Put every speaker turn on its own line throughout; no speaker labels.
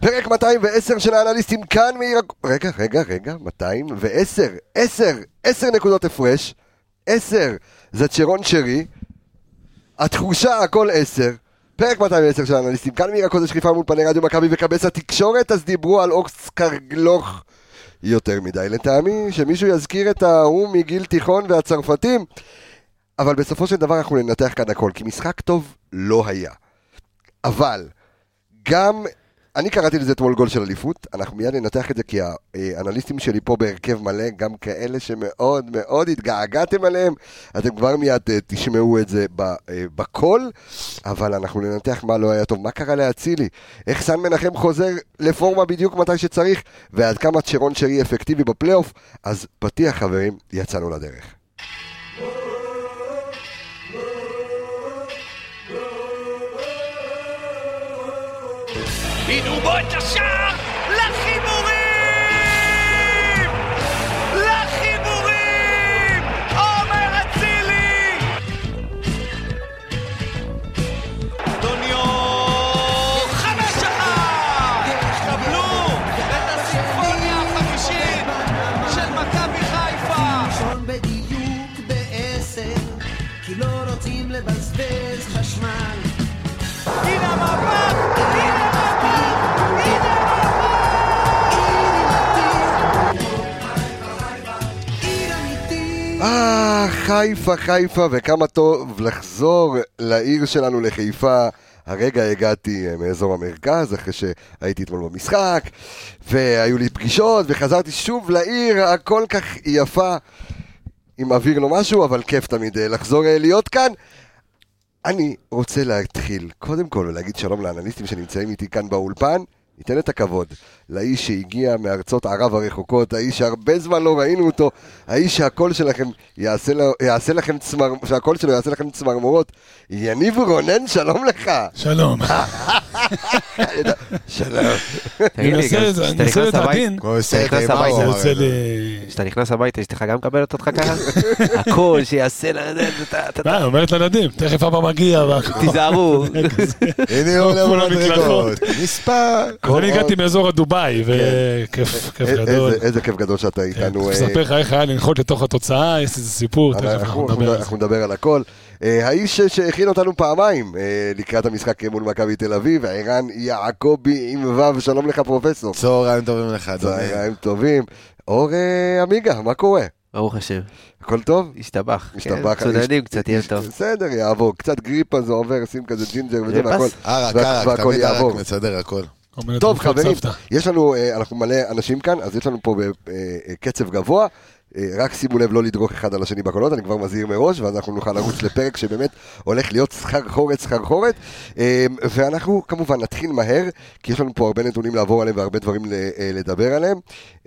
פרק 210 של האנליסטים כאן מעיר... הק- רגע, רגע, רגע, 210, 10, 10 נקודות הפרש, 10 זה צ'רון שרי, התחושה הכל 10, פרק 210 של האנליסטים כאן מעיר הקודש חיפה מול פני רדיו מכבי וכבס התקשורת, אז דיברו על אוקס קרגלוך יותר מדי לטעמי, שמישהו יזכיר את ההוא מגיל תיכון והצרפתים, אבל בסופו של דבר אנחנו ננתח כאן הכל, כי משחק טוב לא היה. אבל גם, אני קראתי לזה אתמול גול של אליפות, אנחנו מיד ננתח את זה כי האנליסטים שלי פה בהרכב מלא, גם כאלה שמאוד מאוד התגעגעתם עליהם, אתם כבר מיד אה, תשמעו את זה ב- אה, בקול, אבל אנחנו ננתח מה לא היה טוב, מה קרה לאצילי, איך סן מנחם חוזר לפורמה בדיוק מתי שצריך, ועד כמה צ'רון שרי אפקטיבי בפלייאוף, אז פתיח חברים, יצאנו לדרך.
הנה את השער לחיבורים! לחיבורים! עומר אצילי! דוניו! חמש אחת! קבלו את הסימפוניה החמישית של מכבי חיפה!
לישון בדיוק בעשר, כי לא רוצים לבזבז חשמל.
הנה המהפך! הנה המהפך! הנה
עיר אמיתית,
אה, חיפה, חיפה, וכמה טוב לחזור לעיר שלנו, לחיפה. הרגע הגעתי אה, מאזור המרכז, אחרי שהייתי אתמול במשחק, והיו לי פגישות, וחזרתי שוב לעיר הכל כך יפה, אם אוויר לא משהו, אבל כיף תמיד אה, לחזור אה, להיות כאן. אני רוצה להתחיל, קודם כל, ולהגיד שלום לאנליסטים שנמצאים איתי כאן באולפן. ניתן את הכבוד לאיש שהגיע מארצות ערב הרחוקות, האיש שהרבה זמן לא ראינו אותו, האיש שהקול שלכם יעשה, לו, יעשה לכם צמר, שהקול שלו יעשה לכם צמרמורות. יניב רונן, שלום לך.
שלום.
אה, שלום.
אני
תגיד לי,
מנסה
גם
את זה, אני
כשאתה
מנסה
נכנס
להיות עדין.
הביתה, כשאתה נכנס הביתה,
זה יוצא ל...
כשאתה נכנס הביתה, אשתך גם מקבלת אותך ככה? הכל שיעשה לה... אתה- אתה-
מה, היא אומרת לילדים, תכף אבא מגיע. והכל.
תיזהרו.
הנה הוא
עפו
למדרגות,
למקלחות.
נספר.
אז אני הגעתי מאזור הדובאי, וכיף כיף
כן. אה, איזה-
גדול. כן,
איזה כיף גדול שאתה איתנו. אה,
אספר לך איך היה לנחות לתוך התוצאה, יש איזה סיפור, תכף אנחנו
אנחנו
נדבר על זה.
אנחנו נדבר על הכל. אה, האיש שהכין אותנו פעמיים אה, לקראת המשחק מול מכבי תל אביב, ערן יעקבי עם ו', שלום לך פרופסור.
צהריים טובים לך, אדוני.
צהריים טובים. אור אה, עמיגה, מה קורה?
ברוך השם,
הכל טוב?
השתבח.
משתבח.
משתבח. צוננים קצת, יהיה
יש-
טוב.
בסדר, יעבור. קצת גריפה זה עובר, שים כזה ג'ינג'ר וזה
גריפס?
והכל.
ערק,
וה-
ערק,
והכל
תמיד
יעבור.
ערק, מסדר הכל.
אומרת "אוקיי,
טוב
רופאת
חברים,
סבתא.
יש לנו, אה, אנחנו מלא אנשים כאן, אז יש לנו פה בקצב גבוה. אה, רק שימו לב לא לדרוך אחד על השני בקולות, אני כבר מזהיר מראש, ואז אנחנו נוכל לרוץ לפרק שבאמת הולך להיות סחרחורת סחרחורת. אה, ואנחנו כמובן נתחיל מהר, כי יש לנו פה הרבה נתונים לעבור עליהם והרבה דברים ל- אה, לדבר עליהם.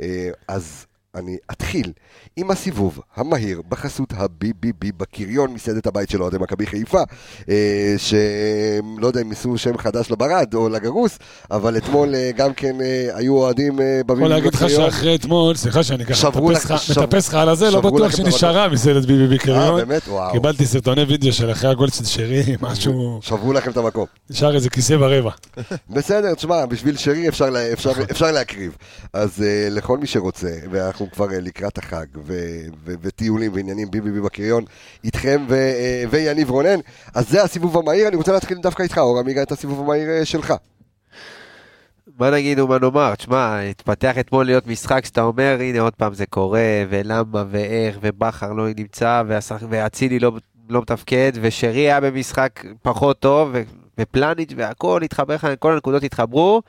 אה, אז אני אתחיל עם הסיבוב המהיר בחסות ה-BBB בקריון, מסעדת הבית של אוהדי מכבי חיפה, אה, שלא יודע אם ייסעו שם חדש לברד או לגרוס, אבל אתמול אה, גם כן אה, היו אוהדים אה,
יכול
ב-BBB
להגיד לך שאחרי אתמול, סליחה שאני ככה
שברו
מטפס
לך-
לך-
שברו-
מטפס לך על הזה, לא
שברו
בטוח
לכם את
שנשארה מסעדת ביבי
אה,
בקריון.
באמת? וואו.
קיבלתי סרטוני וידאו של אחרי הגול של שרי, משהו,
שברו לכם את המקום.
נשאר איזה כיסא ורבע.
בסדר, תשמע, בשביל שרי אפשר, לה, אפשר, אפשר להקריב. אז אה, לכל מי שרוצה, ואנחנו כבר אה, לקראת החג, ו, ו, וטיולים ועניינים ביבי ביבי בקריון, איתכם ו, אה, ויניב רונן, אז זה הסיבוב המהיר, אני רוצה להתחיל דווקא איתך, אור עמיגה, את הסיבוב המהיר אה, שלך.
מה נגיד ומה נאמר? תשמע, התפתח אתמול להיות משחק שאתה אומר, הנה עוד פעם זה קורה, ולמה, ואיך, ובכר לא נמצא, והשח- ואצילי לא, לא מתפקד, ושרי היה במשחק פחות טוב, ו- ופלניץ' והכל התחבר לך, כל הנקודות התחברו,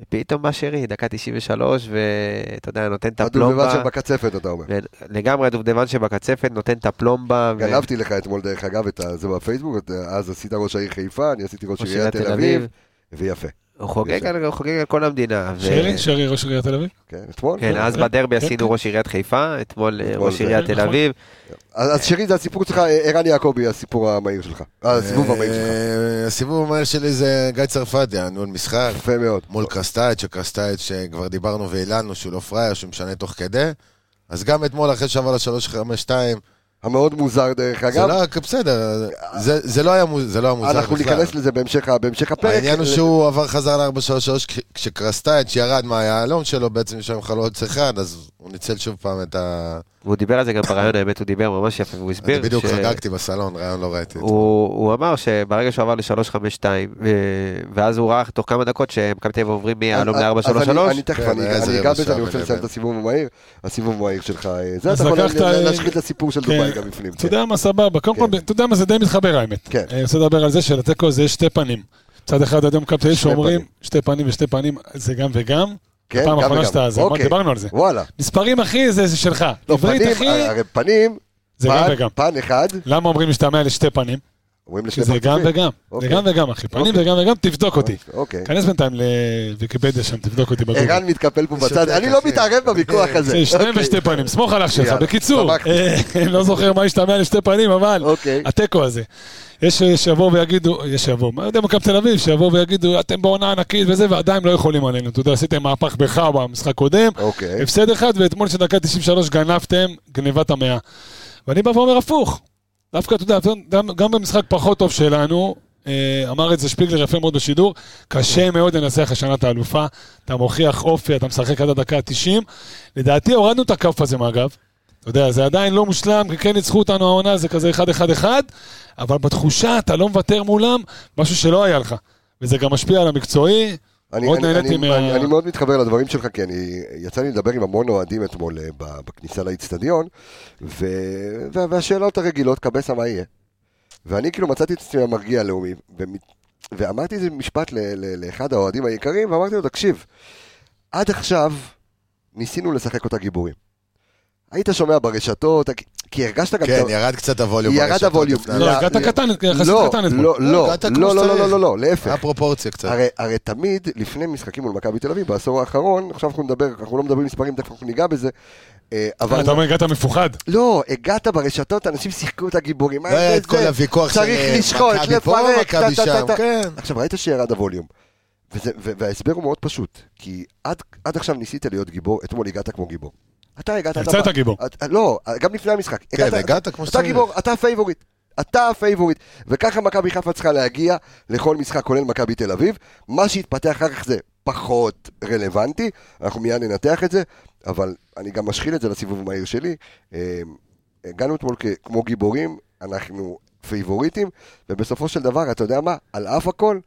ופתאום בא שרי, דקה 93, ואתה יודע, נותן את
הדובדבן
הפלומבה.
שבקצפת, אתה אומר.
לגמרי הדובדבן שבקצפת, נותן את הפלומבה. ו-
גנבתי לך אתמול, דרך אגב, את ה- זה בפייסבוק, את- אה, אז עשית ראש העיר חיפה, אני עשיתי ראש
ראש
עיריית
עיריית
תל
תל
אביב,
אביב.
ויפה.
הוא חוגג על הוא חוגג על כל המדינה. ו-
שרי, שרי ראש עיריית תל אביב.
כן, אתמול?
כן, אז בדרבי
כן,
עשינו ראש עיריית חיפה, אתמול אה,
אתמול
ראש
זה-
עיריית תל
נכון.
אביב.
אז אז שרי, זה הסיפור שלך, אה, ערן יעקבי, הסיפור המהיר שלך. אה, הסיבוב המהיר שלך.
אה, הסיבוב המהיר שלי זה גיא צרפתי, הניהול משחק.
יפה מאוד.
מול אה, קרסטייץ', שקרסטייץ' שכבר דיברנו והילנו שהוא לא פראייר, שהוא משנה תוך כדי. אז גם אתמול אחרי שעבר ל-352,
המאוד מוזר דרך
זה
אגב.
לא, בסדר, זה- זה לא היה מוז- זה לא היה מוזר בכלל.
אנחנו ניכנס לזה בהמשך ה- בהמשך הפרק. אה,
העניין הוא שהוא עבר חזר ל-433 כשקרסטייץ' ירד מהיהלום שלו, בעצם יש שם חלוץ אחד, אז הוא ניצל שוב פעם את ה...
והוא דיבר על זה גם בריאיון, האמת, הוא דיבר ממש יפה, והוא
אני
הסביר.
בדיוק
ש-
חגגתי בסלון, רעיון לא ראיתי את זה.
הוא, הוא אמר שברגע שהוא עבר ל-352, אה, ואז הוא ראה תוך כמה דקות שמכבי תל אביב עוברים מיהלום
אז- אז
ל-433,
אה, אני- אני תכף,
כן,
אני
אה,
היה
אני אגע
איזה רבע
בזה, אני רוצה
שעה בין
לסיים את
לבין.
הסיבוב המהיר. הסיבוב המהיר שלך, אה, זה
אוקיי. אז
אתה יכול
לקחת,
ל-
אה,
להשחית את הסיפור של
כן.
דובאי גם בפנים.
אתה יודע מה, סבבה. קודם כל,
כן.
אתה יודע מה, זה די מתחבר האמת.
כן.
אני רוצה לדבר על זה שלתיקו הזה יש שתי פנים. מצד אחד, אדם מכבי תל אביב
שני
שאומרים,
פנים.
שתי פנים ושתי פנים, זה גם וגם.
כן,
פעם
גם
אחרונה
וגם.
שאתה, זה, אמר-
אוקיי.
דיברנו על זה.
וואלה.
מספרים, אחי, זה זה שלך.
לא, אה,
עברית,
פנים,
אחי,
הרי פנים,
זה גם
פן-
וגם.
פן אחד,
למה אומרים משתמע לשתי פנים?
אומרים
כי
לשני
זה גם
פרצופים.
וגם. זה
אוקיי.
גם וגם, אחי. פנים וגם וגם, כן, אוקיי. תבדוק אותי.
אוקיי.
כנס בינתיים לוויקיפדיה שם, תבדוק אותי בגוגל.
ערן מתקפל פה בצד,
שותק,
אני לא
אחי.
מתערב בוויכוח הזה.
זה שתיים
אוקיי.
ושתי פנים, סמוך על אח שלך.
יאללה,
בקיצור,
צדקתי.
אה, לא זוכר מה השתמע לשתי פנים, אבל
אוקיי.
התיקו הזה. יש שיבואו ויגידו, יש שיבואו, מה יודע, מכבי תל אביב, שיבואו ויגידו, אתם בעונה ענקית וזה, ועדיין לא יכולים עלינו. אתה יודע, עשיתם מהפך בחאווה במשחק קודם,
אוקיי.
הפסד אחד, ואתמול שדקה 93 גנבתם גנבת המאה. ואני בא ואומר הפוך. דווקא, אתה יודע, גם- גם במשחק פחות טוב שלנו, אה, אמר את זה שפיגלר יפה מאוד בשידור, קשה מאוד לנצח השנה את האלופה, אתה מוכיח אופי, אתה משחק עד הדקה ה-90. לדעתי הורדנו את הכף הזה מהגב. אתה יודע, זה עדיין לא מושלם, כי כן ניצחו אותנו העונה, זה כזה 1-1-1, אבל בתחושה אתה לא מוותר מולם, משהו שלא היה לך. וזה גם משפיע על המקצועי,
אני,
מאוד
אני,
נהניתי
אני,
מה-
אני, אני מאוד מתחבר לדברים שלך, כי אני, יצא לי לדבר עם המון אוהדים אתמול אה, ב- בכניסה לאיצטדיון, ו, וה, והשאלות הרגילות, קבסה, מה יהיה? ואני כאילו מצאתי את עצמי המרגיע הלאומי, ומת, ואמרתי איזה משפט ל, ל, לאחד האוהדים היקרים, ואמרתי לו, תקשיב, עד עכשיו ניסינו לשחק אותה גיבורים. היית שומע ברשתות, כי הרגשת גם...
כן,
את ה-
ירד קצת הווליום.
ירד
ברשתות
הווליום.
לפני
לא,
לא,
המשחק.
הגעת קטן, יחסית
לא,
קטן אתמול.
לא, לא,
הגעת כמו
לא, לא, לא,
שצריך.
לא, לא, להפך.
היה פרופורציה קצת.
הרי, הרי תמיד, לפני משחקים מול מכבי תל אביב, בעשור האחרון, עכשיו אנחנו נדבר, אנחנו לא מדברים מספרים, תכף אנחנו ניגע בזה, אה,
אה,
אבל...
אתה אומר, הגעת מפוחד.
לא, הגעת ברשתות, אנשים שיחקו את הגיבורים.
לא היה את כל הוויכוח של
צריך
אה,
לשחוט,
מכבי פה,
לפרק,
מכבי
טה, טה,
שם,
טה, טה.
כן.
עכשיו, ראית שירד הווליום. וזה, ו- וההסבר הוא מאוד פשוט, כי עד, עד עכשיו ניסית להיות גיבור, אתמול הגעת כמו גיבור. אתה הגעת... אתה
יצאת
בא-
גיבור.
את- לא, גם לפני המשחק.
כן, הגעת כמו
אתה
שצריך.
גיבור, אתה הפייבוריט. אתה הפייבוריט. וככה מכבי חיפה צריכה להגיע לכל משחק, כולל מכבי תל אביב. מה שהתפתח אחר כך זה פחות רלוונטי, אנחנו מיד ננתח את זה, אבל אני גם משחיל את זה לסיבוב המהיר שלי. אה, הגענו אתמול כ- כמו גיבורים, אנחנו פייבוריטים, ובסופו של דבר, אתה יודע מה? על אף הכל,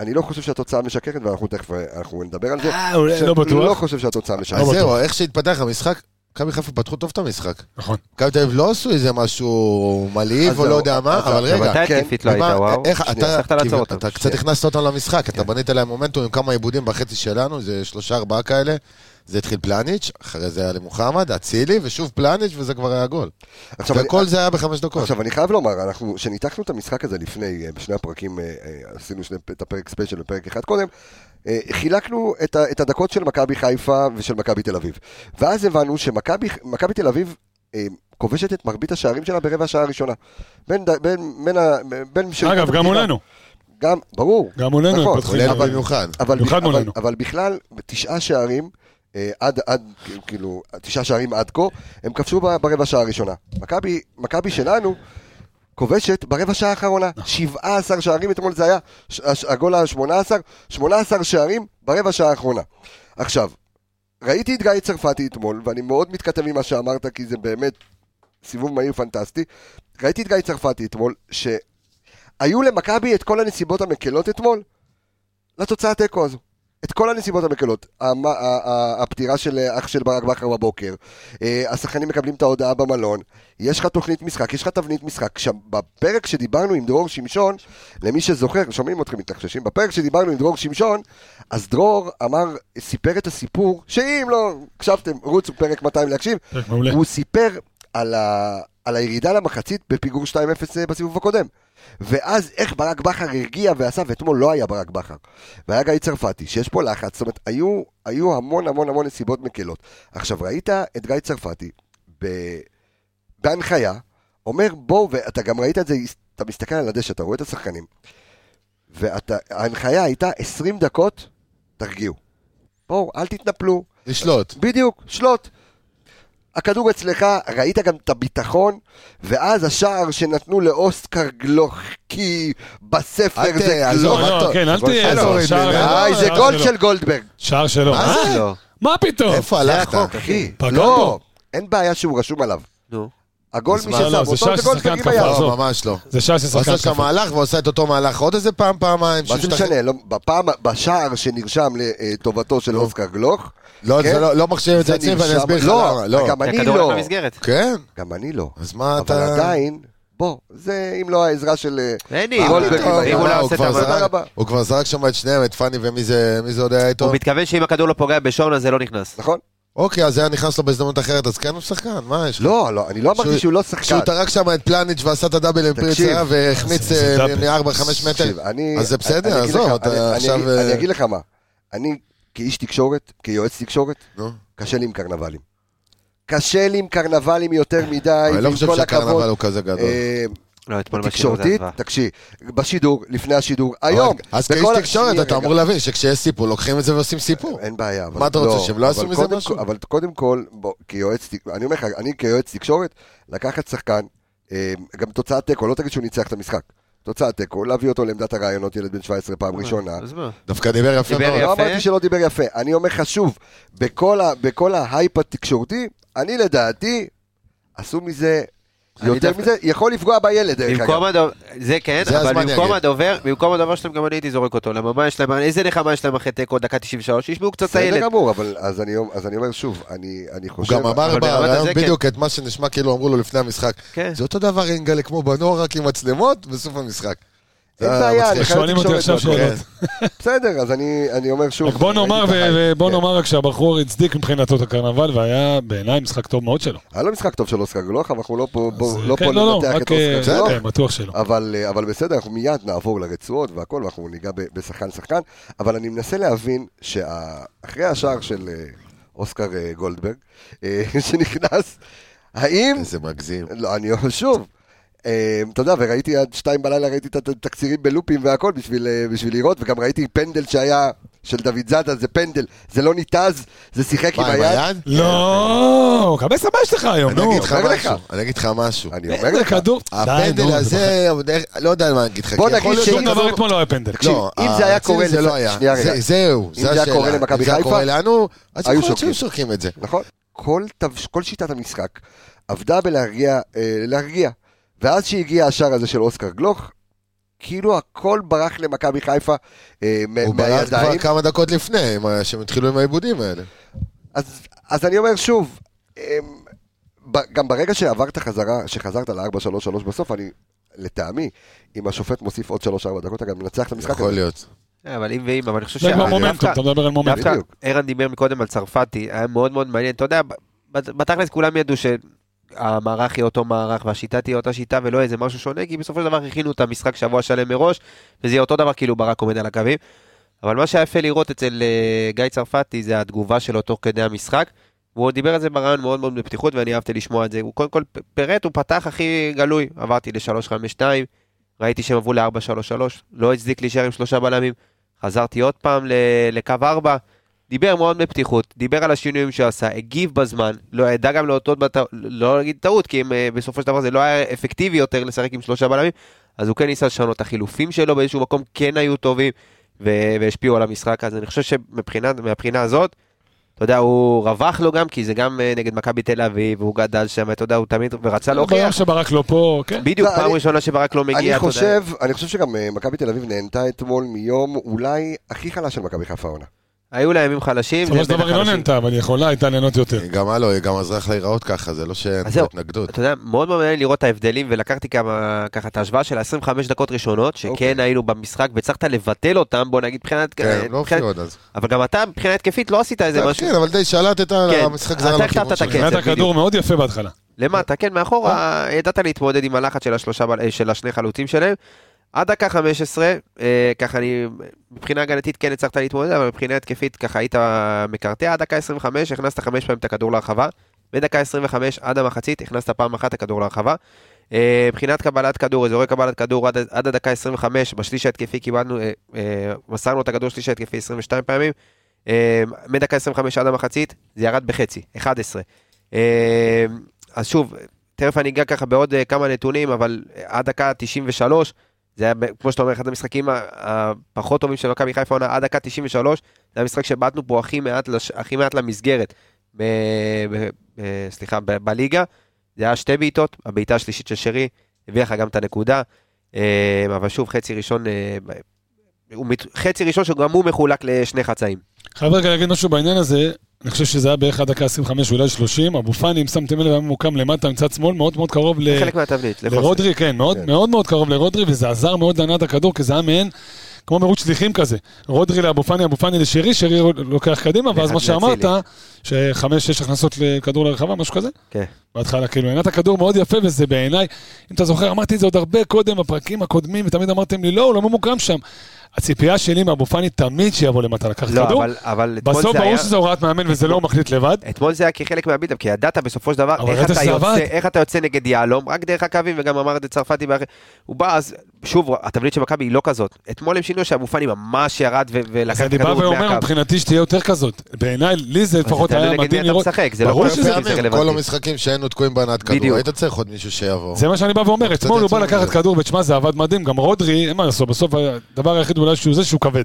אני לא חושב שהתוצאה משקרת, ואנחנו תכף אנחנו נדבר על זה.
אה, אולי- לא
לא
בטוח.
חושב שהתוצאה משקרת.
אז
לא
זהו,
בטוח.
איך שהתפתח המשחק, מכבי חיפה פתחו טוב את המשחק.
נכון.
מכבי תל אביב לא עשו איזה משהו
אז
מלהיב או
זהו,
לא יודע מה,
אז
אבל
זהו,
רגע.
מתי
כן.
התקפית לא
ומה,
הייתה, וואו?
איך
שנייה,
אתה,
הצלחת לעצור
כאילו,
אותם.
אתה קצת
שנייה.
הכנסת אותם למשחק,
כן.
אתה בנית להם מומנטום עם כמה עיבודים בחצי שלנו, זה שלושה ארבעה כאלה. זה התחיל פלניץ', אחרי זה היה למוחמד, אצילי, ושוב פלניץ', וזה כבר היה גול.
עכשיו, אני-
וכל זה היה בחמש דקות.
עכשיו, אני חייב לומר, אנחנו, שניתחנו את המשחק הזה לפני, אה, בשני הפרקים, אה, אה, עשינו שני, את הפרק ספיישל ופרק אחד קודם, אה, חילקנו את, ה, את הדקות של מכבי חיפה ושל מכבי תל אביב. ואז הבנו שמכבי מכבי תל אביב אה, כובשת את מרבית השערים שלה ברבע השעה הראשונה. בין, ד- בין, בין, ה- בין שאלות
אגב, גם
הפתיחה-
מולנו.
גם, ברור.
גם מולנו הם
נכון,
פתחו.
אבל-
עולה במיוחד.
אבל,
במיוחד
אבל, אבל,
מולנו.
אבל בכלל, תשעה שערים, אה, עד, עד, כאילו, תשעה שערים עד כה, הם כבשו ב- ברבע שעה הראשונה. מכבי- מכבי שלנו כובשת ברבע שעה האחרונה. 17 שערים, אתמול זה היה ש- הש- הגול ה-18, 18 שערים ברבע שעה האחרונה. עכשיו, ראיתי את גיא צרפתי אתמול, ואני מאוד מתכתב עם מה שאמרת, כי זה באמת סיבוב מהיר פנטסטי. ראיתי את גיא צרפתי אתמול, שהיו למכבי את כל הנסיבות המקלות אתמול, לתוצאה תיקו הזו. את כל הנסיבות המקלות, המ- ה- ה- הפטירה של אה, אח של ברק בכר בבוקר, אה, השחקנים מקבלים את ההודעה במלון, יש לך תוכנית משחק, יש לך תבנית משחק. שם, בפרק שדיברנו עם דרור שמשון, למי שזוכר, שומעים אתכם מתלחששים, בפרק שדיברנו עם דרור שמשון, אז דרור אמר, סיפר את הסיפור, שאם לא הקשבתם, רוצו פרק 200 להקשיב,
פרק כן, מעולה.
הוא סיפר על, ה... על הירידה למחצית בפיגור 2-0 בסיבוב הקודם. ואז איך ברק בכר הרגיע ועשה, ואתמול לא היה ברק בכר. והיה גיא צרפתי, שיש פה לחץ, זאת אומרת, היו, היו המון המון המון נסיבות מקלות. עכשיו, ראית את גיא צרפתי ב... בהנחיה, אומר בואו, ואתה גם ראית את זה, אתה מסתכל על הדשא, אתה רואה את השחקנים, וההנחיה הייתה 20 דקות, תרגיעו. בואו, אל תתנפלו,
לשלוט.
בדיוק, שלוט. הכדור אצלך, ראית גם את הביטחון, ואז השער שנתנו לאוסקר גלוחקי בספר זה
אל ת-
גלוך.
עזוב,
לא,
אבל
לא,
טוב,
כן, אל
גול
תהיה...
שלו,
לא,
אורן
שער
בן
שלו,
איי, אה, זה
שער
גול
שלו.
של גולדברג.
שער שלו. אה,
מה זה?
לא.
מה פתאום?
איפה הלכת?
אחי,
פגע
לא,
בו.
אין בעיה שהוא רשום עליו.
נו.
הגול
אז
מי
מה,
ששם
לא, זה
אותו
שער
זה
של
גולדברג
שחקן
עם היד.
כף.
לא,
עזוב.
ממש לא.
זה שער של
הוא
שחקן
עשה שם
התקפה.
מהלך ועושה את אותו מהלך עוד איזה פעם, פעמיים.
מה
שהוא
זה
משתחרר.
משנה, לא, בפעם, בשער שנרשם לטובתו של אוסקר גלוך,
לא,
כן?
זה לא- לא מחשיב את זה אצלי, ואני
נרשם-
אסביר לך
לא,
למה. לא.
גם אני
הכדור
לא,
הלך למסגרת.
כן,
גם אני לא,
אז מה
אבל
אתה...
עדיין, בוא, זה אם לא העזרה של... אה,
אין לי,
אה,
אם הוא
גולדברג עם היד.
לא
הוא
עושה את
כבר
העבודה.
תודה
זרק-
רבה.
הוא כבר זרק שם את שניהם, את פאני ומי זה מי זה עוד היה איתו.
הוא מתכוון שאם הכדור לא פוגע בשעון אז זה לא נכנס.
נכון?
אוקיי, אז היה נכנס לו בהזדמנות אחרת, אז כן הוא שחקן, מה יש? לו?
לא, לא, אני לא אמרתי
שהוא-
שהוא לא שחקן.
כשהוא טרק שם את פלניץ' ועשה את הדאבל עם
תקשיב.
פרצה והחמיץ
זה- זה
אה,
דאבל.
מ- מ-4-5 מטר.
תקשיב, אני...
אז זה בסדר,
אני אגיד
עזוב,
לך-
אתה
אני- אני
עכשיו,
אגיד-
אה,
אני אגיד לך מה, אני כאיש תקשורת, כיועץ תקשורת,
נו.
קשה לי עם קרנבלים. קשה לי עם קרנבלים יותר מדי,
אני לא
ועם
חושב
כל הכבוד.
שהקרנבל הוא כזה גדול.
אה,
לא, אתמול בשיעור זה
תקשורתית,
עזבה.
תקשיב, בשידור, לפני השידור, היום.
אבל- אז
בכל
כאיש
ה- אה, שנייה,
תקשורת אתה
רגע.
אמור להבין שכשיש סיפור לוקחים את זה ועושים סיפור.
אין בעיה. אבל
מה אתה רוצה, שהם לא
אבל
יעשו מזה
קודם
משהו?
כל- אבל קודם כל, בוא, כיועץ, תק- אני אומר לך, אני כיועץ תקשורת, לקחת שחקן, אה, גם תוצאת תיקו, לא תגיד שהוא ניצח את המשחק. תוצאת תיקו, להביא אותו לעמדת הרעיונות, ילד בן 17 פעם ראשונה.
אה, אז מה?
דווקא דיבר יפה
דיבר
מאוד.
יפה.
לא אמרתי שלא דיבר יפה, אני אומר לך שוב, בכל ה- בכל ההייפ התקשורתי, אני לדעתי, עשו מזה,
אני
יותר
דווקא-
מזה, יכול לפגוע בילד, דרך אגב.
במקום הדובר, זה כן,
כן, זה
אבל
הזמן
במקום
להגיד.
הדובר, במקום הדובר שלהם גם אני הייתי זורק אותו. למה, מה יש להם, איזה נחמה יש להם אחרי תיקו, דקה 93, שישמעו קצת את
בסדר
הילד.
גמור, אבל אז אני אומר- אז אני אומר שוב, אני אני
הוא
חושב...
גם אמר
אבל ברמת
ברעיון
הזה כן.
בדיוק את מה שנשמע כאילו אמרו לו לפני המשחק.
כן.
זה אותו דבר אינגלה כמו בנוער רק עם מצלמות בסוף המשק.
אין
זה היה
בעיה,
מצחיק.
אני חייב
שואלים אותי
תקשורת
עכשיו
והכל.
שאלות.
אה, כן. בסדר, אז אני אני אומר שוב.
רק בוא נאמר,
ראיתי את
ו-
החיים.
ובוא
כן.
נאמר רק שהבחור הצדיק מבחינתו את הקרנבל, והיה בעיניי משחק טוב מאוד שלו.
היה לו משחק טוב של אוסקר גלוך, אבל אנחנו לא פה בוא-
אז,
לא
כן,
פה לנתח את
רק, אה,
אוסקר גלוך.
כן, בטוח שלא.
אבל, אה, אבל בסדר, אנחנו מיד נעבור לרצועות והכל, ואנחנו ניגע ב- בשחקן-שחקן, אבל אני מנסה להבין שאחרי השער של אה, אוסקר אה, גולדברג, אה, שנכנס, האם...
איזה מגזים.
לא, אני אומר שוב. אה, אתה יודע, וראיתי עד שתיים בלילה, ראיתי את התקצירים בלופים והכל בשביל, אה, בשביל לראות, וגם ראיתי פנדל שהיה של דוד זאדה, זה פנדל, זה לא ניתז, זה שיחק עם
מה, עם
היד.
היד?
לא, קבס הבא שלך היום,
אני
נו.
אגיד לך
אומר לך.
משהו, אני אגיד לך משהו.
אני אומר
איזה
לך,
כדור. די,
הפנדל
נו, זה
הזה, אבל דרך- לא יודע מה אני אגיד לך.
בוא
כי יכול
נגיד
להיות
שום
שאם-
דבר
כדור-
אתמול לא היה פנדל.
תקשיב, אם זה היה קורה
אצילי זה
לפ-
לא היה.
שנייה, רגע.
זה- זהו,
אם זה
זו
היה
השאלה.
קורה למכבי
אם זה היה
חיפה,
קורה לנו, אז
היו
יכול להיות
שורקים.
שהיו שורקים את זה.
נכון? כל, תבש, כל שיטת המשחק עבדה בלהרגיע, אה, להרגיע. ואז שהגיע השער הזה של אוסקר גלוך, כאילו הכל ברח למכבי חיפה אה, מה-
הוא ברח כבר
מהידיים.
כמה דקות לפני, עם ה- שהם התחילו עם העיבודים האלה.
אז, אז אני אומר שוב, אמ, ב- גם ברגע שעברת חזרה, שחזרת ל-4-3-3 בסוף, אני, לטעמי, אם השופט מוסיף עוד 3-4 דקות, אתה גם מנצח את המשחק
יכול
הזה.
להיות.
אה, אבל אם ואם, אבל אני חושב
זה כבר מומנטום,
דווקא-
אתה מדבר על מומנטום.
דווקא
בדיוק.
ערן דיבר מקודם על צרפתי, היה מאוד מאוד מעניין. אתה יודע, בת- בתכלס כולם ידעו שהמערך יהיה אותו מערך והשיטה תהיה אותה שיטה ולא איזה משהו שונה, כי בסופו של דבר הכינו את המשחק שבוע שלם מראש, וזה יהיה אותו דבר כאילו ברק עומד על הקווים. אבל מה שהיה יפה לראות אצל אה, גיא צרפתי זה התגובה שלו תוך כדי המשחק. והוא דיבר על זה ברעיון מאוד מאוד בפתיחות ואני אהבתי לשמוע את זה. הוא קודם כל פ- פירט, הוא פתח הכי גלוי. עברתי ל-352, ראיתי שהם עברו ל-433, לא הצדיק להישאר עם שלושה בלמים. חזרתי עוד פעם ל- לקו 4, דיבר מאוד בפתיחות, דיבר על השינויים שהוא עשה, הגיב בזמן, לא ידע גם להודות, בת... לא להגיד טעות, כי הם, אה, בסופו של דבר זה לא היה אפקטיבי יותר לשחק עם שלושה בלמים, אז הוא כן ניסה לשנות, החילופים שלו באיזשהו מקום כן היו טובים, ו... והשפיעו על המשחק, אז אני חושב שמבחינה מהבחינה הזאת, אתה יודע, הוא רווח לו גם, כי זה גם אה, נגד מכבי תל אביב, והוא גדל שם, אתה יודע, הוא תמיד, ורצה
ביום
להוכיח,
שברק לא פה, כן.
בדיוק,
לא,
פעם
אני-
ראשונה שברק לא מגיע,
אני
אתה יודע.
חושב, אני חושב שגם אה, מכבי תל אביב נהנתה אתמול מיום אולי הכי חלש של מכבי חיפה העונה.
היו לה ימים חלשים,
בסופו
זה
של דבר
בין
היא לא
החלשים.
נהנתה, אבל היא יכולה הייתה ליהנות יותר.
גם הלו, גם עזרה לך להיראות ככה, זה לא שאין
אז זהו.
התנגדות.
אתה יודע, מאוד מאוד מעניין לראות את ההבדלים, ולקחתי כמה, ככה את ההשוואה של ה-25 דקות ראשונות, שכן
אוקיי.
היינו במשחק, והצלחת לבטל אותם, בוא נגיד, מבחינת...
כן, לא
מבחינת-
הופיעו עוד אז.
אבל גם אתה, מבחינה התקפית, לא עשית איזה אה, משהו.
כן, אבל די שלטת,
כן.
המשחק זר
אתה
על
החטפת
הכיוון
את
שלך.
הקצב,
מבחינת הכדור
בדיוק.
מאוד יפה בהתחלה.
למטה, כן, מאחורה, ידעת להתמודד עם הלחץ של השלושה, בל- אה, של השני חלוצים שלהם. עד דקה 15, אה, ככה אני, מבחינה הגנתית כן הצלחת להתמודד, אבל מבחינה התקפית ככה היית מקרטע. עד דקה 25 הכנסת חמש פעמים את הכדור להרחבה. מדקה 25 עד המחצית הכנסת פעם אחת את הכדור להרחבה. אה, מבחינת קבלת כדור, אזורי קבלת כדור עד, עד הדקה 25, בשליש ההתקפי קיבלנו, אה, אה, מסרנו את הכדור שליש ההתקפי 22 פעמים. אה, מדקה 25 עד המחצית, זה ירד בחצי, 11. אה, אז שוב, תכף אני אגע ככה בעוד אה, כמה נתונים, אבל אה, עד דקה 93, זה היה, ב- כמו שאתה אומר, אחד המשחקים ה- הפחות טובים של מכבי חיפה עונה, עד דקה 93, זה המשחק שבעטנו פה הכי מעט, לש, הכי מעט למסגרת, ב, ב, ב, סליחה, ב, בליגה. זה היה שתי בעיטות, הבעיטה השלישית של שרי הביאה לך גם את הנקודה, אה, אבל שוב, חצי ראשון, אה, הוא מת- חצי ראשון שגם הוא מחולק לשני חצאים.
חייב רגע להגיד משהו בעניין הזה, אני חושב שזה היה בערך עד דקה 25, אולי 30, אבו פאני, אם שמתם לב, היה ממוקם למטה מצד שמאל, מאוד מאוד קרוב ל...
חלק מהתבנית, לחוסר.
לרודרי, כן, מאוד,
כן.
מאוד מאוד קרוב לרודרי, וזה עזר מאוד לענת הכדור, כי זה היה מעין, כמו מרוץ שליחים כזה. רודרי לאבו פאני, אבו פאני לשרי, שרי רוד- לוקח קדימה, ואז
לאט-
מה שאמרת,
לאצילי.
שחמש, שש הכנסות לכדור לרחבה, משהו כזה.
כן.
בהתחלה, כאילו, ענת הכדור מאוד יפה, וזה בעיניי, אם אתה זוכר, אמרתי את זה עוד הרבה קודם, בפרקים הקודמים, ותמיד אמרתם לי, לא, הוא לא ממוקם שם. הציפייה שלי מאבו פאני תמיד שיבוא למטה לקחת
לא,
כדור.
אבל, אבל אתמול
בסוף
זה
ברור
היה...
שזה הוראת מאמן וזה לא הוא מחליט לבד.
אתמול זה היה כחלק מהבילדאפ, כי ידעת בסופו של דבר
אבל
איך
ראית
אתה,
שזה
יוצא,
עבד.
איך אתה יוצא נגד יהלום, רק דרך הקווים, וגם אמר את זה צרפתי, באח- הוא בא אז, שוב, התבנית של מכבי היא לא כזאת. אתמול הם שינו שאבו פאני ממש ירד ו-
אז
ולקח את
אני בא
הכדור עוד
ואומר,
מהקו.
מבחינתי שתהיה יותר כזאת. בעיניי, לי זה
אבל
לפחות
זה תלוי
היה
נגד מי
מדהים
אתה
לראות.
משחק, זה לא
ברור
כל
שזה-
המשחקים, זה
פעמים, כל
רלוונטי.
המשחקים שהיינו תקועים בהנעת כדור,
בדיוק.
היית צריך עוד מישהו שיעבור.
זה מה שאני בא ואומר,
קצת
אתמול הוא בא
יצאו
לקחת
מזה.
כדור, ותשמע, זה עבד מדהים, גם רודרי, אין מה לעשות, בסוף הדבר היחיד אולי שהוא זה שהוא כבד.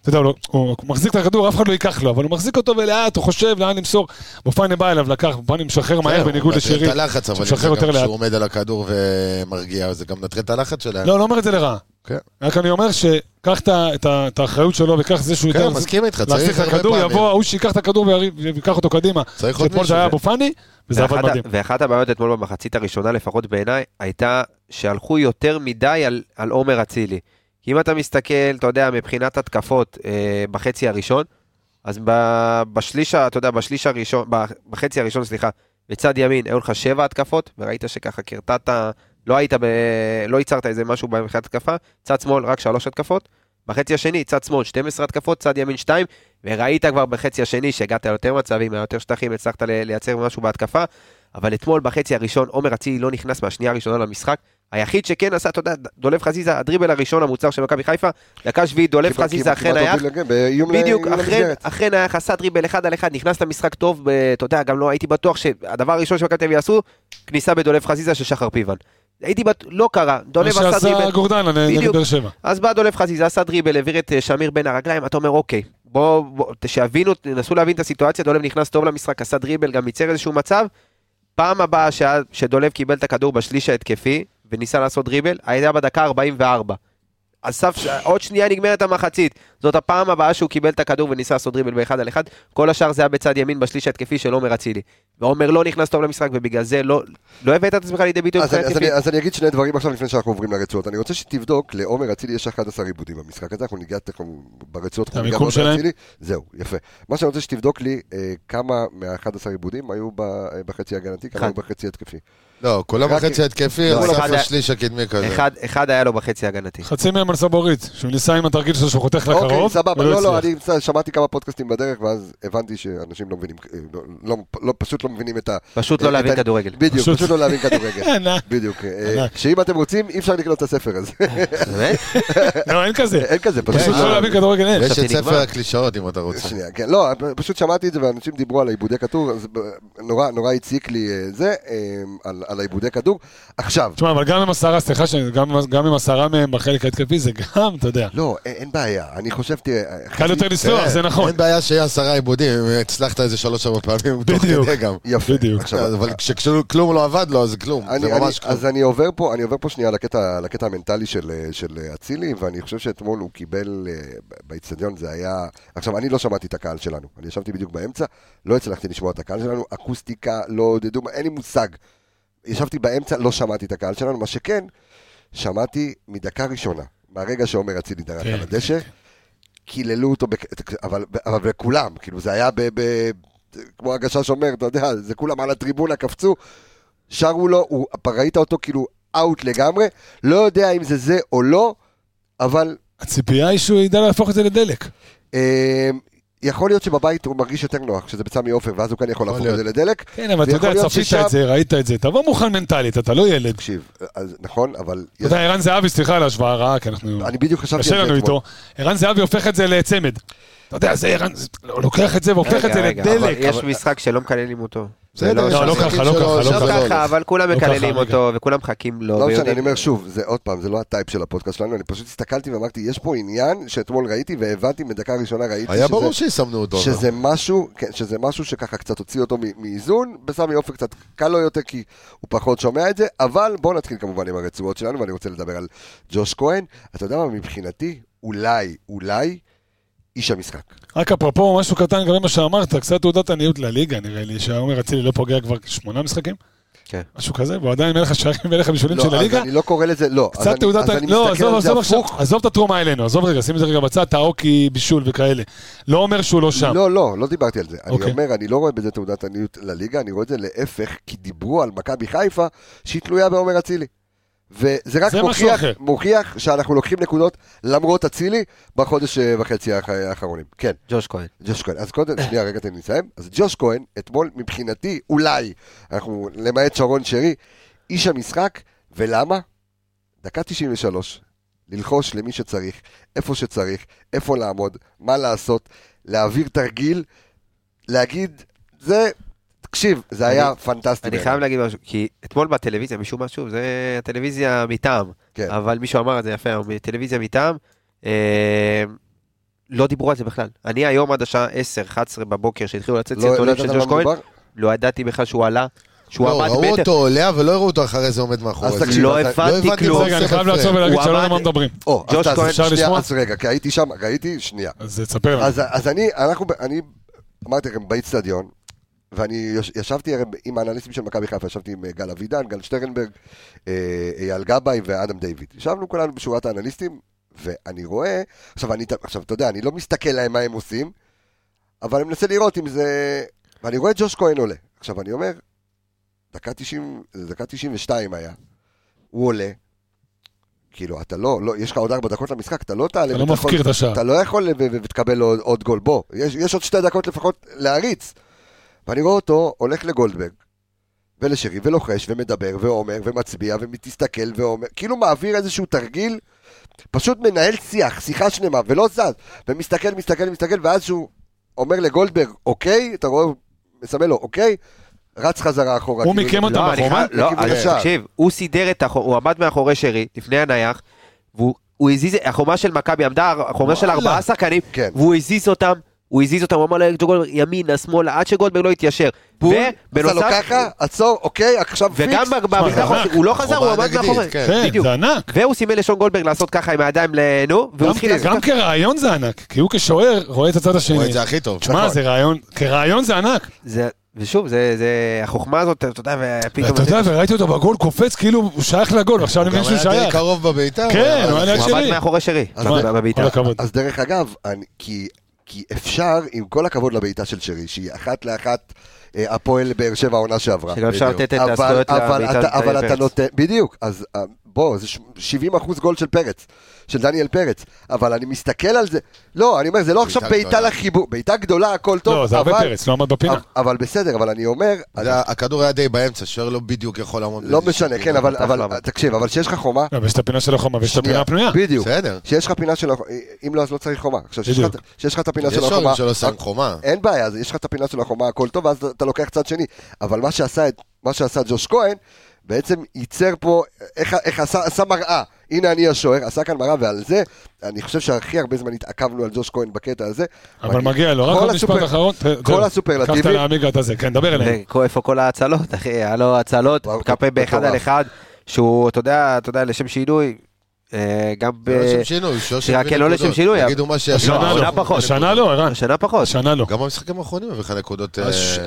אתה יודע, הוא לא- הוא מחזיק את הכדור, אף אחד לא ייקח לו, אבל הוא מחזיק אותו ולאט, הוא חושב לאן למסור. מופני בא אליו, לקח, מופני משחרר מהר
הוא
בניגוד
מנטרל
לשירי.
את הלחץ, אבל אם
שמשחרר
זה
יותר
גם
לאט.
כשהוא עומד על הכדור ומרגיע, זה גם מנטרל את הלחץ שלהם.
לא, לא אומר את זה לרעה.
כן.
רק אני אומר שקח את ה- את ה- את האחריות שלו וקח זה שהוא
כן,
יותר...
מסכים איתך,
להחזיק
צריך
את
הרבה
הכדור, יבוא
פעמים.
ההוא שיקח את הכדור ויריב- ויקח אותו קדימה.
צריך עוד
שאתמול זה
מישהו.
היה אבו פאני, וזה עבד
ואחת ה-
מדהים.
ואחת הבעיות אתמול במחצית הראשונה, לפחות בעיניי, הייתה שהלכו יותר מדי על- על עומר אצילי. כי אם אתה מסתכל, אתה יודע, מבחינת התקפות אה, בחצי הראשון, אז ב- בשליש, ה- אתה יודע, בשליש הראשון, ב- בחצי הראשון, סליחה, בצד ימין, היו לך שבע התקפות, וראית שככה קרטטת, לא היית, ב, לא ייצרת איזה משהו מבחינת התקפה, צד שמאל רק שלוש התקפות, בחצי השני, צד שמאל 12 התקפות, צד ימין 2, וראית כבר בחצי השני שהגעת ליותר מצבים, היה יותר שטחים, הצלחת ל- לייצר משהו בהתקפה, אבל אתמול בחצי הראשון, עומר אצילי לא נכנס מהשנייה הראשונה למשחק. היחיד שכן עשה, אתה יודע, דולב חזיזה, הדריבל הראשון המוצר של מכבי חיפה, דקה שביעית דולב
כמעט-
חזיזה אכן
כמעט
היה,
הוביל לג- באיום ל-
בדיוק,
איום
אכן,
למסגרת.
אכן היה חסה דריבל אחד על אחד, נכנס למשחק טוב, ב- אתה יודע, גם לא הייתי בטוח שהדבר הראשון שמכבי תל אביב יעשו, כניסה בדולב חזיזה של שחר פיבן. הייתי בטוח, לא קרה,
מה
דולב עשה
שעשה
דריבל,
גורדנה נגד
בדיוק.
באר שבע.
אז בא דולב חזיזה, עשה דריבל, העביר את אה, שמיר בין הרגליים, אתה אומר אוקיי, בוא, בוא שיבינו, תנסו להבין את הסיטואציה, דולב נכנס טוב למשחק, עשה דריבל, גם ייצר איזשהו מצב. פעם הבאה שה- שדולב קיבל את הכדור בשליש ההתקפי, וניסה לעשות דריבל, היה בדקה 44. על סף, ש- עוד שנייה נגמרת המחצית. זאת הפעם הבאה שהוא קיבל את הכדור וניסה לעשות דריבל באחד על אחד. כל השאר זה היה בצד ימין בשליש ההתקפי של עומר אצילי. ועומר לא נכנס טוב למשחק, ובגלל זה לא, לא הבאת את עצמך לידי ביטוי
אז אני-
מבחינה
אז
התקפית.
אני- אז אני אגיד שני דברים עכשיו לפני שאנחנו עוברים לרצועות. אני רוצה שתבדוק, לעומר אצילי יש 11 עיבודים במשחק הזה, אנחנו ניגע תכף ברצועות. אנחנו ניגע
המיקום
בעומר
שלהם?
אצילי. זהו, יפה. מה שאני רוצה שתבדוק לי, אה, כמה מה-11 עיבודים היו ב- אה, בחצי הגנתי, כמה
אחד.
היו בחצי התקפי.
לא, כולם
רק-
בחצי התקפי,
לא,
על סף
אחד-
השליש הקדמי כזה.
אחד, אחד היה לו בחצי ההגנתי.
חצי מהם על סבורית, שהוא ניסה עם התרגיל שלו שהוא חותך לקרוב,
אוקיי, סבבה.
ולא
לא, לא,
הצליח.
אני בסדר, שמעתי כמה פודקאסטים בדרך, ואז הבנתי שאנשים לא מבינים, אה, לא- לא- לא- פשוט לא מבינים את ה...
פשוט לא
אה,
להבין
את ה-
כדורגל.
בדיוק,
פשוט-
פשוט לא להבין כדורגל.
אין, אה,
בדיוק. אה,
ענק.
שאם אתם רוצים, אי אפשר לקנות את הספר הזה.
באמת?
לא, אין כזה.
אין כזה, פשוט
פשוט
לא.
לא להבין כדורגל אין.
ויש את
חשבתי
ספר
נגמר.
הקלישאות אם אתה רוצה.
שנייה, כן, לא, פשוט שמעתי את זה ואנשים דיברו על העיבודי כדור, אז ב- נורא, נורא הציק לי אה, זה, אה, על, על העיבודי כדור. עכשיו,
תשמע, אבל גם עם עשרה, סליחה, שאני- גם- גם עם עשרה מהם בחלק ההתקפי, זה גם, אתה יודע.
לא, אין, אין בעיה, אני חושב, תראה, אה,
קל יותר לסלוח,
כן,
זה נכון.
אין בעיה שיהיה עשרה עיבודים, אם הצלחת איזה שלוש-ארבע פעמים, תוך
בדיוק.
כדי גם.
יפה,
בדיוק.
כן, עכשיו, אה,
אבל כשכלום לא עבד לו, אז כלום,
אני,
אה, זה
אני,
ממש כלום.
אז אני עובר פה, אני עובר פה שנייה לקטע, לקטע המנטלי של, אה, של אה, אצילי, ואני חושב שאתמול הוא קיבל אה, ב- באיצטדיון, זה היה... עכשיו, אני לא שמעתי את הקהל שלנו, אני ישבתי בדיוק באמצע, לא הצלחתי לשמוע את הקהל שלנו, אקוסטיקה, לא עודדו, אין לי מושג. ישבתי באמצע, לא שמעתי את הקהל שלנו, מה שכן, שמעתי מדקה ראשונה, מהרגע שעומר אצילי דרך
כן,
על הדשא, קיללו אותו, בק... אבל, אבל כולם, כאילו זה היה ב... ב... כמו הגשש אומר, אתה יודע, זה כולם על הטריבונה קפצו, שרו לו, הוא, ראית אותו כאילו אאוט לגמרי, לא יודע אם זה זה או לא, אבל
הציפייה היא שהוא ידע להפוך את זה לדלק.
אה, יכול להיות שבבית הוא מרגיש יותר נוח, שזה בסמי עופר, ואז הוא כאן יכול להפוך את
להיות.
זה לדלק.
כן, אבל אתה
ויכול
יודע,
להיות
צפית
ששם-
את זה, ראית את זה. תבוא מוכן מנטלית, אתה לא ילד.
תקשיב, אז, נכון, אבל...
אתה יודע, ערן זהבי, סליחה על ההשוואה הרעה, כי אנחנו...
אני בדיוק חשבתי על זה
קשה לנו
אתמול.
איתו. ערן זהבי הופך את זה לצמד. אתה יודע, זה ערן... זה- לא, לוקח את זה והופך את זה
רגע, רגע, אבל
לדלק.
יש
אבל-
משחק שלא מקללים אותו.
בסדר,
לא,
יש
לא
משחקים
ככה, לא
שלא-
ככה, לא
שלא
לא
הולך.
ככה, אבל כולם
לא ככה,
מקללים
רגע.
אותו, וכולם מחכים לו.
לא משנה,
ויודעים-
אני אומר שוב, זה עוד פעם, זה לא הטייפ של הפודקאסט שלנו, אני פשוט הסתכלתי ואמרתי, יש פה עניין שאתמול ראיתי והבנתי, מדקה ראשונה ראיתי
היה
שזה-
ברור שיסמנו אותו. לא?
שזה משהו, כן, שזה משהו שככה קצת הוציא אותו מ- מאיזון, בסמי עופר קצת קל לו יותר כי הוא פחות שומע את זה, אבל בואו נתחיל כמובן עם הרצועות שלנו, ואני רוצה לדבר על ג'וש כהן. אתה יודע מה, מבחינתי, אולי, אולי, איש המשחק.
רק אפרופו משהו קטן לגבי מה שאמרת, קצת תעודת עניות לליגה נראה לי, שעומר אצילי לא פוגע כבר שמונה משחקים,
כן.
משהו כזה, והוא עדיין אין לך שערים ואין לך בישולים
לא,
של
אז
הליגה.
אני לא קורא לזה, לא. אז
קצת
אני-
תעודת...
אז אני
לא,
מסתכל
עזוב,
על זה
עזוב
הפוך.
עכשיו, עזוב את התרומה אלינו, עזוב רגע, שים את זה רגע בצד, טאוקי, בישול וכאלה. לא אומר שהוא לא שם.
לא, לא, לא דיברתי על זה. אני
אוקיי.
אומר, אני לא רואה בזה תעודת עניות לליגה, אני רואה את זה להפך, כי דיברו על מכבי חיפה, שהיא תלויה בעומר אצילי. וזה רק
זה משהו
מוכיח,
אחר.
מוכיח שאנחנו לוקחים נקודות למרות אצילי בחודש אה, וחצי האח- האחרונים. כן,
ג'וש כהן.
ג'וש כהן. אז קודם, שנייה, רגע, תן לי לסיים. אז ג'וש כהן, אתמול, מבחינתי, אולי, אנחנו, למעט שרון שרי, איש המשחק, ולמה? דקה 93, ללחוש למי שצריך, איפה שצריך, איפה לעמוד, מה לעשות, להעביר תרגיל, להגיד, זה, תקשיב, זה היה פנטסטי.
אני
בעיניי.
חייב להגיד משהו, כי אתמול בטלוויזיה, משום מה, שוב, זה הטלוויזיה מטעם,
כן.
אבל מישהו אמר את זה יפה, טלוויזיה מטעם, אה, לא דיברו על זה בכלל. אני היום עד השעה 10-11 בבוקר, שהתחילו לצאת
לא- לא
סרטונים
ידעת
של
על מה
ג'וש כהן,
מדובר?
לא ידעתי בכלל שהוא עלה, שהוא
לא,
עמד
ראו
מטר,
אותו עולה, אבל לא הראו אותו אחרי זה עומד מאחורי
אז
זה.
תקשיב,
לא
אז-
לא
הבנתי
הבנתי
כלום.
מה
רגע, אני
עושה
חייב
בפריים.
לעצור ולהגיד
הוא
שלא יודע
עמד-
מה מדברים.
או, אז
ג'וש
תעזוב,
כהן,
אפשר
שנייה,
לשמוע?
אז רגע, כי הייתי שם, ראיתי, שנייה.
אז תספר לנו.
אז, אז אני, אנחנו, ב- אני אמרתי לכם, באיצטדיון, ואני יוש, ישבתי הרי עם האנליסטים של מכבי חיפה, ישבתי עם אה, גל אבידן, גל שטרנברג, אה, אייל גבאי ואדם דיוויד. ישבנו כולנו בשורת האנליסטים, ואני רואה, עכשיו, אני, ת- עכשיו, אתה יודע, אני לא מסתכל להם מה הם עושים, אבל אני מנסה לראות אם זה... ואני רואה את ג'וש כהן עולה. עכשיו, אני אומר, דקה 90, דקה 92 היה, הוא עולה. כאילו, אתה לא, לא, יש לך עוד ארבע דקות למשחק, אתה לא תעלה.
אתה לא
ואתה יכול-
מפקיר את השער.
אתה לא יכול ו- ו- ותקבל עוד, עוד גול, בוא, יש, יש עוד שתי דקות לפחות להריץ. ואני רואה אותו הולך לגולדברג, ולשרי, ולוחש, ומדבר, ואומר, ומצביע, ומתסתכל, ואומר, כאילו מעביר איזשהו תרגיל, פשוט מנהל שיח, שיחה שלמה, ולא זז, ומסתכל, מסתכל, מסתכל, ואז שהוא אומר לגולדברג, אוקיי, אתה רואה, מסמל לו, אוקיי, רץ חזרה אחורה.
הוא
כאילו,
מיקם אותם
לא, אני
בחומה?
חייב- לא,
לכיוון
אז
השער.
תקשיב, הוא סידר את החומה, הוא עמד מאחורי שרי, לפני הנייח, והוא הוא הזיז, החומה של מכבי עמדה, החומה של ארבעה שחקנים,
כן.
והוא הזיז אותם, הוא הזיז אותם, הוא אמר להם גולדברג ימינה, שמאלה, עד שגולדברג לא התיישר.
אתה לו
ובנוסף,
ככה, עצור, אוקיי, עכשיו פיקס.
וגם
זה
בביטחון,
ענק.
הוא לא חזר, הוא עמד
חומה נגדית,
מאחורי,
כן.
כן,
בדיוק.
זה ענק.
והוא סימן לשון גולדברג לעשות ככה עם הידיים לנו, והוא
גם-
התחיל לעשות
גם
ככה.
כרעיון זה ענק, כי הוא כשוער רואה את הצד
רואה
השני.
את זה הכי טוב.
תשמע, זה רעיון, כרעיון זה ענק.
זה- ושוב, זה- זה החוכמה הזאת, אתה יודע, ופתאום...
אתה יודע, וראיתי אותו בגול קופץ, כאילו הוא שייך לגול, ועכשיו אני
הוא
מבין
גם
שהוא
היה די
שייך.
קרוב בביתר.
כן,
אבל-
הוא היה ליד
הוא
שני.
עמד מאחורי שרי,
אז
מה,
בבעיטה.
כל הכבוד.
אז דרך אגב, אני, כי, כי אפשר, עם כל הכבוד לבעיטה של שרי, שהיא אחת לאחת אה, הפועל באר שבע העונה שעברה.
שגם אפשר
בדיוק.
לתת את
אבל-
הזכויות
אבל
לבעיטה
אתה-
של
אבל אתה
פרץ.
נותן, בדיוק, אז אה, בוא, זה ש- 70 אחוז גול של פרץ, של דניאל פרץ, אבל אני מסתכל על זה, לא, אני אומר, זה לא עכשיו בעיטה
גדולה.
לחיבור, בעיטה גדולה, הכל טוב,
לא, זה הרבה
אבל-
פרץ, לא עמד בפינה.
אבל- אבל בסדר, אבל אני אומר,
אתה יודע, הכדור היה די באמצע, שוער לא בדיוק יכול לעמוד.
לא
בזה.
משנה, כן, אבל-
פתח
אבל
לבן.
תקשיב, אבל כשיש לך חומה,
לא, ויש את הפינה של החומה ויש את הפינה הפנויה.
בדיוק,
בסדר.
שיש לך פינה של, הח- אם לא, אז לא צריך חומה. עכשיו, שיש לך-
בדיוק.
שיש לך את הפינה
יש
של
שוערים
החומה,
שלא שם חומה.
אין בעיה, אז יש לך את הפינה של החומה, הכל טוב, ואז אתה לוקח צד שני. אבל מה שעשה, את- מה שעשה ג'וש כהן, בעצם ייצר פה, איך, איך עשה, עשה מראה. הנה אני השוער, עשה כאן מראה, ועל זה, אני חושב שהכי הרבה זמן התעכבנו על ג'וש כהן בקטע הזה.
אבל מגיע לו, רק
כל
עוד
הסופר-
משפט אחרון.
כל
קחת
הסופרלטיבים,
לעמיגה את הזה, כן, דבר אליהם.
וכו- איפה כל ההצלות, אחי? היה לו הצלות,
וואו,
קפה באחד
מטורף.
על אחד, שהוא, אתה יודע, אתה יודע, לשם שינוי, אה, גם ב...
לא לשם שינוי, שוער
שרק
שהביא
כן, לא
נקודות.
לשם שינוי, אבל-
תגידו מה ש...
השנה
השנה
עונה
לא,
פחות.
השנה לא, ערן.
השנה פחות.
השנה לא.
גם במשחקים האחרונים הביא לך נקודות...
אז
אה, לא
ש-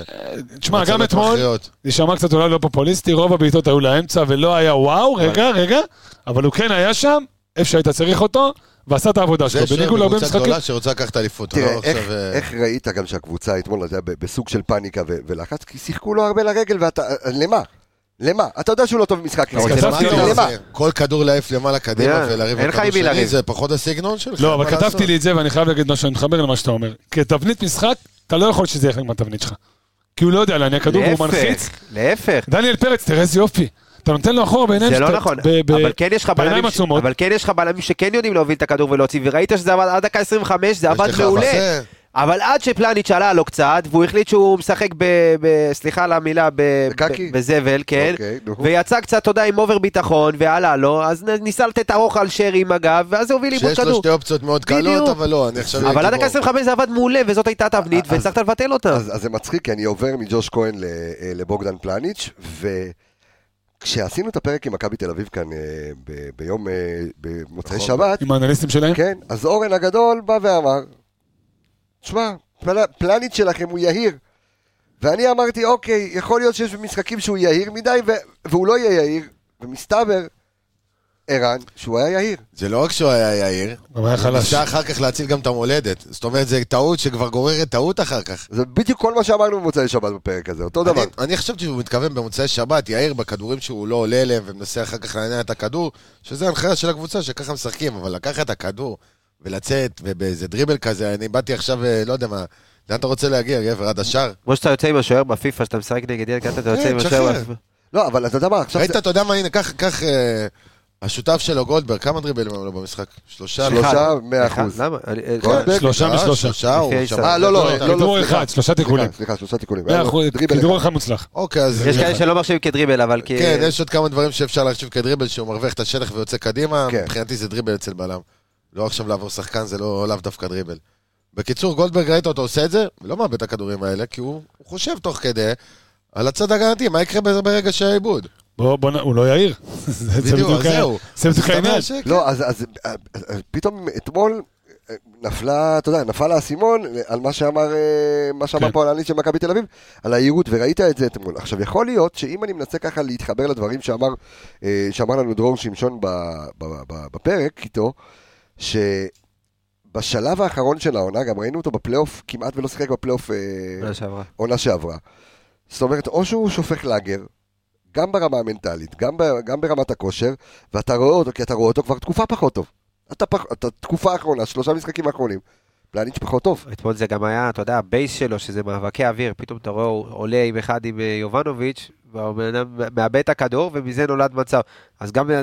תשמע, גם
הצלות
אתמול,
מכריעות.
נשמע קצת אולי לא פופוליסטי, רוב הבעיטות היו לאמצע ולא היה וואו, רגע, רגע, אבל הוא כן היה שם, איפה שהיית צריך אותו, ועשה את העבודה שלו.
זה שוער
בניגוד להרבה
בקבוצה
משחקים,
גדולה שרוצה לקחת אליפות. הוא
תראה,
לא
איך,
עכשיו, אה,
איך ראית גם שהקבוצה אתמול, אתה יודע, ב- בסוג של פאניקה ו- ולחץ? כי שיחקו לו הרבה לרגל, ואתה, אה, למה? למה? אתה יודע שהוא לא טוב במשחק.
אז
לרגל.
כתבתי
מה
לו.
אתה
למה?
עושה? כל כדור להעיף למעלה קדימה
יאללה,
ולריב
כן. אין לך עם
לכדור
מי
שני,
לריב.
זה פחות הסגנון שלך.
לא,
מה
אבל
לעשות?
כתבתי לי את זה ואני חייב להגיד משהו, אני מתחבר למה שאתה אומר. כתבנית משחק, אתה לא יכול שזה יהיה חלק מהתבנית שלך. כי הוא לא יודע להניע כדור והוא מנחיץ.
להפך, להפך.
דניאל פרץ, תראה איזה יופי. אתה נותן לו אחורה בעיניים
זה לא
שאתה-
נכון,
ב- ב-
אבל כן יש לך בלמים
בעיניים
ש-
עצומות.
אבל כן יש לך בלמים שכן יודעים להוביל את הכדור ולהוציא, וראית שזה עבד עד דקה 25, זה
יש
עבד
לך
מעולה.
מחסה.
אבל עד שפלניץ' עלה לו קצת, והוא החליט שהוא משחק ב... ב סליחה על המילה, ב,
בקקי?
ב, בזבל, כן.
אוקיי, נו.
ויצא קצת, אתה יודע, עם אובר ביטחון, ועלה לו, אז נ- ניסה לתת ארוך על שרי עם הגב, ואז זה הוביל לאיבוד
שיש לו
כדור.
שתי אופציות מאוד קלות,
בדיוק.
אבל לא, אני עכשיו...
אבל עד
הייתי
דקה
בו.
25 זה עבד מעולה, וזאת הייתה התבנית,
אז-
והצלחת לבטל אותה.
אז, אז זה מצחיק, כי אני עובר מג'וש כהן ל- אה, לבוגדן פלניץ', וכשעשינו את הפרק עם מכבי תל אביב כאן אה, ב- ביום, אה,
נכון.
במוצאי שבת,
עם האנליסטים שלהם?
כן, אז אורן הגדול בא ואמר, תשמע, פל... פלניץ' שלכם הוא יהיר. ואני אמרתי, אוקיי, יכול להיות שיש משחקים שהוא יהיר מדי, ו... והוא לא יהיה יהיר, ומסתבר, ערן, שהוא היה יהיר.
זה לא רק שהוא היה יאיר,
גם היה
הוא
חלש.
ניסה אחר כך להציל גם את המולדת. זאת אומרת, זו טעות שכבר גוררת טעות אחר כך.
זה בדיוק כל מה שאמרנו במוצאי שבת בפרק הזה, אותו דבר.
אני, אני חשבתי שהוא מתכוון במוצאי שבת, יאיר, בכדורים שהוא לא עולה אליהם ומנסה אחר כך לעניין את הכדור, שזה הנחיה של הקבוצה שככה משחקים, אבל לקחת את הכדור ולצאת ובאיזה דריבל כזה, אני באתי עכשיו, אה, לא יודע מה, לאן אתה רוצה להגיע, גבר, עד השאר?
כמו שאתה יוצא עם השוער בפיפ"א, שאתה משחק נגד ילד קטן, אתה יוצא
כן,
עם השוער בפיפ"א.
תשחרר.
לא, אבל אתה יודע מה, עכשיו...
ראית,
זה-
אתה יודע מה, הנה, קח, קח, אה, השותף שלו, גולדברג, כמה דריבלים היו לו במשחק? שלושה?
שלושה,
אחד.
מאה
אחד,
אחוז.
למה? אני- אה,
גול. גולדברג?
שלושה
אה,
משלושה.
שלושה, הוא
לפי
שם.
ההיסטוריה.
אה, לא, לא, לא, לא,
כדרור
סליחה.
אחד, שלושה
סליחה,
תיקולים.
סליחה, שלושה תיקולים.
מאה אחוז,
דריבל
כדרור
אחד.
אחד מוצלח.
אוקיי, אז...
יש כאלה שלא מחשיבים כדריבל, אבל כי...
כן, יש עוד כמה דברים שאפשר להחשיב כדריבל, שהוא מרוויח את השטח ויוצא קדימה,
כן.
מבחינתי זה דריבל אצל בלם. לא עכשיו לעבור שחקן, זה לא לאו דווקא דריבל. בקיצור, גולדברג ראית אותו עושה את זה, ולא מאבד את הכדורים האלה, כי הוא הוא חושב תוך כדי על הצד ההגנתי, מה יקרה בזה ברגע שהיה עיבוד.
בוא, בוא, נ- הוא לא יאיר. זה זה
בדיוק, אז
ה-
זהו.
זה בדיוק
זאת אומרת
העניין.
שכן.
לא, אז, אז, אז, אז פתאום אתמול אה, נפלה, אתה יודע, נפל האסימון על מה שאמר, אה, מה שאמר
כן.
פה האנליסט של מכבי תל אביב, על היהירות, וראית את זה אתמול. עכשיו, יכול להיות שאם אני מנסה ככה להתחבר לדברים שאמר, אה, שאמר לנו דרור שמשון ב, ב, ב, בפרק איתו, שבשלב האחרון של העונה, גם ראינו אותו בפלייאוף, כמעט ולא שיחק בפלייאוף... אה,
עונה לא שעברה.
עונה שעברה. זאת אומרת, או שהוא שופך לאגר, גם ברמה המנטלית, גם, ב, גם ברמת הכושר, ואתה רואה אותו, כי אתה רואה אותו כבר תקופה פחות טוב. אתה, פח, אתה תקופה האחרונה, שלושה משחקים האחרונים, פלניץ' פחות טוב.
אתמול זה גם היה, אתה יודע, הבייס שלו, שזה מאבקי אוויר, פתאום אתה רואה, הוא עולה עם אחד עם אה, יובנוביץ', והבן אדם מאבד את הכדור, ומזה נולד מצב. אז גם אה,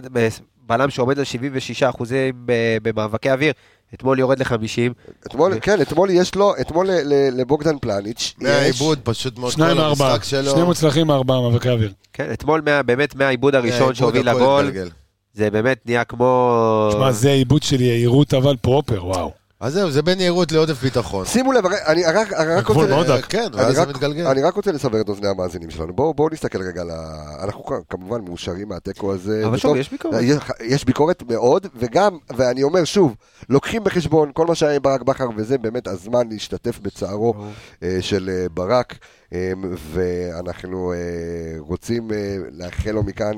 בלם שעומד על 76 אחוזים אה, במאבקי אוויר, אתמול יורד ל-50.
אתמול, כן, אתמול יש לו, אתמול ל- ל- לבוגדן פלניץ', יש,
מהעיבוד, פשוט מאוד
שניים
כל
מארבעה.
המשחק שלו.
שני מוצלחים מארבעה מאבקי אוויר.
כן, אתמול מה- באמת מהעיבוד הראשון
העיבוד,
שהוביל
הכל
לגול,
התגלגל.
זה באמת נהיה כמו...
תשמע, זה עיבוד של יהירות אבל פרופר, וואו.
אז זהו, זה בין יהירות לעודף ביטחון.
שימו לב, הרי- אני רק, אני רק
הגבול
רוצה...
מאוד
אה,
דק.
כן,
אני
ואז זה
רק,
מתגלגל.
אני רק רוצה לסבר את אוזני המאזינים שלנו. בואו בוא נסתכל רגע על ה... אנחנו כ- כמובן מאושרים מהתיקו הזה.
אבל
זה
שוב,
טוב.
יש ביקורת.
יש, יש ביקורת מאוד, וגם, ואני אומר שוב, לוקחים בחשבון כל מה שהיה עם ברק בכר, וזה באמת הזמן להשתתף בצערו
ברור.
אה, של אה, ברק, אה, ואנחנו אה, רוצים אה, לאחל לו מכאן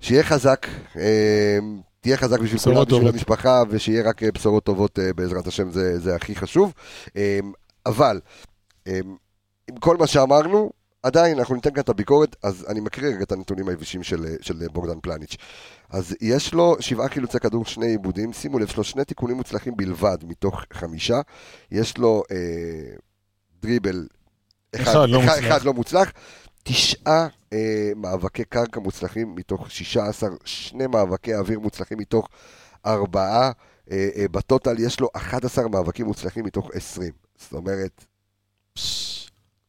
שיהיה חזק. אה, תהיה חזק בשביל
בשורות
כולם, בשביל
טובות.
המשפחה, ושיהיה רק אה, בשורות טובות אה, בעזרת השם, זה, זה הכי חשוב. אה, אבל, אה, עם כל מה שאמרנו, עדיין אנחנו ניתן כאן את הביקורת, אז אני מקריא רגע את הנתונים היבשים של, אה, של אה, בוגדן פלניץ'. אז יש לו שבעה חילוצי כדור, שני עיבודים, שימו לב, יש לו שני תיקונים מוצלחים בלבד מתוך חמישה. יש לו אה, דריבל אחד,
אחד לא
אחד,
מוצלח.
אחד לא מוצלח. תשעה אה, מאבקי קרקע מוצלחים מתוך 16, שני מאבקי אוויר מוצלחים מתוך ארבעה. אה, אה, בטוטל יש לו 11 מאבקים מוצלחים מתוך 20. זאת אומרת,
פש,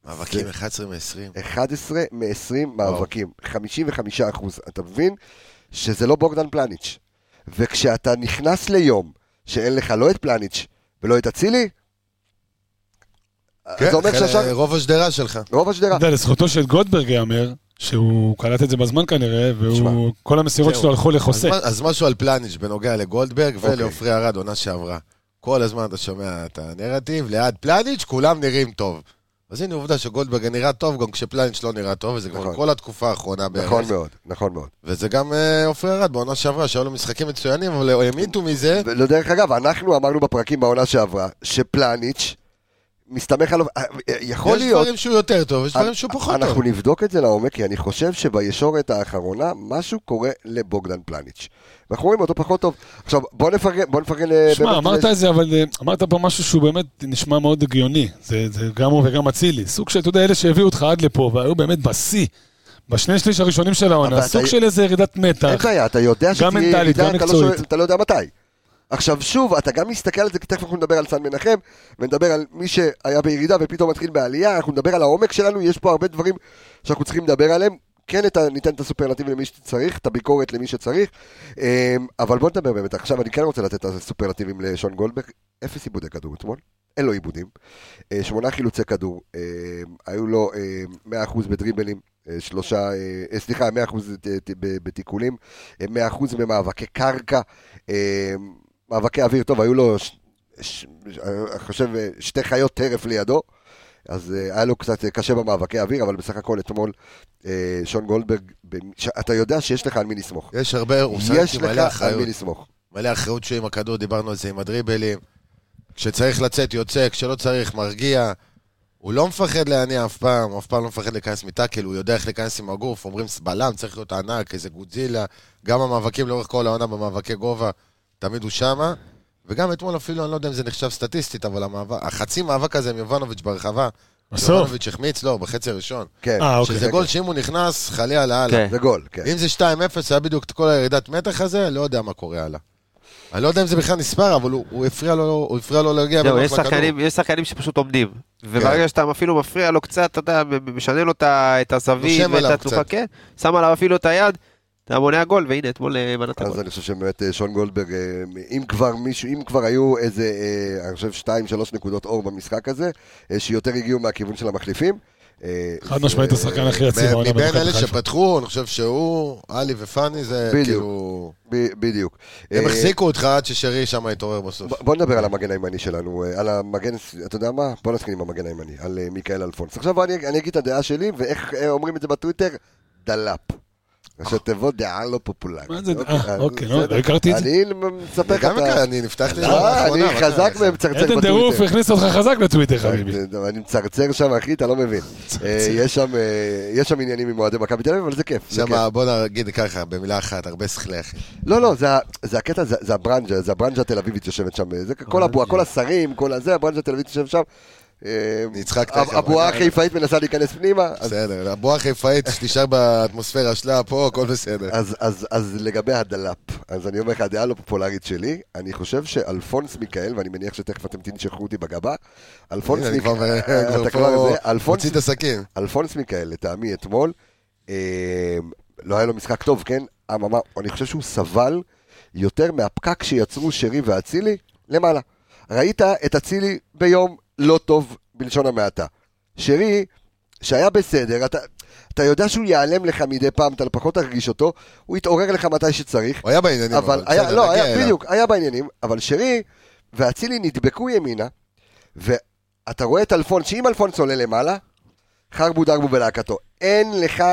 מאבקים 11 מ-20.
11 מ-20 מאבקים, 55 אחוז. אתה מבין שזה לא בוגדן פלניץ'. וכשאתה נכנס ליום שאין לך לא את פלניץ' ולא את אצילי,
כן,
אז זה אומר שהשאר...
רוב השדרה שלך.
רוב השדרה.
אתה יודע, לזכותו של גולדברג ייאמר, שהוא קלט את זה בזמן כנראה,
תשמע.
והוא, כל המסירות
זהו.
שלו הלכו
אז
לחוסה.
מה- אז משהו על פלניץ' בנוגע לגולדברג
אוקיי.
ולעופרי ארד, עונה שעברה. כל הזמן אתה שומע את הנרטיב, ליד פלניץ' כולם נראים טוב. אז הנה עובדה שגולדברג נראה טוב גם כשפלניץ' לא נראה טוב, וזה
נכון.
כבר כל התקופה האחרונה
נכון
בערך.
מאוד, נכון מאוד.
וזה גם אה, עופרי ארד בעונה שעברה, שהיו לו משחקים מצוינים, אבל הם המעיטו מזה.
ודרך אגב, אנחנו אמרנו בפרקים בעונה שעברה, שפלניץ' מסתמך על... יכול
יש
להיות...
דברים שהוא יותר טוב, יש דברים שהוא פחות טוב.
אנחנו נבדוק את זה לעומק, כי אני חושב שבישורת האחרונה משהו קורה לבוגדן פלניץ'. אנחנו רואים אותו פחות טוב. עכשיו, בוא נפרגן... בוא נפרגן... אה,
שמע,
באמת
אמרת את זה, אבל אה, אמרת פה משהו שהוא באמת נשמע מאוד הגיוני. זה זה גם הוא וגם אצילי. סוג של, אתה יודע, אלה שהביאו אותך עד לפה, והיו באמת בשיא, בשני שליש הראשונים של
אבל
העונה,
אתה-
סוג של איזה ירידת
אין
מתח.
בעיה, אתה יודע שתהיה
מנטלית,
ירידה,
גם
אתה לא
מקצועית.
שואל- אתה לא יודע מתי. עכשיו שוב, אתה גם מסתכל על זה, כי תכף אנחנו נדבר על סן מנחם, ונדבר על מי שהיה בירידה ופתאום מתחיל בעלייה, אנחנו נדבר על העומק שלנו, יש פה הרבה דברים שאנחנו צריכים לדבר עליהם. כן את ה- ניתן את הסופרלטיב למי שצריך, את הביקורת למי שצריך, אמ, אבל בוא נדבר באמת. עכשיו אני כן רוצה לתת את הסופרלטיבים לשון גולדברג. אפס עיבודי כדור אתמול, אין לו עיבודים. אה, שמונה חילוצי כדור, אמ, היו לו אמ, 100% בדריבלים, אה, שלושה, אה, אה, סליחה, 100% ת- ת- ב- בתיקולים, אה, 100% במאבקי קרקע, אמ, מאבקי אוויר, טוב, היו לו, ש- ש- אני חושב, אה, שתי חיות טרף לידו, אז אה, היה לו קצת אה, קשה במאבקי אוויר, אבל בסך הכל אתמול אה, שון גולדברג, במ- ש- אתה יודע שיש לך על מי לסמוך.
יש הרבה, הוא
יש
משחק עם מלא
לך על מי
אחריות.
לסמוך.
מלא אחריות שהוא עם הכדור, דיברנו על זה עם הדריבלים. כשצריך לצאת, יוצא, כשלא צריך, מרגיע. הוא לא מפחד להניע אף פעם, הוא אף פעם לא מפחד להיכנס מטאקל, הוא יודע איך להיכנס עם הגוף, אומרים בלם, צריך להיות ענק, איזה גודזילה. גם המאבקים לאורך כל העונה במאבקי גובה, תמיד הוא שמה. וגם אתמול אפילו, אני לא יודע אם זה נחשב סטטיסטית, אבל המאבק, החצי מאבק הזה עם יובנוביץ' ברחבה.
בסוף.
יובנוביץ' החמיץ לו בחצי הראשון.
כן.
אה, אוקיי.
שזה גול שאם הוא נכנס, חלילה לאללה.
כן.
זה גול, כן.
אם זה 2-0, היה בדיוק את כל הירידת מתח הזה, לא יודע מה קורה הלאה. אני לא יודע אם זה בכלל נספר, אבל הוא, הוא הפריע לו, הוא הפריע לו להגיע לא-
זהו,
בנוח
יש שחקנים- יש שחקנים שפשוט עומדים. וברגע שאתה אפילו מפריע לו קצת, אתה יודע, משנה לו את ה- את הזווית
נושם
ואת
עליו
התנוחה,
קצת.
כן, שם עליו אפילו את היד, אתה מונע גול, והנה, אתמול אה, מנעת גול.
אז אני חושב שבאמת אה, שון גולדברג, אה, אם כבר מישהו, אם כבר היו איזה, אה, אני חושב, שתיים, שלוש נקודות אור במשחק הזה, אה, שיותר הגיעו מהכיוון של המחליפים. אה,
חד
זה-
משמעית השחקן הכי יציב
מ-
העונה
מבין
במכבי
אלה
חיפה.
שפתחו, אני חושב שהוא, עלי ופאני, זה
בדיוק.
כאילו...
ב- בדיוק.
הם
אה,
החזיקו אותך עד ששרי שם התעורר בסוף.
ב- בוא נדבר על המגן הימני שלנו, אה, על המגן, אתה יודע מה? בוא נתחיל עם המגן הימני, על אה, מיכאל אלפונס. עכשיו אני אני אגיד את הדעה שלי, ואיך אה, אומרים את זה בטוויטר? דלאפ. ראשי תיבות דעה לא פופולרית.
מה זה? אה,
אז
אוקיי, לא
בסדר.
לא הכרתי את זה. לא,
אני מספר
אני
לך,
גם
את
מכיר,
ה-
אני נפתחתי
אה, אני חזק
מה-
ומצרצר
עדן
בטוויטר. אה,
טירוף הכניס אותך חזק לטוויטר,
אה,
חביבי.
אני מצרצר שם, אחי, אתה לא מבין. אה, יש שם, אה, יש שם עניינים עם אוהדי מכבי תל אביב, אבל זה כיף. זה
שמה, בוא נגיד ככה, במילה אחת, הרבה שכלי אחי.
כיף. לא, לא, זה ה- זה הקטע, זה זה הברנז'ה, זה הברנז'ה התל אביבית יושבת שם. זה
אה,
כל הבועה, כל השרים, כל הזה, הברנז'ה התל אביבית יושבת שם. אה,
אני הצחקתי,
הב-
אבל-
הבועה החיפאית מנסה להיכנס פנימה. אז-
בסדר, הבועה החיפאית, שתישאר באטמוספירה שלה פה, הכל בסדר.
אז, אז, אז לגבי הדלאפ, אז אני אומר לך, הדעה הלא פופולרית שלי, אני חושב שאלפונס מיקאל, ואני מניח שתכף אתם תנשכו אותי בגבה, אלפונס
הנה, אני
מיקאל,
כבר כבר
אתה כבר זה,
פה
אלפונס
מוציא את הסכין.
אלפונס מיכאל, לטעמי אתמול, אה, לא היה לו משחק טוב, כן? אממה, אני חושב שהוא סבל יותר מהפקק שיצרו שרי ואצילי למעלה. ראית את אצילי ביום לא טוב, בלשון המעטה. שרי, שהיה בסדר, אתה, אתה יודע שהוא ייעלם לך מדי פעם, אתה פחות תרגיש אותו, הוא יתעורר לך מתי שצריך.
הוא היה בעניינים,
אבל היה,
בסדר,
לא,
נגיע
היה,
אליו.
בדיוק, היה בעניינים, אבל שרי ואצילי נדבקו ימינה, ואתה רואה את אלפון, שאם אלפון עולה למעלה, חרבו דרבו בלהקתו. אין לך,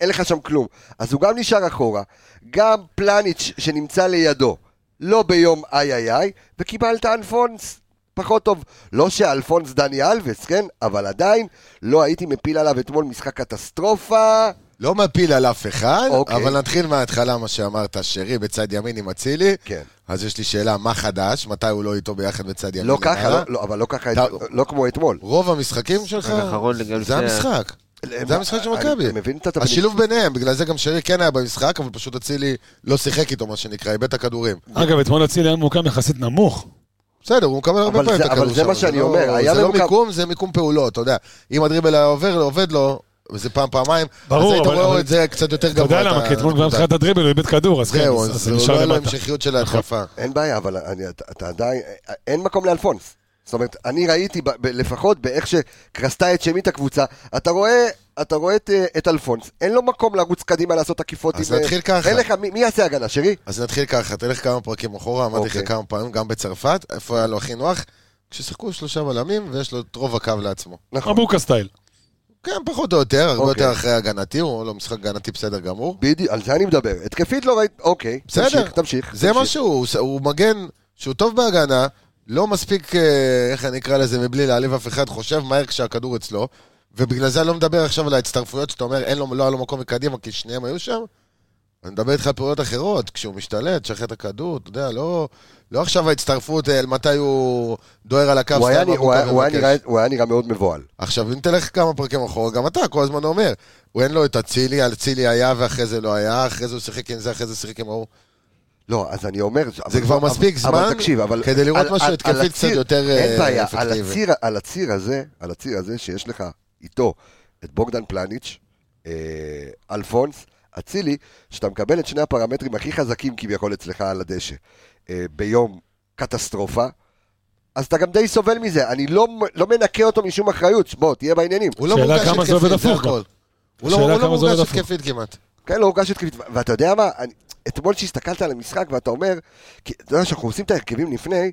אין לך שם כלום. אז הוא גם נשאר אחורה, גם פלניץ' שנמצא לידו, לא ביום איי איי איי, וקיבלת אלפונס. פחות טוב, לא שאלפונס דני אלווס, כן? אבל עדיין לא הייתי מפיל עליו אתמול משחק קטסטרופה.
לא מפיל על אף אחד,
אוקיי.
אבל נתחיל מההתחלה, מה שאמרת, שרי בצד ימין עם אצילי.
כן.
אז יש לי שאלה, מה חדש? מתי הוא לא איתו ביחד בצד ימין?
לא ככה,
למעלה?
לא, לא, אבל לא ככה,
אתה-
לא כמו אתמול.
רוב המשחקים שלך,
משחק אחרון לגבי
זה
שני-
המשחק. זה המשחק של מכבי.
אה, אני מבין את התבנית.
השילוב ביניהם, בגלל זה גם שרי כן היה במשחק, אבל פשוט אצילי לא שיחק איתו, מה שנקרא, איבד את הכדורים.
אגב, אתמול אצילי היה ממוקם יחסית נמוך.
בסדר, הוא מקבל הרבה
אבל
פעמים
זה-
את הכדור
אבל זה
שם,
מה שאני
לא-
אומר, היה
זה לא
ממוקם-
מיקום, זה מיקום פעולות, אתה יודע. אם הדריבל היה עובר, לו, עובד לו, וזה פעם, פעמיים,
ברור,
אז היית
אבל-
רואה
אבל-
את זה קצת יותר
אתה
גבוה.
יודע
את
למה, כי אתמול כבר
הנקודה.
מתחילת הדריבל הוא איבד כדור, אז כן,
זהו,
אז
אז
זה
הוא לא
נשאר
היה לו
למטה. נכון.
המשכיות של ההתקפה.
אין בעיה, אבל אני, אתה, אתה עדיין, אין מקום לאלפונס. זאת אומרת, אני ראיתי, ב, ב, לפחות באיך שקרסתה את שמית הקבוצה, אתה רואה, אתה רואה את, אה, את אלפונס, אין לו מקום לרוץ קדימה לעשות עקיפות.
אז
עם, אה,
נתחיל ככה.
אין לך, מי, מי יעשה הגנה, שרי?
אז נתחיל ככה, תלך כמה פרקים אחורה, אמרתי לך
אוקיי.
כמה פעמים, גם בצרפת, איפה היה לו הכי נוח? כששיחקו שלושה בלמים, ויש לו את רוב הקו לעצמו.
נכון.
אבוקה סטייל.
כן, פחות או יותר, הרבה
אוקיי.
יותר אחרי הגנתי, הוא לא משחק הגנתי בסדר גמור.
בדיוק, על זה אני מדבר. התקפית לא ראית, אוקיי.
בסדר.
תמשיך, תמשיך.
זה
תמשיך.
מה שהוא, הוא ס- הוא מגן שהוא טוב בהגנה, לא מספיק, אה, איך אני אקרא לזה, מבלי להעליב אף אחד, חושב מהר כשהכדור אצלו, ובגלל זה אני לא מדבר עכשיו על ההצטרפויות שאתה אומר, אין לו, לא היה לו מקום מקדימה, כי שניהם היו שם. אני מדבר איתך על פעולות אחרות, כשהוא משתלט, שחרר את הכדור, אתה יודע, לא, לא עכשיו ההצטרפות, אה, מתי הוא דוהר על הקו,
הוא היה
סתם
נראה- הוא היה-
אבוקה
הוא היה
מבקש.
נראה- הוא היה נראה מאוד מבוהל.
עכשיו, אם תלך כמה פרקים אחורה, גם אתה כל הזמן אומר, הוא אין לו את אצילי, אצילי היה ואחרי זה לא היה, אחרי זה הוא שיחק עם זה, אחרי זה שיחק עם ההוא.
לא, אז אני אומר... אבל-
כבר
אבל-
מספיק זמן
אבל תקשיב, אבל...
כדי לראות
על-
משהו
על-
התקפי
על
קצת
הציר-
יותר, אה,
אין בעיה, על
אפקטיבי.
הציר- על הציר הזה, על הציר הזה שיש לך איתו את בוגדן פלניץ', אה, אלפונס, אצילי, שאתה מקבל את שני הפרמטרים הכי חזקים כביכול אצלך על הדשא אה, ביום קטסטרופה, אז אתה גם די סובל מזה, אני לא, לא מנקה אותו משום אחריות, בוא, תהיה בעניינים.
הוא לא
שאלה
מורגש
כמה זה
התקפית,
עובד
זה
הפוך גם.
הכל. הוא לא-
שאלה
הוא
כמה
לא
זה עובד
מורגש
הפוך.
התקפית כמעט.
כן, לא הורגש התקפית. ואתה יודע מה, אני, אתמול כשהסתכלת על המשחק ואתה אומר, כי אתה יודע שאנחנו עושים את ההרכבים לפני,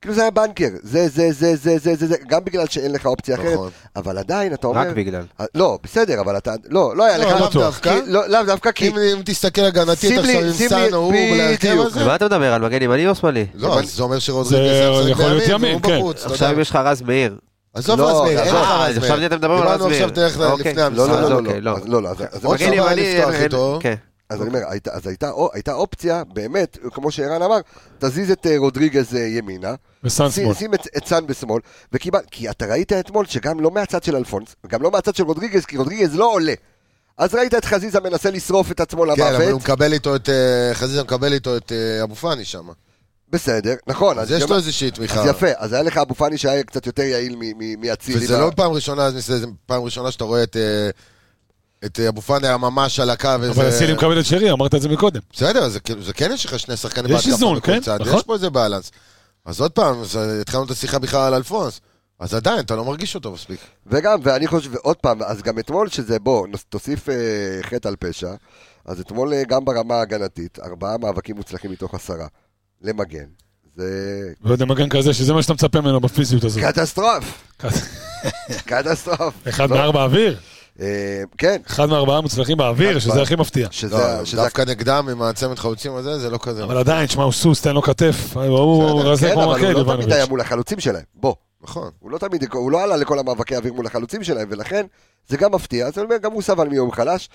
כאילו זה היה בנקר, זה, זה, זה, זה, זה, זה, זה, גם בגלל שאין לך אופציה אחרת,
נכון.
אבל עדיין אתה אומר...
רק בגלל.
לא, בסדר, אבל אתה... לא, לא היה
לא,
לך...
לאו
כי-
דווקא.
לא, לאו דווקא כי...
אם אם תסתכל הגנתית
שים לי-
עכשיו עם
שים לי-
סאן הוא להרכב
בדיוק.
הזה.
ומה אתה מדבר על מגן ימני או שמאלי?
לא, אז זה אומר שרודריגז
זה
היה משחק
יכול להיות
בימין,
ימין,
והוא
כן.
בחוץ, אתה
עכשיו
יודע.
אם יש לך רז מאיר.
עזוב
לא,
רז מאיר, אין
עזוב.
לך
אה,
רז מאיר.
חשבתי אתם מדברים על רז מאיר.
דיברנו עכשיו דרך
אוקיי.
לפני המשחק.
לא, לא, לא, לא,
אוקיי,
לא.
לא.
אז לא, לא, אז- אז
עוד
עכשיו-
מגן
שם היה
ימני,
לפתוח
אין-
איתו.
כן.
אז אני אומר, היית- אז הייתה או- הייתה אופציה, באמת, כמו שערן אמר, תזיז את אה, רודריגז אה, ימינה,
וסאן
שים-
שמאל.
שים את- את סאן בשמאל, וקיבל- כי אתה ראית אתמול שגם לא מהצד של אלפונס, גם לא מהצד של רודריגז, כי רודריגז לא עולה. אז ראית את חזיזה מנסה לשרוף את עצמו
כן, אבל הוא
למוות,
מקבל איתו את... אה, חזיזה מקבל איתו את אה, אבו פאני שם.
בסדר, נכון,
אז
אני
יש
אומר-
לו איזושהי תמיכה.
אז יפה, אז היה לך אבו פאני שהיה קצת יותר יעיל מ- מ- מאצילי.
וזה
ב-
לא פעם ראשונה, אז זה פעם ראשונה שאתה רואה את... אה, את אה, אבו פאני ממש על הקו.
אבל
איזה-
אצילי מקבל את שרי, אמרת את זה מקודם.
בסדר, זה כאילו, זה כן יש לך שני שחקנים
יש
בהתקפה
איזון,
בכל
כן,
צד,
נכון.
יש פה איזה בלנס. אז עוד פעם, אז התחלנו את השיחה בכלל על אלפונס. אז עדיין, אתה לא מרגיש אותו מספיק.
וגם, ואני חושב, ועוד פעם, אז גם אתמול, שזה, בוא, נוס- תוסיף אה, חטא על פשע, אז אתמול אה, גם ברמה ההגנתית, ארבעה מאבקים מוצלחים מתוך עשרה, למגן. זה
לא יודע, מגן כזה, שזה מה שאתה מצפה ממנו בפיזיות הזאת.
קטסטרוף, קטסטרוף.
אחד
כן. לא,
מארבע אוויר?
אה, כן,
אחד מארבעה מוצלחים באוויר,
אחד
שזה
בארבע.
הכי מפתיע.
שזה...
לא,
שזה-
דווקא נגדם עם הצמד חלוצים הזה, זה לא כזה.
אבל עדיין, שמע, הוא סוס, תן לו כתף. אה, הוא
בסדר,
רזה
כן,
כמו
אבל
מקל,
הוא לא תמיד היה
יובנוביץ'.
מול החלוצים שלהם, בוא.
נכון.
הוא לא תמיד, הוא לא עלה לכל המאבקי האוויר מול החלוצים שלהם, ולכן זה גם מפתיע, אז אני אומר, גם הוא סבל מיום חלש,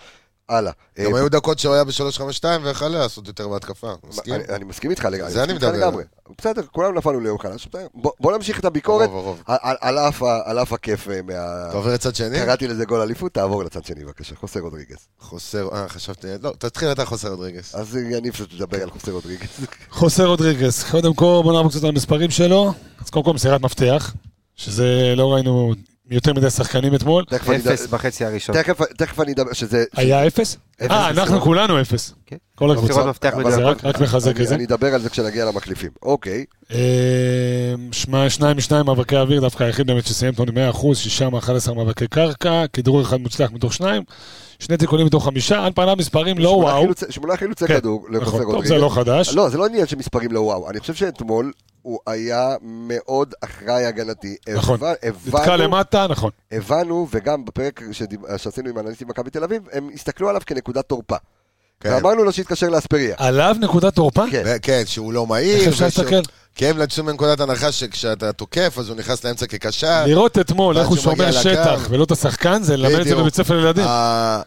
הלאה. אה,
גם היו דקות שהוא היה ב-352 ויכל לעשות יותר בהתקפה. מסכים?
אני, אני מסכים איתך לגמרי.
זה אני
מסכים איתך
מדבר.
לגמרי. בסדר, כולנו נפלנו ליום חלש. בסדר. בוא, בוא נמשיך את הביקורת
הרוב, הרוב.
על, על, על, אף, ה- על אף הכיף אה, מה...
אתה עובר לצד שני?
קראתי לזה גול אליפות, תעבור לצד שני בבקשה, חוסר רודריגז.
חוסר, אה, חשבתי, לא, תתחיל אתה חוסר רודריגס.
אז אה, אני פשוט מדבר על חוסר רודריגז.
חוסר רודריגז. קודם כל, בוא נעבור קצת על המספרים שלו. אז קודם כל, מסירת מפתח, שזה לא ראינו יותר מדי שחקנים אתמול.
תכף אני
אפס
אדבר,
בחצי הראשון.
תכף, תכף אני אדבר, שזה...
היה אפס? אה, אנחנו
מסירות.
כולנו אפס.
כן.
כל
מסירות
הקבוצה.
מפתח
אבל
זה
מדויקות.
רק רק מחזק
אני,
את זה.
אני אדבר על זה כשנגיע למחליפים. אוקיי,
אה, שמע, שניים משניים מאבקי אוויר, דווקא היחיד באמת שסיים טוני 100%, שישה מ-11 מאבקי קרקע, כדרור אחד מוצלח מתוך שניים, שני תיקונים מתוך חמישה, על פניו מספרים לא
שמונה
וואו.
חילוצי- שמונה חילוצי
כן,
כדור
נכון,
לחוסר
טוב, זה
רודריגז.
לא חדש.
לא, זה לא עניין שמספרים לא וואו. אני חושב שאתמול הוא היה מאוד אחראי הגנתי.
נכון.
הבנ-
נתקע
הבנו-
למטה, נכון.
הבנו, וגם בפרק שדיב... שעשינו עם אנליסטים מכבי תל אביב, הם הסתכלו עליו כנקודת תורפה.
כן.
כן. ואמרנו לו שיתקשר לאספריה.
עליו נקודת תורפה?
כן.
ו- כן, שהוא לא
איך
מהיר.
אפשר
ושהוא-
להסתכל?
כי הם נתנו מנקודת הנחה שכשאתה תוקף, אז הוא נכנס לאמצע כקשר.
לראות אתמול איך הוא
אה, ואז שהוא
שומע
מגיע
שטח
לקו.
ולא את השחקן, זה ללמד את זה
בדיוק. אה,
בבית ספר לילדים.
ה-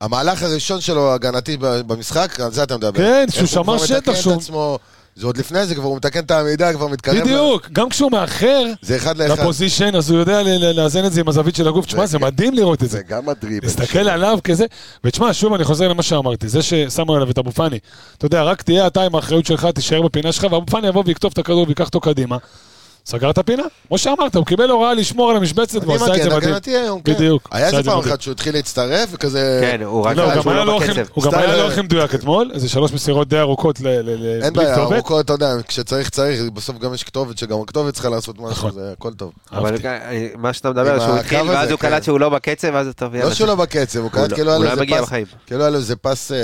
המהלך הראשון שלו, ההגנתי ב- במשחק, על זה אתה מדבר.
כן,
איך
שהוא
הוא
שמר
כבר מתקן
שטח,
את
שהוא-
עצמו, זה עוד לפני זה, כבר הוא מתקן את העמידה, כבר מתקרב.
בדיוק, גם כשהוא מאחר
ל- זה אחד לאחד.
לפוזיישן, אז הוא יודע ל- ל- לאזן את זה עם הזווית של הגוף. תשמע, זה מדהים לראות את זה.
וגם הדריבל.
להסתכל עליו כזה, ותשמע, שוב אני חוזר למה שאמרתי, זה ששמו עליו את אבו פאני, אתה יודע, רק תהיה אתה עם האחריות שלך, תישאר בפינה שלך, ואבו פאני יבוא ויקטוף את הכדור ויקח אותו קדימה. סגר את הפינה, כמו שאמרת, הוא קיבל הוראה לשמור על המשבצת, והוא
אני
עשה את
מגן,
זה מדהים.
הגנתי היום, כן.
בדיוק,
היה
עשה
איזה
את זה
פעם
מדהים.
אחת שהוא התחיל להצטרף, וכזה...
כן, הוא רק
לא, הוא
ראה
גם
שהוא
היה
לא
לא הכי-
בקצב.
הוא גם היה
סטייל-
לא הכי מדויק אתמול, איזה שלוש מסירות די ארוכות ל- ל- ל-
אין
בלי
בעיה,
כתובת.
ארוכות, אתה יודע, כשצריך צריך, בסוף גם יש כתובת, שגם הכתובת צריכה לעשות משהו,
נכון.
זה הכל טוב.
אבל
אהבתי.
אה, מה שאתה
עם
מדבר, שהוא
הקו
התחיל,
הזה,
ואז הוא
כן.
קלט שהוא לא בקצב, ואז אתה... יאללה,
לא שהוא לא בקצב, הוא קלט
לא-
כאילו היה
הוא
לו
לא
איזה
מגיע
פס,
בחיים.
כאילו היה לו איזה פס, אה,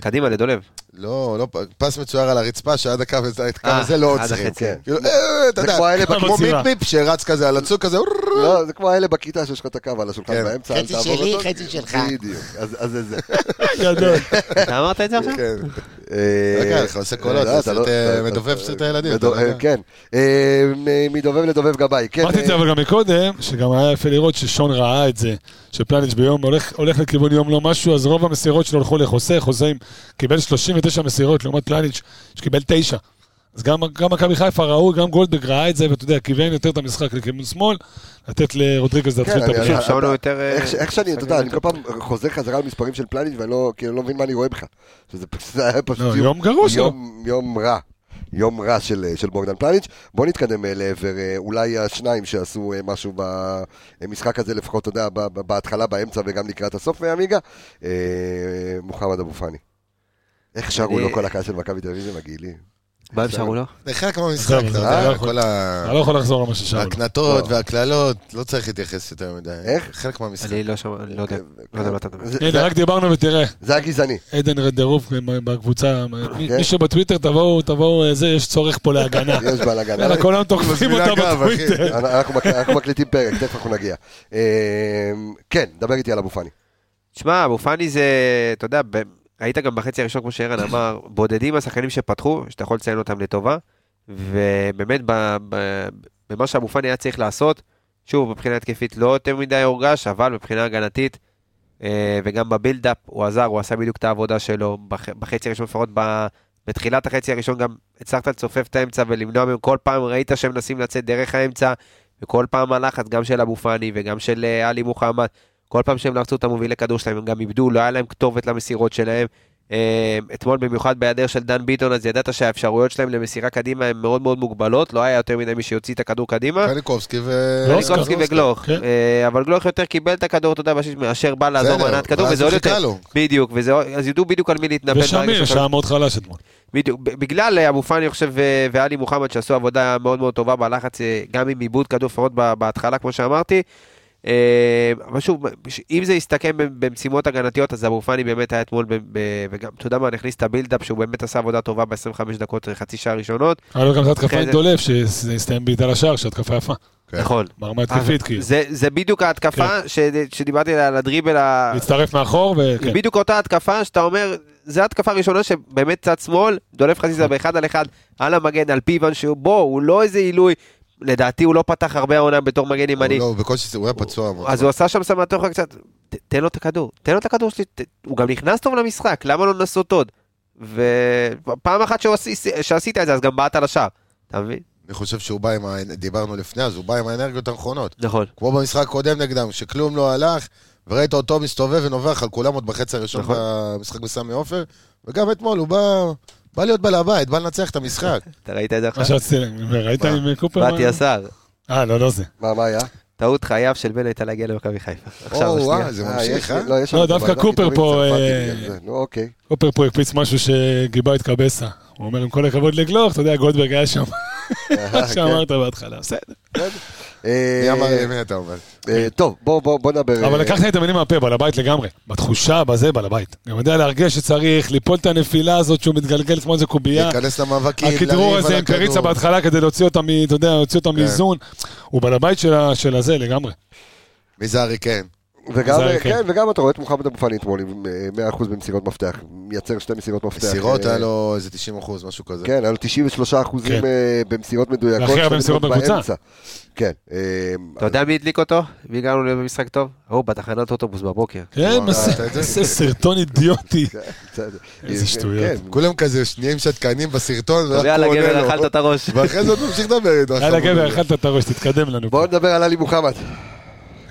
קדימה לדולב.
לא, לא, פ- פס מצויר על הרצפה, שעד הקו הזה- את הקו
אה,
הזה לא
עד
עוצרים.
החצי.
כן. כאילו, אה,
זה
אתה יודע,
כמו האלה
כמה
כמו
מסירה.
מיפ-מיפ שרץ כזה על הצוק כזה,
לא, זה כמו האלה בכיתה שיש לך את הקו על השולחן
כן.
באמצע, אל
חצי
תעבור
שלי,
אותו.
חצי שלך.
בדיוק, אז אז זה זה.
גדול.
אתה אמרת את זה עכשיו?
כן.
אה,
רגע, אתה עושה קולות,
אה,
זה
אתה לא-
סרט, אה,
אתה-
מדובב
אתה-
סרט הילדים,
מדו-
אתה לא- יודע.
אה, כן, אה, מ- מדובב לדובב גבאי. כן,
אמרתי את זה
אה,
אבל גם מקודם, שגם היה יפה לראות ששון ראה את זה, שפלניץ' ביום הולך- הולך לכיוון יום לא משהו, אז רוב המסירות שלו הלכו לחוסה, חוסה עם- קיבל 39 מסירות לעומת פלניץ' שקיבל 9. אז גם גם מכבי חיפה ראו, גם גולדברג ראה את זה, ואתה יודע, כיוון יותר את המשחק לכיוון שמאל, לתת לרודריגז להתחיל את
כן, אני-
המשחק.
חושב
אתה-
ששמנו יותר,
איך ש-
אה,
איך שאני, אתה יודע, אני כל
יותר
פעם חוזר חזרה למספרים של פלניץ' ואני לא כאילו, לא מבין מה אני רואה בך. שזה פשוט- זה היה פשוט
לא, יום גרוע שלו.
יום- יום רע. יום רע של, אה, של בוגדן פלניץ'. בוא נתקדם אה, לעבר אה, אולי השניים שעשו אה, משהו במשחק הזה, לפחות, אתה יודע, ב- ב- בהתחלה, באמצע וגם לקראת הסוף, אה, עמיגה. אה, מוחמד אבו פאני. איך שרו
אני-
לו כל הקהל של מכבי תל אביב, זה מגעילי.
מה הם שרו לו?
נרחק מהמשחק,
עזוב,
אתה
אתה לא
יודע,
יכול.
כל ה-
אתה לא יכול לחזור למה ששאלנו.
ההקנטות
לא.
והקללות, לא צריך להתייחס יותר מדי.
איך?
חלק מהמשחק.
אני לא שמע, אני לא יודע, לא יודע מה אתה מדבר.
זה-
הנה,
זה-
רק דיברנו ותראה,
זה היה גזעני.
עדן רדרוף בקבוצה, מי-
כן.
מי שבטוויטר תבואו, תבואו, אה, זה, יש צורך פה להגנה.
יש בלאגן.
יאללה, כל היום תוקפים
מזמינה
אותה
גב, אחי.
בטוויטר.
אנחנו- אנחנו מק- אנחנו מקליטים פרק, תכף אנחנו נגיע. אמ, כן, דבר איתי על אבו פאני.
שמע, אבו פאני זה, אתה יודע, ב- היית גם בחצי הראשון, כמו שערן אמר, בודדים השחקנים שפתחו, שאתה יכול לציין אותם לטובה, ובאמת, ב- ב- במה שאבו פאני היה צריך לעשות, שוב, מבחינה התקפית לא יותר מדי הורגש, אבל מבחינה הגנתית, אה, וגם בבילדאפ, הוא עזר, הוא עשה בדיוק את העבודה שלו, בח- בחצי הראשון, לפחות ב- בתחילת החצי הראשון, גם הצלחת לצופף את האמצע ולמנוע מהם, כל פעם ראית שהם מנסים לצאת דרך האמצע, וכל פעם הלחץ, גם של אבו פאני וגם של אה, עלי מוחמד, כל פעם שהם לחצו את המובילי כדור שלהם, הם גם איבדו, לא היה להם כתובת למסירות שלהם. אה, אתמול במיוחד בהיעדר של דן ביטון, אז ידעת שהאפשרויות שלהם למסירה קדימה הן מאוד מאוד מוגבלות, לא היה יותר מדי מי שיוציא את הכדור קדימה.
קניקובסקי ו... לא,
גלוסקה.
קניקובסקי וגלוך,
כן.
אה, אבל גלוך יותר קיבל את הכדור, אתה יודע, בשש- מאשר בא לעזור
בסדר,
בהנעת כדור,
ואז
וזה
הוא
עוד יותר,
חיכה לו.
בדיוק, וזה עוד- אז ידעו בדיוק על מי להתנפל. ברגע
ושמיר,
שאתה-
שהיה מאוד חלש אתמול.
בדיוק, ב- בגלל אה, אבו פאני, אני חושב, ו- ואלי מוחמד, שעשו עבודה מאוד מאוד טובה בלחץ, אה, גם עם עיבוד כדור, לפחות ב- בהתחלה, כמו שאמרתי. אה, אבל שוב, ש- אם זה יסתכם ב- במשימות הגנתיות, אז אבו פאני באמת היה אתמול, ב- ב- וגם, אתה יודע מה, אני הכניס את הבילדאפ, שהוא באמת עשה עבודה טובה ב-25 דקות, אה, חצי שעה ראשונות.
היה לו גם את ההתקפה
אחרי
עם
זה-
דולף, שזה הסתיים בעיטה לשער, שהתקפה יפה.
כן.
נכון.
ברמה התקפית, כאילו.
זה, זה בדיוק ההתקפה ש- שדיברתי עליה, על הדריבל ה-
להצטרף מאחור,
כן.
וכן.
בדיוק אותה התקפה שאתה אומר, זו התקפה הראשונה שבאמת צד שמאל, דולף חזיזה באחד על אחד, על המגן, על פיוון, שהוא בוא, הוא לא איזה עילוי, לדעתי הוא לא פתח הרבה העונה בתור מגן
הוא
ימני.
לא, הוא בקושי, הוא היה פצוע. אמרתי.
אז הוא עשה שם סמטוחה קצת, ת- תן לו את הכדור, תן לו את הכדור שלי, ת- הוא גם נכנס טוב למשחק, למה לא לנסות עוד? ופעם אחת שהוא עשי- שעשית את זה, אז גם בעט על השער, אתה מבין?
אני חושב שהוא בא עם, ה- דיברנו לפני, אז הוא בא עם האנרגיות הנכונות.
נכון.
כמו במשחק הקודם נגדם, שכלום לא הלך, וראית אותו מסתובב ונובח על כולם עוד בחצי הראשון
נכון.
במשחק בסמי עופר, וגם אתמול הוא בא, בא להיות בעל הבית, בא לנצח את המשחק.
אתה ראית את זה
מה
עכשיו?
שרציתי להגיד, ראית עם קופר?
באתי השר,
אה, לא, לא זה.
מה, מה היה?
טעות חייו של בנט על להגיע למכבי חיפה. עכשיו,
או,
השנייה.
וואי, זה
אה, יש
ממשיך,
לי-
אה?
לא, יש
לא,
לנו
דווקא
בעיה,
קופר
פיטורים
פה,
צרפתי
אה,
בגלל זה. נו, אוקיי.
קופר פה הקפיץ משהו שגיבה את קבסה. הוא אומר, עם כל הכבוד לגלוך, אתה יודע, גולדברג היה שם,
אה,
מה שאמרת בהתחלה, בסדר.
אה,
מי אמר לי, מי אתה אומר?
אה, טוב, בוא- בוא בוא נדבר.
אבל
אה,
לקחת את המילים מהפה, בעל הבית לגמרי. בתחושה, בזה, בעל הבית. גם יודע להרגש שצריך, ליפול את הנפילה הזאת שהוא מתגלגל כמו איזה קובייה.
להיכנס למאבקים, לריב על הכדור.
הכדרור הזה עם קריצה בהתחלה כדי להוציא אותם, מ- אתה יודע, להוציא
כן.
אותם מאיזון. הוא בעל הבית של ה- של הזה לגמרי.
מי זה ארי כן?
וגם,
זה היה,
כן,
כן.
וגם אתה רואה את מוחמד אבו פאני אתמול עם אה, 100% במסירות מפתח. מייצר שתי מסירות
כן.
מפתח.
מסירות
אה,
היה לו איזה 90 אחוז, משהו כזה.
כן, היה לו 93 אחוזים אה,
כן.
במסירות מדויקות.
והכי הרבה
שתי
מסירות בקבוצה.
באמצע. כן. אה,
אתה יודע מי הדליק אותו? מי גרנו להיות במשחק טוב? ההוא בתחנת אוטובוס בבוקר.
כן,
וואו,
מס-
ראית את זה?
איזה סרטון אידיוטי.
כן, בסדר.
איזה שטויות.
כן,
כולם כזה שנהיים שתקנים בסרטון, ורק
יאללה
הוא עונה
גבר,
לו.
אכלת את הראש.
ואחרי זה עוד ממשיך לדבר איתו.
יאללה
עכשיו
גבר,
הוא מדבר.
אכלת את הראש, תתקדם לנו. פה.
בואו נדבר על עלי מוחמד.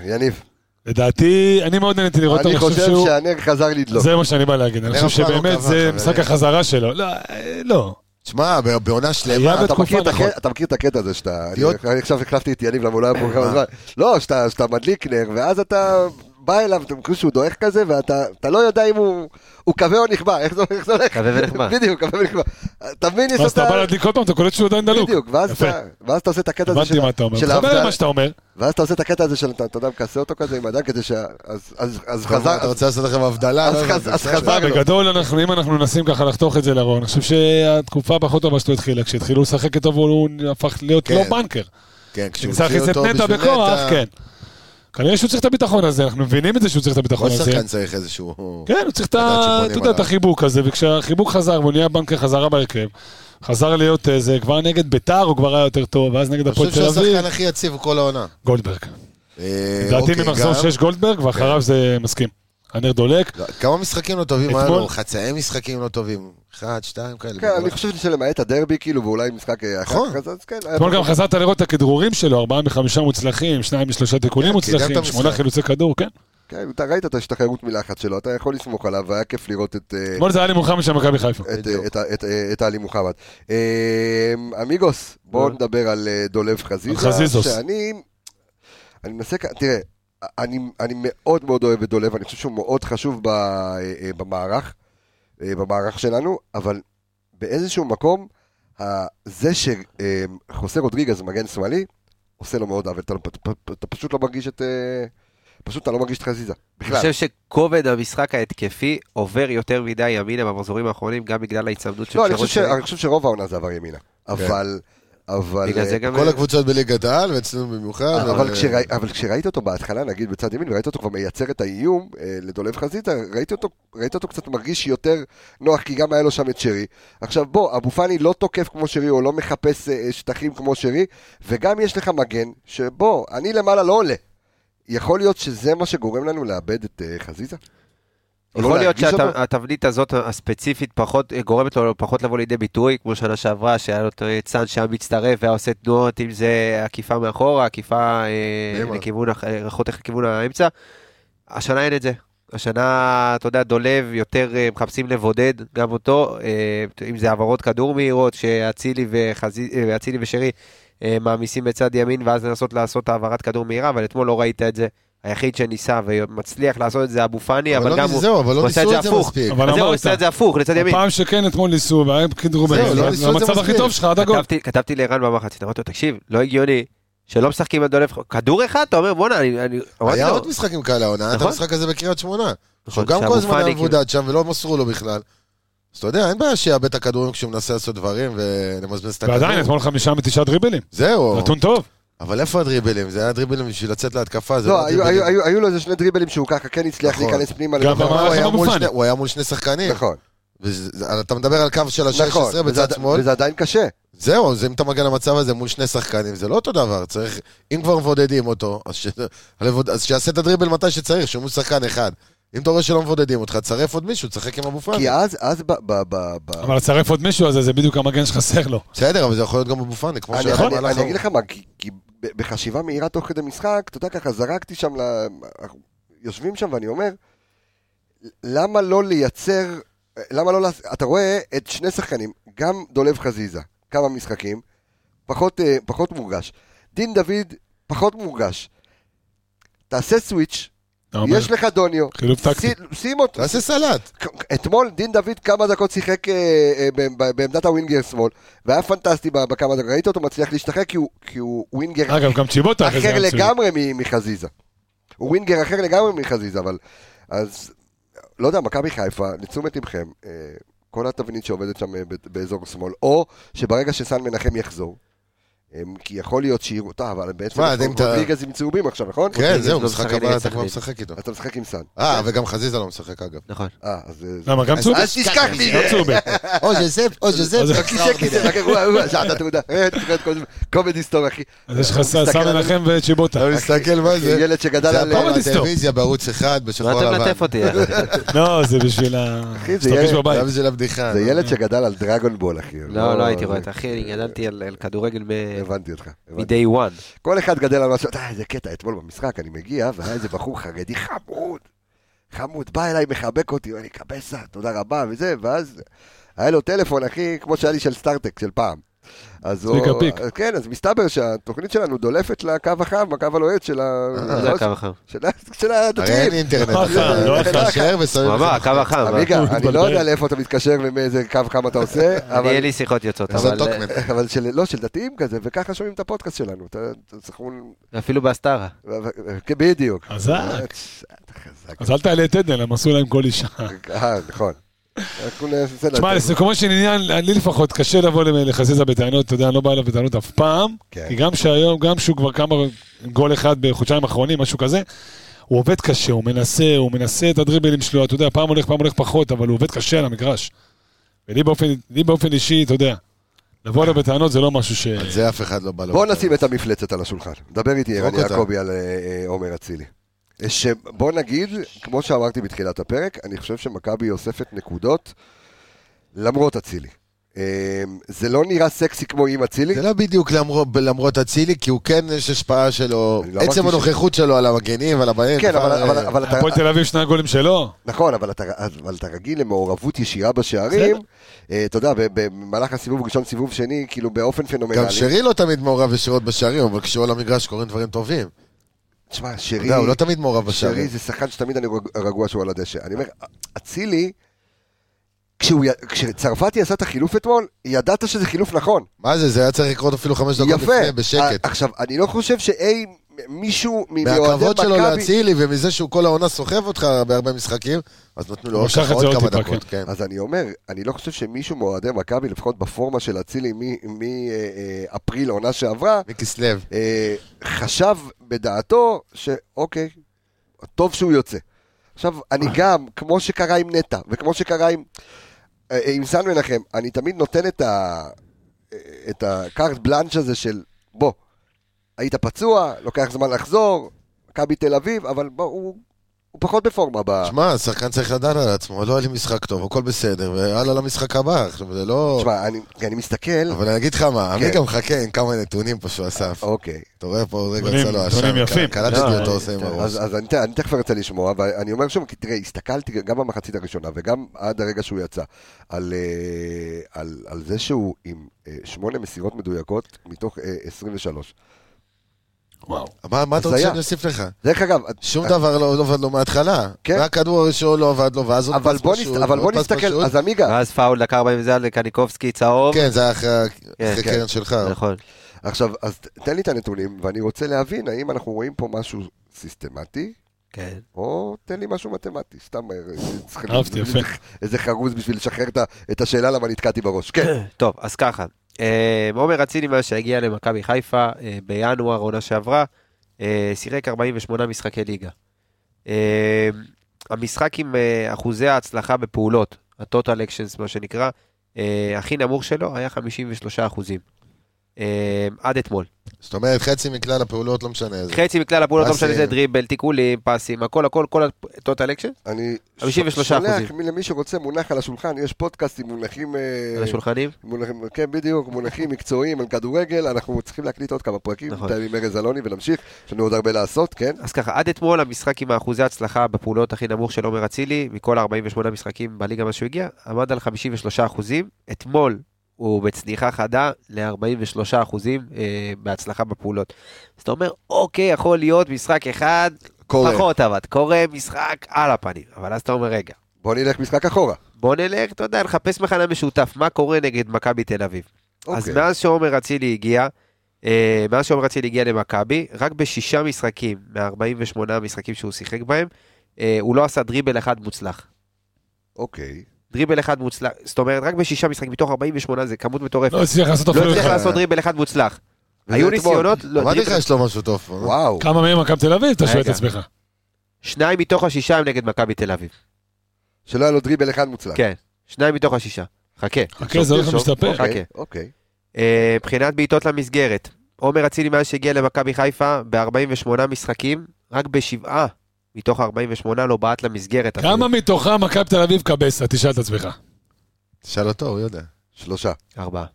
יניב,
לדעתי, אני מאוד נהניתי לראות אותו,
אני חושב לא. שהנר חזר לדלוק.
זה מה שאני בא להגיד, אני
נר
חושב
הפעם הוא
שבאמת
קבע,
זה
חברים.
משחק החזרה שלו. לא, אה, לא.
שמע, ב- בעונה שלמה,
היה
אתה
בתקופה,
מכיר את
נכון.
הקטע- אתה מכיר את הקטע הזה שאתה... אני-
להיות-
אני עכשיו החלפתי את יניב למה הוא לא היה פה
אה.
כמה זמן. לא, שאתה שאתה מדליק נר, ואז אתה בא אליו, אתה מכיר שהוא דועך כזה, ואתה אתה לא יודע אם הוא הוא כבה או נכבה, איך זה איך זה הולך?
כבה ונכבה.
בדיוק, כבה ונכבה. אתה מבין, יש
ואז אתה בא
אותה...
להדליק עוד פעם, אתה קולט שהוא עדיין דלוק.
בדיוק, ואז
יפה.
אתה- ואז אתה עושה את הקטע הזה
הבנתי
של
מה אתה אומר.
של
מתחבר
ההבדלה.
למה שאתה אומר.
ואז אתה עושה את הקטע הזה של אתה אתה יודע, מכסה אותו כזה עם הידיים כדי שה... אז- אז- אז
אתה אומר,
חזר...
אתה רוצה לעשות לכם הבדלה?
אז
לא
חז-
הבנתי,
אז
בסדר.
חזר.
תשמע, אה, בגדול, אנחנו- אם אנחנו מנסים ככה לחתוך את זה לרון, אני חושב שהתקופה הפחות טובה שלו התחילה, כשהתחילו לשחק איתו והוא הפך להיות
כן.
לא בנקר.
כן, כשהוא
צריך
הוציא
לצאת
אותו
נטע
בשביל
בכוח,
נטע,
כן. כנראה שהוא צריך את הביטחון הזה, אנחנו מבינים את נכון, זה שהוא צריך את
כל
הביטחון הזה.
שחקן צריך איזשהו...
כן, הוא צריך את
אוקיי. לדעת
ה-
שבונים
אתה יודע, את
עליו.
החיבוק הזה, וכשהחיבוק חזר והוא נהיה בנקר חזרה בהרכב, חזר להיות איזה, כבר נגד ביתר הוא כבר היה יותר טוב, ואז נגד
אני חושב
הפועל תל
שהוא
אביב,
השחקן הכי יציב כל העונה.
גולדברג.
אה,
לדעתי
אוקיי,
ממחזור
גם. כן.
6 גולדברג, ואחריו זה מסכים. הנר דולק.
לא, כמה משחקים לא טובים היה
אתמול-
לו? חצאי משחקים לא טובים. אחד, שתיים כאלה.
כן, אני חושב שלמעט הדרבי, כאילו, ואולי משחק אה, אחר
נכון.
כך, אז כן. היה-
אתמול גם חזרת לראות את הכדרורים שלו, ארבעה מחמישה מוצלחים, שניים משלושה תיקונים
כן, קידם את
מוצלחים,
המשחק. אה.
שמונה חילוצי כדור, כן.
כן, אתה ראית את השתחררות מלחץ שלו, אתה יכול לסמוך עליו, והיה כיף לראות את... אה,
אתמול זה עלי מוחמד של מכבי
אה,
חיפה.
את- את- את- את עלי מוחמד. אמ, אמיגוס, בואו
אה.
נדבר על אה, דולב חזיזה.
על חזיזוס.
שאני... אני מנסה... כ- תראה, אני אני מאוד מאוד אוהב את דולב, אני חושב שהוא מאוד חשוב ב- אה, אה, במערך, אה, במערך שלנו, אבל באיזשהו מקום, ה- זה שחוסה רודריגז מגן שמאלי, עושה לו מאוד עוול. אתה לא- פ- פ- אתה פשוט לא מרגיש את... אה, פשוט אתה לא מרגיש את חזיזה.
אני
בכלל.
חושב שכובד המשחק ההתקפי עובר יותר מדי ימינה במחזורים האחרונים, גם בגלל ההיצמדות של
לא, אני
שרון
חושב ש-
שרי.
אני חושב שרוב העונה זה עבר ימינה. אבל... אבל...
כן. בגלל
אה,
זה גם...
כל הקבוצות בליגת העל, ואצלנו במיוחד.
אבל, כשראי, אבל כשראית אותו בהתחלה, נגיד בצד ימין, וראית אותו כבר מייצר את האיום אה, לדולב חזיזה, ראית אותו, ראית אותו קצת מרגיש יותר נוח, כי גם היה לו שם את שרי. עכשיו בוא, אבו פאני לא תוקף כמו שרי, או לא מחפש אה, אה, שטחים כמו שרי, וגם יש לך מגן, שבוא, אני למעלה לא עולה. יכול להיות שזה מה שגורם לנו לאבד את אה, חזיזה? או לא
יכול להיות אה,
להרגיש אותו?
שהתבנית הזאת הספציפית פחות, אה, גורמת לו פחות לבוא לידי ביטוי, כמו שנה שעברה, שהיה לו את אה, צאן שהיה מצטרף והיה עושה תנועות, אם זה עקיפה מאחורה, עקיפה אה,
בהמה.
לכיוון, הח- אה, חותך לכיוון האמצע. השנה אין את זה. השנה, אתה יודע, דולב, יותר אה, מחפשים לבודד גם אותו, אה, אם זה העברות כדור מהירות, שאצילי וחזי- אה, אצילי ושרי אה, מעמיסים בצד ימין, ואז לנסות לעשות העברת כדור מהירה, אבל אתמול לא ראית את זה. היחיד שניסה ומצליח לעשות את זה אבו פאני, אבל,
אבל
גם
לא,
הוא...
זהו, אבל לא
הוא עשה את
ניסו
זה
את זה
הפוך.
מספיק.
אבל
אז זהו, הוא
אמרת,
עשה את זה הפוך, לצד ימין.
הפעם שכן אתמול ניסו, והיה כדרור
זהו,
בגלל.
לא ניסו את זה
המצב הכי
מספיק.
טוב שלך עד הגול.
כתבתי, כתבתי לערן במחצית, אמרתי לו, תקשיב, לא הגיוני שלא משחקים על דולף, כדור אחד, אתה אומר, בואנה, אני... אני- אמרתי
היה
לו,
עוד משחקים כאלה העונה, היה את
נכון.
המשחק הזה בקריית שמונה.
נכון,
שהוא גם כל
שאבו
הזמן
פאני,
היה
כאילו,
מבודד שם ולא מסרו לו בכלל. אז אתה יודע, אין בעיה שיאבד את הכדורים כשהוא מנסה לעשות דברים ולמזבז את הכדור.
ועדיין, אתמול חמישה מתשעה דריבלים.
זהו.
נתון טוב.
אבל איפה הדריבלים? זה היה דריבלים בשביל לצאת להתקפה, זה
לא,
לא
היו, היו,
דריבלים.
היו, היו לו איזה שני דריבלים שהוא ככה כן הצליח
נכון.
להיכנס פנימה.
גם
לתוך
אמר-
הרחבה.
הוא היה
אבו
מול
פאני.
שני- הוא היה מול שני שחקנים.
נכון,
וזה- זה- אתה מדבר על קו של ה-16
נכון, וזה,
בצד
עד-
שמאל.
וזה עדיין קשה.
זהו, אז אם אתה מגיע למצב הזה מול שני שחקנים, זה לא אותו דבר. צריך, אם כבר מבודדים אותו, אז, ש... אז שיעשה את הדריבל מתי שצריך, שהוא מול שחקן אחד. אם אתה רואה שלא מבודדים אותך, תצרף עוד מישהו, תשחק עם אבו פאני.
כי אז, אז ב... ב, ב, ב
אבל לצרף עוד מישהו הזה, זה בדיוק המגן שחסר לו.
בסדר, אבל זה יכול להיות גם אבו פאני, כמו
אני,
שהיה
אני,
במהלך
אני
ההוא.
אגיד לך מה, כי, כי ב- בחשיבה מהירה תוך כדי משחק, אתה יודע ככה, זרקתי שם, ל... אנחנו יושבים שם ואני אומר, למה לא לייצר, למה לא, לעש- אתה רואה את שני שחקנים, גם דולב חזיזה, כמה משחקים, פחות, אה, פחות מורגש, דין דוד, פחות מורגש. תעשה סוויץ',
אתה אומר,
יש לך דוניו,
חילוף טקטי.
שים- שים אותו,
תעשה סלט.
אתמול דין דוד כמה דקות שיחק אה, אה, ב- ב- בעמדת הווינגר שמאל, והיה פנטסטי ב- בכמה דקות, ראית אותו מצליח להשתחרר כי הוא- כי הוא ווינגר
אגב, גם צ'יבוטה אחרי זה.
אחר
היה מצוין.
לגמרי מ- מחזיזה. הוא ווינגר אחר לגמרי מחזיזה, אבל... אז, לא יודע, מכבי חיפה, לתשומת לבכם, אה, כל התבנית שעובדת שם אה, ב- באזור שמאל, או שברגע שסן מנחם יחזור, אה, כי יכול להיות שיראו אותה, אבל בעצם
מה, אז אם אתה-
רודריגז עם צהובים עכשיו, נכון?
כן, זהו,
לא
משחק
משחק נגד
הבא אתה כבר
סכנין.
משחק איתו.
אתה משחק עם סן.
אה, וגם חזיזה לא משחק אגב.
נכון.
אה, אז... אה,
למה, גם
אז-
צהובים?
אז תשכח מזה.
לא צהובים.
או ז'זפ, או ז'זפ.
אז-
כיסא, כיסא, אחר כך הוא- הוא שעת התעודה, אה, תראה את כל זה, קומדי סטור אחי.
אז יש לך
הוא
שר
מסתכל
שר
על-
מנחם וצ'יבוטה.
אתה מסתכל מה זה.
ילד שגדל
זה
על-
הפעם
קומדי סטור.
בטלוויזיה בערוץ אחד
לא
בשחור
אתה
לבן.
מלטף אותי.
לא, זה בשביל ה...
אחי, זה
שתרגיש
ילד-
לא, זה
בבית.
היה בשביל הבדיחה.
אה, זה
נו.
ילד שגדל על דרגונבול אחי.
לא, לא הייתי רואה
זה-
את אחי, אני גדלתי על על כדורגל
הבנתי אותך. הבנתי.
מ-day one.
כל אחד גדל על משהו, אתה יודע, איזה קטע, אתמול במשחק אני מגיע, והיה איזה בחור חרדי חמוד, חמוד, בא אליי, מחבק אותי, אומר לי, קבסה, תודה רבה, וזה, ואז היה לו טלפון, אחי, כמו שהיה לי של סטארטק של פעם. אז הוא...
ספיקר פיק.
כן, אז מסתבר שהתוכנית שלנו דולפת לקו החם, הקו הלוהט של ה...
אה,
אה, זה הקו החם.
של ה- של הדתיים.
הרי אין אינטרנט.
לא
אחי.
אחר, לא אחר.
מתקשר ושמים
הוא
לך
אמר, הקו החם.
עמיגה,
הוא
אני לא
מתבלבל.
יודע לאיפה אתה מתקשר ומאיזה קו חם אתה עושה,
אני אין
אבל...
לי שיחות יוצאות,
זה
אבל
טוקמן.
אבל של, לא, של דתיים כזה, וככה שומעים את הפודקאסט שלנו. אתה, אתה זכרון...
אה, אפילו בהסתרה.
כן.
בדיוק.
חזק.
אה, אתה חזק.
אז אל תעלה את עדן, הם עשו להם כל אישה.
אה, נכון. אנחנו נעשה
לא
את
תשמע,
זה.
לסיכומו של עניין, לי לפחות קשה לבוא לחזיזה בטענות, אתה יודע, אני לא בא אליו בטענות אף פעם,
כן.
כי גם שהיום, גם שהוא כבר כמה, גול אחד בחודשיים האחרונים, משהו כזה, הוא עובד קשה, הוא מנסה, הוא מנסה את הדריבלים שלו, אתה יודע, פעם הולך, פעם הולך פחות, אבל הוא עובד קשה על המגרש. ולי באופן, לי באופן אישי, אתה יודע, לבוא אליו בטענות זה לא משהו ש...
על זה אף אחד לא בא לו.
בוא נשים את המפלצת על השולחן. דבר איתי, ערן
זרוק אותה.
יעקבי, על אה, אה, עומר אצילי. שבוא נגיד, כמו שאמרתי בתחילת הפרק, אני חושב שמכבי אוספת נקודות למרות אצילי. אה, זה לא נראה סקסי כמו עם אצילי.
זה לא בדיוק למרות, למרות אצילי, כי הוא כן, יש השפעה שלו,
אני לא אמרתי
עצם
ש-
הנוכחות שלו על המגנים ועל הבנים.
כן, אבל-
כבר,
אבל-
אה,
אבל אתה...
לא- הפועל תל אביב, שני הגולים שלו. לא
נכון, אבל אתה, אבל אתה רגיל למעורבות ישירה בשערים. אה, אתה יודע, ב- במהלך הסיבוב הראשון, סיבוב שני, כאילו באופן פנומנלי.
גם שרי לא תמיד מעורב ישירות בשערים, אבל כשהוא על המגרש קורים דברים טובים.
תשמע,
אתה
שרי...
יודע, הוא לא תמיד מעורב
שרי
בשערים.
זה שחקן שתמיד אני רג- רגוע שהוא על הדשא. אני אומר, אצילי, כשהוא י- כשצרפתי עשה את החילוף אתמול, ידעת שזה חילוף נכון.
מה זה, זה היה צריך לקרות אפילו חמש דקות לפני,
יפה.
בשקט.
ע- עכשיו, אני לא חושב שאי מישהו מ- מאוהדי
מהכבוד שלו
מכבי...
לאצילי ומזה שהוא כל העונה סוחב אותך בהרבה משחקים, אז נתנו לו עוד
משך את
ככה
זה
עוד
עוד
כמה
טיפה,
דקות, כן.
אז אני אומר, אני לא חושב שמישהו מאוהדי מכבי, לפחות בפורמה של אצילי מאפריל אה, עונה שעברה,
מכסלו.
אה, חשב בדעתו שאוקיי, טוב שהוא יוצא. עכשיו, אני
אה.
גם, כמו שקרה עם נטע, וכמו שקרה עם, אה, אה, עם סן מנחם, אני תמיד נותן את, ה, אה, את הקארט בלאנץ' הזה של, בוא, היית פצוע, לוקח זמן לחזור, מכבי תל אביב, אבל בוא, הוא, הוא פחות בפורמה. ב...
שמע, השחקן צריך לדעת על עצמו, לא היה לי משחק טוב, הכל בסדר, ויאללה למשחק הבא, עכשיו זה לא...
תשמע, אני, אני מסתכל,
אבל אני אגיד לך מה, אני
כן.
גם מחכה עם כמה נתונים פה שהוא אסף.
אוקיי.
אתה רואה פה עוד רגע
נתונים-
יצא לו
נתונים
השם,
יפים.
קלטתי
לא,
אותו עושה עם
אה,
הראש.
אז, אז אני, ת- אני תכף ארצה לשמוע, ואני אומר שוב, כי תראה, הסתכלתי גם במחצית הראשונה וגם עד הרגע שהוא יצא, על, אה, על, על זה שהוא עם אה, שמונה מסירות מדויקות מתוך אה, 23.
וואו.
מה מה אתה רוצה
הזיה.
שאני אוסיף לך?
דרך אגב, את-
שום דבר לא לא עבד לו מההתחלה.
כן.
רק הכדור הראשון לא עבד לו, ואז עוד
אבל
פס
בוא,
פשוט,
נסת, אבל
ועוד
בוא
פס
נסתכל,
פשוט. אה.
אז עמיגה,
ואז פאול דקה 40 זה על קניקובסקי צהוב.
כן, זה היה אחרי
כן,
אחרי
כן.
קרן שלך.
אה,
נכון.
עכשיו, אז ת- תן לי את הנתונים, ואני רוצה להבין האם אנחנו רואים פה משהו סיסטמטי,
כן.
או תן לי משהו מתמטי, סתם, אה, צריך-
אהבתי, יפה.
איזה חרוז בשביל לשחרר את ה- את השאלה למה נתקעתי בראש, כן.
טוב, אז ככה. אה, עומר אצילי, מאז שהגיע למכבי חיפה אה, בינואר עונה שעברה, אה, שיחק 48 משחקי ליגה. אה, המשחק עם אה, אחוזי ההצלחה בפעולות, ה-total actions מה שנקרא, אה, הכי נמוך שלו היה 53 אחוזים. אה, עד אתמול.
זאת אומרת, חצי מכלל הפעולות לא משנה איזה.
חצי מכלל הפעולות, לא משנה
פסים.
איזה דריבל, תיקולים, פסים, הכל, הכל, כל ה-total actions,
אני
53%.
שולח למי שרוצה מונח על השולחן, יש פודקאסט עם מונחים, אה,
על השולחנים.
מונחים כן בדיוק, מונחים מקצועיים על כדורגל, אנחנו צריכים להקליט עוד כמה פרקים,
נכון.
נתאם עם ארז אלוני ונמשיך, יש לנו עוד הרבה לעשות, כן?
אז ככה, עד אתמול המשחק עם האחוזי הצלחה בפעולות הכי נמוך של עומר אצילי, מכל 48 משחקים בליגה מאז שהוא הגיע, עמד על 53 אחוזים. אתמול הוא בצניחה חדה ל-43 אחוזים אה, בהצלחה בפעולות. אז אתה אומר, אוקיי, יכול להיות משחק אחד,
קורה.
פחות עבד, קורה משחק על הפנים. אבל אז אתה אומר, רגע,
בוא נלך משחק אחורה.
בוא נלך, אתה יודע, נחפש מכנה משותף, מה קורה נגד מכבי תל אביב. אז
אוקיי.
מאז שעומר אצילי הגיע, אה, מאז שעומר אצילי הגיע למכבי, רק בשישה משחקים, מה-48 המשחקים שהוא שיחק בהם, אה, הוא לא עשה דריבל אחד מוצלח.
אוקיי.
דריבל אחד מוצלח, זאת אומרת, רק בשישה משחקים מתוך 48 זה כמות מטורפת.
לא הצליח לעשות
לא
אפילו
הצליח
אחד.
לעשות דריבל אחד מוצלח.
וזה
היו
אתמול.
ניסיונות, לא,
אמרתי לך,
דריבל-
יש לו משהו טוב פה.
וואו.
כמה מהם מכבי תל אביב, אתה שואל את
רגע.
עצמך.
שניים מתוך השישה הם נגד מכבי תל אביב.
שלא היה לו דריבל אחד מוצלח.
כן, שניים מתוך השישה. חכה.
חכה, כן, זה הולך
תרשום.
ומשתפר.
אוקיי,
חכה.
אוקיי.
אה, מבחינת בעיטות למסגרת, עומר אצילי מאז שהגיע למכבי חיפה ב-48 משחקים, רק בשבעה מתוך 48 לא בעט למסגרת. אפילו.
כמה מתוכם מכבי תל אביב קבסה, תשאל את עצמך.
תשאל אותו, הוא יודע.
שלושה.
ארבעה.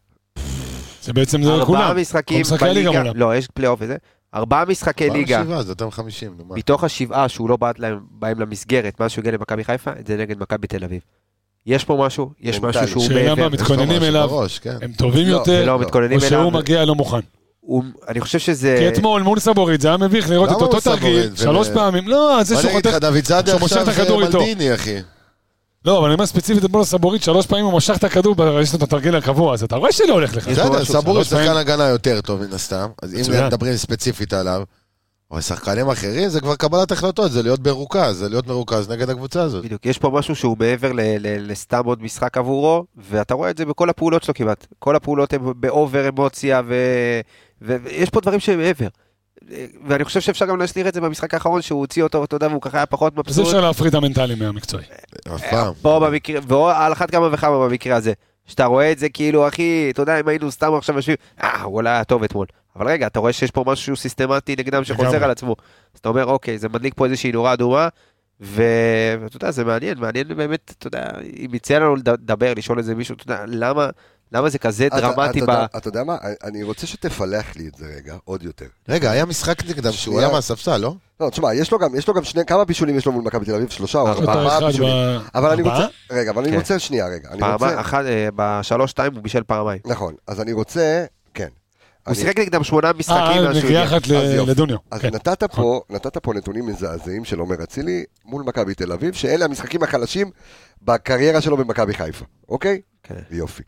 שבעצם זה
ארבעה
לא, כולם.
משחקים
כל משחקי הליגה
בליגה.
מולם.
לא, יש פלייאוף וזה. ארבעה משחקי כן, ליגה.
שבעה, זה יותר מ-50, נו מה.
מתוך השבעה שהוא לא בעט להם- בהם למסגרת, מאז שהוא הגיע למכבי חיפה, זה נגד מכבי תל אביב. יש פה משהו, יש
מנטלי.
משהו שהוא
לא, שאלה
מעבר.
מה מתכוננים
יש לו משהו
אליו.
בראש, כן.
הם טובים
לא,
יותר,
זה
לא,
לא.
מתכוננים
או
אליו.
שהוא מגיע לא מוכן.
הוא- אני חושב שזה...
כי אתמול מול סבורית זה היה מביך לראות
למה
את
הוא
אותו
סבורית?
תרגיל,
זה-
שלוש פעמים. לא, זה
בוא
שהוא
נגיד לך,
חותך...
דוד זאדה
שהוא מושך
עכשיו
את הכדור
זה
איתו.
מלדיני, אחי.
לא, אבל אני אומר ספציפית אתמול סבורית, שלוש פעמים הוא משך את הכדור, אבל יש לו את התרגיל הקבוע, אז אתה רואה שלא הולך לך.
יש פה
בסדר,
משהו,
סבורי
שלוש
שחקן
פעמים.
הגנה יותר טוב מן הסתם, אז אם
מצוין.
מדברים ספציפית עליו, או שחקנים אחרים, זה כבר קבלת החלטות, זה להיות מרוכז, זה להיות מרוכז נגד הקבוצה הזאת.
בדיוק, יש פה משהו שהוא מעבר ל- ל- לסתם עוד משחק עבורו, ואתה רואה את זה בכל הפעולות שלו כמעט. כל הפעולות הן באובר אמוציה, ו- ו- ויש פה דברים שהם מעבר. ואני חושב שאפשר גם להשליך את זה במשחק האחרון, שהוא הוציא אותו, אתה יודע, והוא ככה היה פחות
אז
מבסוט.
אפשר להפריד את המנטלי מהמקצועי.
אף פעם.
פה במקרה, ועל אחת כמה וכמה במקרה הזה. שאתה רואה את זה כאילו, אחי, אתה יודע, אם היינו סתם עכשיו יושבים, אה, הוא אולי היה טוב אתמול. אבל רגע, אתה רואה שיש פה משהו סיסטמטי נגדם שחוזר
לגמרי.
על עצמו. אז אתה אומר, אוקיי, זה מדליק פה איזושהי נורה אדומה, ו- ואתה יודע, זה מעניין, מעניין באמת, אתה יודע, אם יצא לנו לד- לדבר, לשאול איזה מישהו, אתה יודע, למה, למה זה כזה
אתה-
דרמטי
אתה
ב...
יודע- אתה יודע מה? אני- אני רוצה שתפלח לי את זה רגע, עוד יותר.
רגע, היה משחק נגדם שהוא
שנייה.
היה מהספסל, לא?
לא, תשמע, יש לו גם, יש לו גם שני, כמה בישולים יש לו מול מכבי תל אביב? שלושה או
יש לו את
ארבעה
האחד
בישולים.
ב-
אבל אני
ארבעה?
רוצה, רגע, אבל אני
כן.
רוצה, שנייה, רגע. אני
פעמיים,
רוצה,
אחת, אה, בשלוש-שתיים הוא בישל פעמיים.
נכון, אז אני רוצה, כן.
הוא
אני-
שיחק נגדם שמונה משחקים
אה,
מאז שהוא
נגיעה
הגיע.
אחת ל-
אז יופי.
לדוניו.
אז
כן.
נתת
נכון.
פה, נתת פה נתונים מזעזעים של עומר אצילי מול מכבי תל אביב, שאלה המשחקים החלשים בקריירה שלו במכבי חיפה, אוקיי?
כן.
יופי.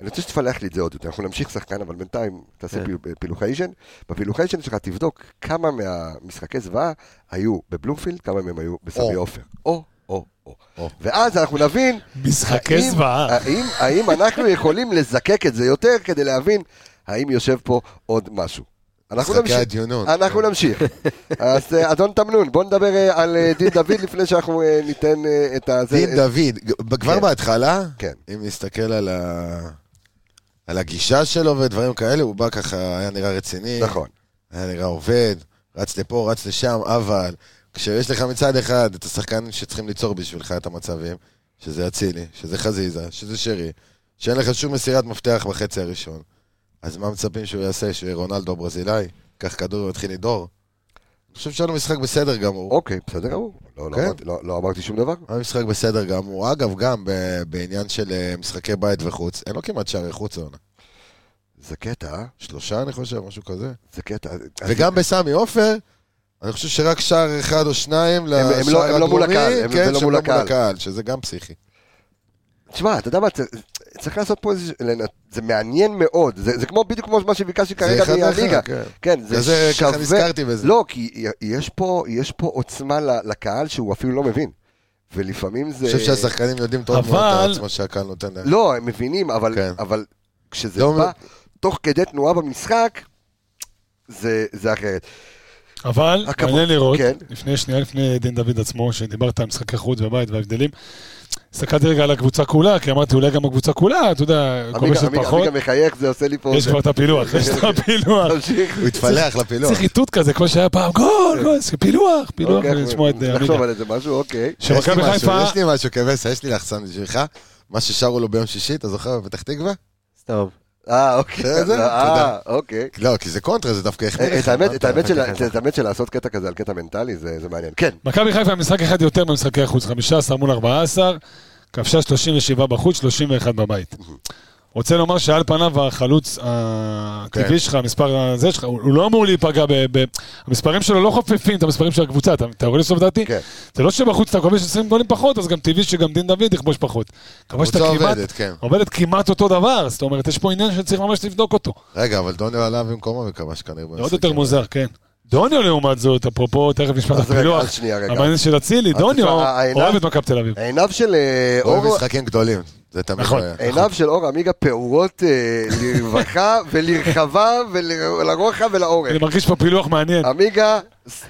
אני רוצה שתפלח לי את זה עוד יותר, אנחנו נמשיך שחקן, אבל בינתיים תעשה
כן.
פילו- פילוחיישן. בפילוחיישן שלך תבדוק כמה מהמשחקי זוועה היו בבלומפילד, כמה מהם היו בסמי
או.
עופר. או, או, או.
או.
ואז אנחנו נבין
משחקי
האם-
זוועה.
האם, האם אנחנו יכולים לזקק את זה יותר כדי להבין האם יושב פה עוד משהו? אנחנו
משחקי
נמשיך.
הדיונות. כן.
אנחנו נמשיך. אז אה, אדון תמנון, בוא נדבר אה, על אה, דין דוד לפני שאנחנו אה, ניתן אה, את ה... זה-
דין דוד, כבר
כן.
בהתחלה,
כן.
אם נסתכל על ה- על הגישה שלו ודברים כאלה, הוא בא ככה, היה נראה רציני.
נכון.
היה נראה עובד, רץ לפה, רץ לשם, אבל כשיש לך מצד אחד את השחקנים שצריכים ליצור בשבילך את המצבים, שזה אצילי, שזה חזיזה, שזה שרי, שאין לך שום מסירת מפתח בחצי הראשון, אז מה מצפים שהוא יעשה, שהוא יהיה רונלדו ברזילאי? קח כדור ויתחיל לדור? אני חושב שהיה לו משחק בסדר גמור.
אוקיי, בסדר גמור. לא, לא
כן.
אמרתי- לא- לא אמרתי שום דבר.
היה משחק בסדר גמור. אגב, גם ב- בעניין של אה, משחקי בית וחוץ, אין לו כמעט שערי חוץ העונה.
זה קטע,
שלושה, אני חושב, משהו כזה.
זה קטע.
וגם בסמי עופר, אני חושב שרק שער אחד או שניים לשער
הם לא- הם לא מול הקהל, הם-
כן,
ולא
שהם
מול
לא
הקהל.
שזה גם פסיכי.
תשמע, אתה יודע מה, צריך- צריך לעשות פה איזה... זה מעניין מאוד. זה זה כמו בדיוק כמו מה שביקשתי
זה
כרגע
אחד
מהליגה.
לאחד, כן.
כן, זה
וזה-
שווה...
ככה נזכרתי בזה.
לא, כי יש פה, יש פה עוצמה ל- לקהל שהוא אפילו לא מבין. ולפעמים זה...
אני חושב שהשחקנים יודעים טוב מאוד את
אבל-
העצמה שהקהל נותן להם.
לא, הם מבינים, אבל,
כן.
אבל כשזה
לא
בא
אומר-
תוך כדי תנועה במשחק, זה, זה אחרת.
אבל
הכבוד,
מעניין לראות,
כן.
לפני שנייה, לפני דין דוד עצמו, שדיברת על משחקי חוץ ובית וההבדלים, הסתכלתי רגע על הקבוצה כולה, כי אמרתי אולי גם הקבוצה כולה, אתה יודע,
עמיגה
כובשת
עמיגה-
פחות,
עמיגה מחייך, זה עושה לי פה...
יש
זה.
כבר את הפילוח, יש את הפילוח.
תמשיך.
הוא התפלח לפילוח.
צריך איתות כזה, כמו שהיה פעם, גול, גול, זה פילוח, פילוח,
אוקיי,
ולשמוע את אה,
נחשוב
עמיגה.
על איזה משהו, אוקיי.
יש לי
שמכבי
משהו,
חיפה,
יש לי משהו, כבש, יש לי לחסן בשבילך. מה ששרו לו ביום שישי, אתה זוכר, בפתח תקווה?
סתום.
אה, אוקיי.
זה, זה,
אה,
תודה.
אוקיי. אה,
לא, כי זה קונטרה, זה דווקא החמיא
את
לך.
האמת,
מה
את
אתה-
האמת
אתה
של-
ככה?
את האמת של לעשות קטע כזה על קטע מנטלי, זה זה מעניין. כן.
מכבי חיפה משחק אחד יותר במשחקי החוץ, 15 מול 14, כבשה 37 בחוץ, 31 בבית. רוצה לומר שעל פניו החלוץ
כן.
הטבעי שלך, המספר הזה שלך, הוא הוא לא אמור להיפגע, ב- ב- המספרים שלו לא חופפים את המספרים של הקבוצה, אתה- אתה רואה לסוף דעתי?
כן.
זה לא שבחוץ אתה כובש 20 גולים פחות, אז גם טבעי שגם דין דוד יכבוש פחות. כבשת
הקבוצה
כמעט,
עובדת, כן.
עובדת כמעט אותו דבר, זאת אומרת, יש פה עניין שצריך ממש לבדוק אותו.
רגע, אבל דוניו עלה במקומו וכבש כנראה.
זה עוד
במשחק.
יותר מוזר, כן. דוניו לעומת זאת, אפרופו, תכף נשמע את
אז רגע,
הפילוח,
אז שנייה, רגע.
המעניין של אצילי, דוניו
העיניים-
אוהב את מכבי תל אביב.
עיניו של אה,
הוא אוהב
אור...
משחקים גדולים, זה תמיד
נכון.
היה.
עיניו של אור עמיגה פעורות אה, לרווחה ולרחבה ולרוחב ולאורך.
אני מרגיש פה פילוח מעניין.
עמיגה, ס-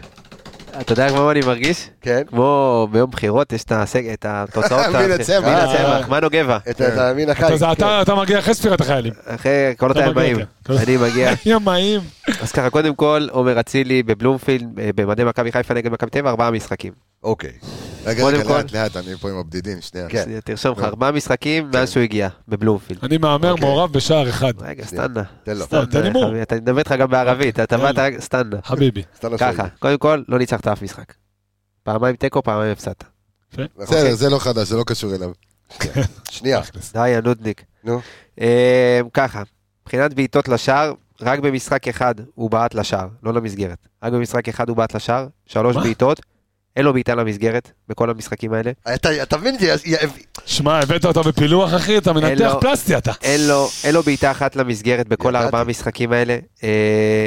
אתה יודע כמו מה אני מרגיש?
כן.
כמו ביום בחירות, יש את הסג- את התוצאות.
מין הצמח.
מין
אה.
הצמח, מנו גבע.
את ה- את המין החי.
אז אתה- אתה מגיע אחרי ספירת החיילים.
אה, אחרי קולות
אתה מגיע כן.
הימאים.
יותר.
אני מגיע.
ימאים.
אז ככה, קודם כל, עומר אצילי בבלומפילד, אה, במדי מכבי חיפה נגד מכבי טבע, ארבעה משחקים.
אוקיי.
רגע,
קודם
רגע,
כל-
לאט לאט, אני פה עם הבדידים, שנייה.
כן.
אז אה, תרשום לך, ארבעה משחקים מאז שהוא הגיע, בבלומפילד.
אני מהמר מעורב בשער אחד.
רגע, סטנדה.
תן לו.
תן לי מור.
אני מדבר איתך גם בערבית, אתה
יאללה.
באת רק- סטנדה.
חביבי.
סתם לשאול.
ככה, קודם כל, לא ניצחת אף משחק. פעמיים תיקו, פעמיים הפסדת.
נכון.
בסדר, זה לא חדש, זה לא קשור אליו.
שנייה.
תכלס.
די, הנודניק.
נו.
אה, ככה, מבחינת בעיטות לשער, רק במשחק אחד הוא בעט לשער, לא למסגרת. רק במשחק אחד הוא בעט לשער, שלוש
מה?
בעיטות, אין לו בעיטה למסגרת בכל המשחקים האלה.
אתה אתה מבין את זה? אה, יא-
שמע, הבאת אותה בפילוח, אחי, אתה מנתח
אלו-
פלסטי אתה.
אין לו, אין לו בעיטה אחת למסגרת בכל
ידעתי.
הארבעה המשחקים האלה. אה,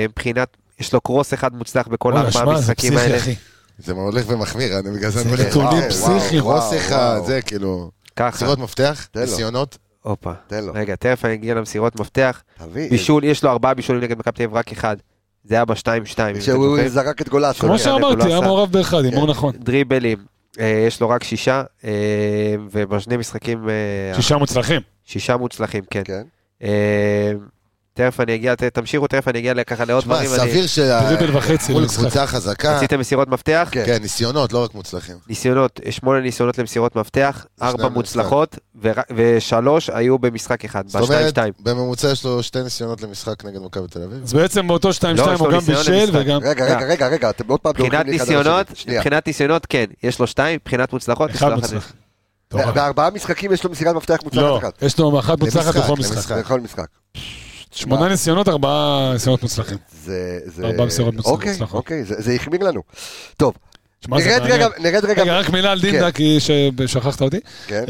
מבחינת, יש לו קרוס אחד מוצלח בכל
וואלה,
הארבעה
שמע, זה
המשחקים
פסיכי,
האלה.
אחי.
זה הולך ומחמיר, אני בגלל זה... אני
זה
אומר לך,
נתונים
וואו,
פסיכיים.
וואו,
וואו,
רוס אחד,
וואו.
זה כאילו...
ככה,
מסירות מפתח,
לו.
ניסיונות.
הופה.
תן לו.
רגע, תכף אני אגיע למסירות מפתח.
תביא.
בישול, יש לו ארבעה בישולים נגד מכבי תל אביב, רק אחד. זה היה בשתיים-שתיים. אם אתם
שהוא
זוכרים.
זרק את גולאסו.
כמו
אוקיי,
שאמרתי,
הנקודה
היה
עשה.
מעורב באחד, הימור נכון.
דריבלים, אה, יש לו רק שישה, אה, ובשני משחקים אה,
שישה מוצלחים.
שישה מוצלחים, כן.
כן.
אה, תכף אני אגיע, ת- תמשיכו, תכף אני אגיע ככה לעוד
שמע,
דברים. אני-
סביר שה-
דריבל וחצי
מול
למשחק.
קבוצה חזקה,
רציתם מסירות מפתח?
כן.
כן, ניסיונות, לא רק מוצלחים.
ניסיונות, שמונה ניסיונות למסירות מפתח, ארבע
במשחק.
מוצלחות, ורק- ושלוש היו במשחק אחד,
זאת אומרת,
בשתיים-שתיים.
בממוצע יש לו שתי ניסיונות למשחק נגד מכבי תל אביב.
אז בעצם באותו 2-2
לא, יש לו
הוא גם
ניסיון
בישל
למשחק.
וגם...
רגע, רגע, רגע, רגע, אתם עוד פעם
אה. מבחינת
דורכים לי לא אחד על השני.
ניסיונות,
שנייה.
מבחינת ניסיונות, כן, יש לו שתיים, מבחינת מוצלחות, יש
אחד
לו אחת.
מוצלח.
ב- בארבעה משחקים יש לו מסירת מפתח
לא,
מוצלחת אחת.
יש לו אחת מוצלחת
למשחק,
בכל
למשחק.
משחק.
בכל משחק.
שמונה ניסיונות, ארבעה ניסיונות מוצלחים.
זה... זה-
ארבע מסירות מוצלחות.
אוקיי, אוקיי, זה זה החמיר לנו. טוב,
שמע, זה
נרד
מעניין.
רגע, נרד רגע.
רגע, רק מילה על דינדה, כי שכחת אותי.
כן.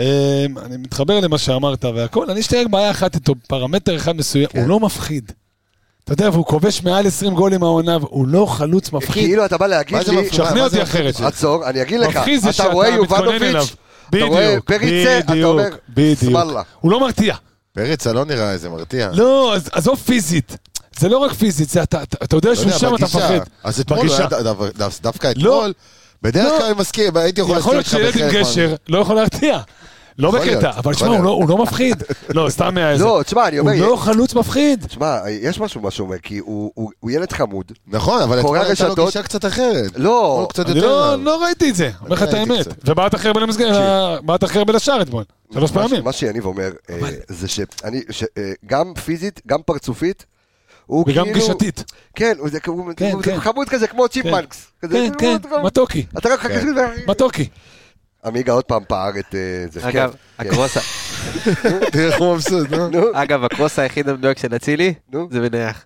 אמ, אני מתחבר למה שאמרת והכל, אני יש לי רק בעיה אחת איתו, פרמטר אחד מסוים,
כן.
הוא לא מפחיד. אתה יודע, והוא כובש מעל 20 גולים העונה, והוא לא חלוץ מפחיד.
כאילו אתה בא להגיד
מה זה
לי...
מפחיד? מה
שכנע
זה
אותי
מפחיד?
אחרת.
עצור, אני אגיד לך.
מפחיד זה
אתה
שאתה
רואה
מתכונן אליו.
יובנוביץ', אתה רואה
בדיוק,
פריצה, אתה
בדיוק,
אומר,
בדיוק.
"סבלה".
הוא לא מרתיע.
פריצה לא נראה איזה מרתיע.
לא, אז- עזוב פיזית. זה לא רק פיזית, זה אתה אתה- אתה יודע
לא
שהוא
יודע,
שם, אתה
בגישה.
מפחד.
אז אתמול,
בגישה.
לא היה דבר- דו- דווקא
לא.
אתמול, בדרך
לא.
כלל אני מסכים, הייתי יכול
יכול
להסכים
להיות
איתך
שילד עם
בחלק
גשר לא יכול להרתיע. לא
יכול להיות,
בקטע, אבל
יכול
תשמע,
להיות.
הוא לא- הוא לא מפחיד. לא, סתם מהאיזה.
לא, תשמע, אני
הוא
אומר...
לא חלוץ מפחיד.
תשמע, יש משהו במה שהוא אומר, כי הוא- הוא הוא ילד חמוד.
מה- נכון, אבל אתמול
קורא
הייתה לו
רשתות.
גישה קצת אחרת.
לא,
אתמול קצת
אני
יותר...
לא- לא ראיתי את זה, אומר לך את
אה, ראיתי
האמת.
קצת.
ובעט אחר בין המסגרת, בעט אחר בין השער אתמול. שלוש
מה ש-
פעמים.
מה שיניב אומר, אה, זה שאני, ש- אה, גם פיזית, גם פרצופית, הוא כאילו...
וגם גישתית.
כן, הוא זה כמו-
כן,
הוא
כן.
חמוד כזה, כמו צ'יפמנקס. כזה,
כן,
הוא-
כן,
הוא-
מתוקי.
אתה רק חכה
כן.
שזה...
מתוקי.
עמיגה עוד פעם פער את אה, זה.
אגב,
כן, כן.
הקרוס ה-
תראה איך הוא מבסוט, נו.
נו,
אגב, הקרוס היחיד המדויק של אצילי,
נו.
זה בנייח.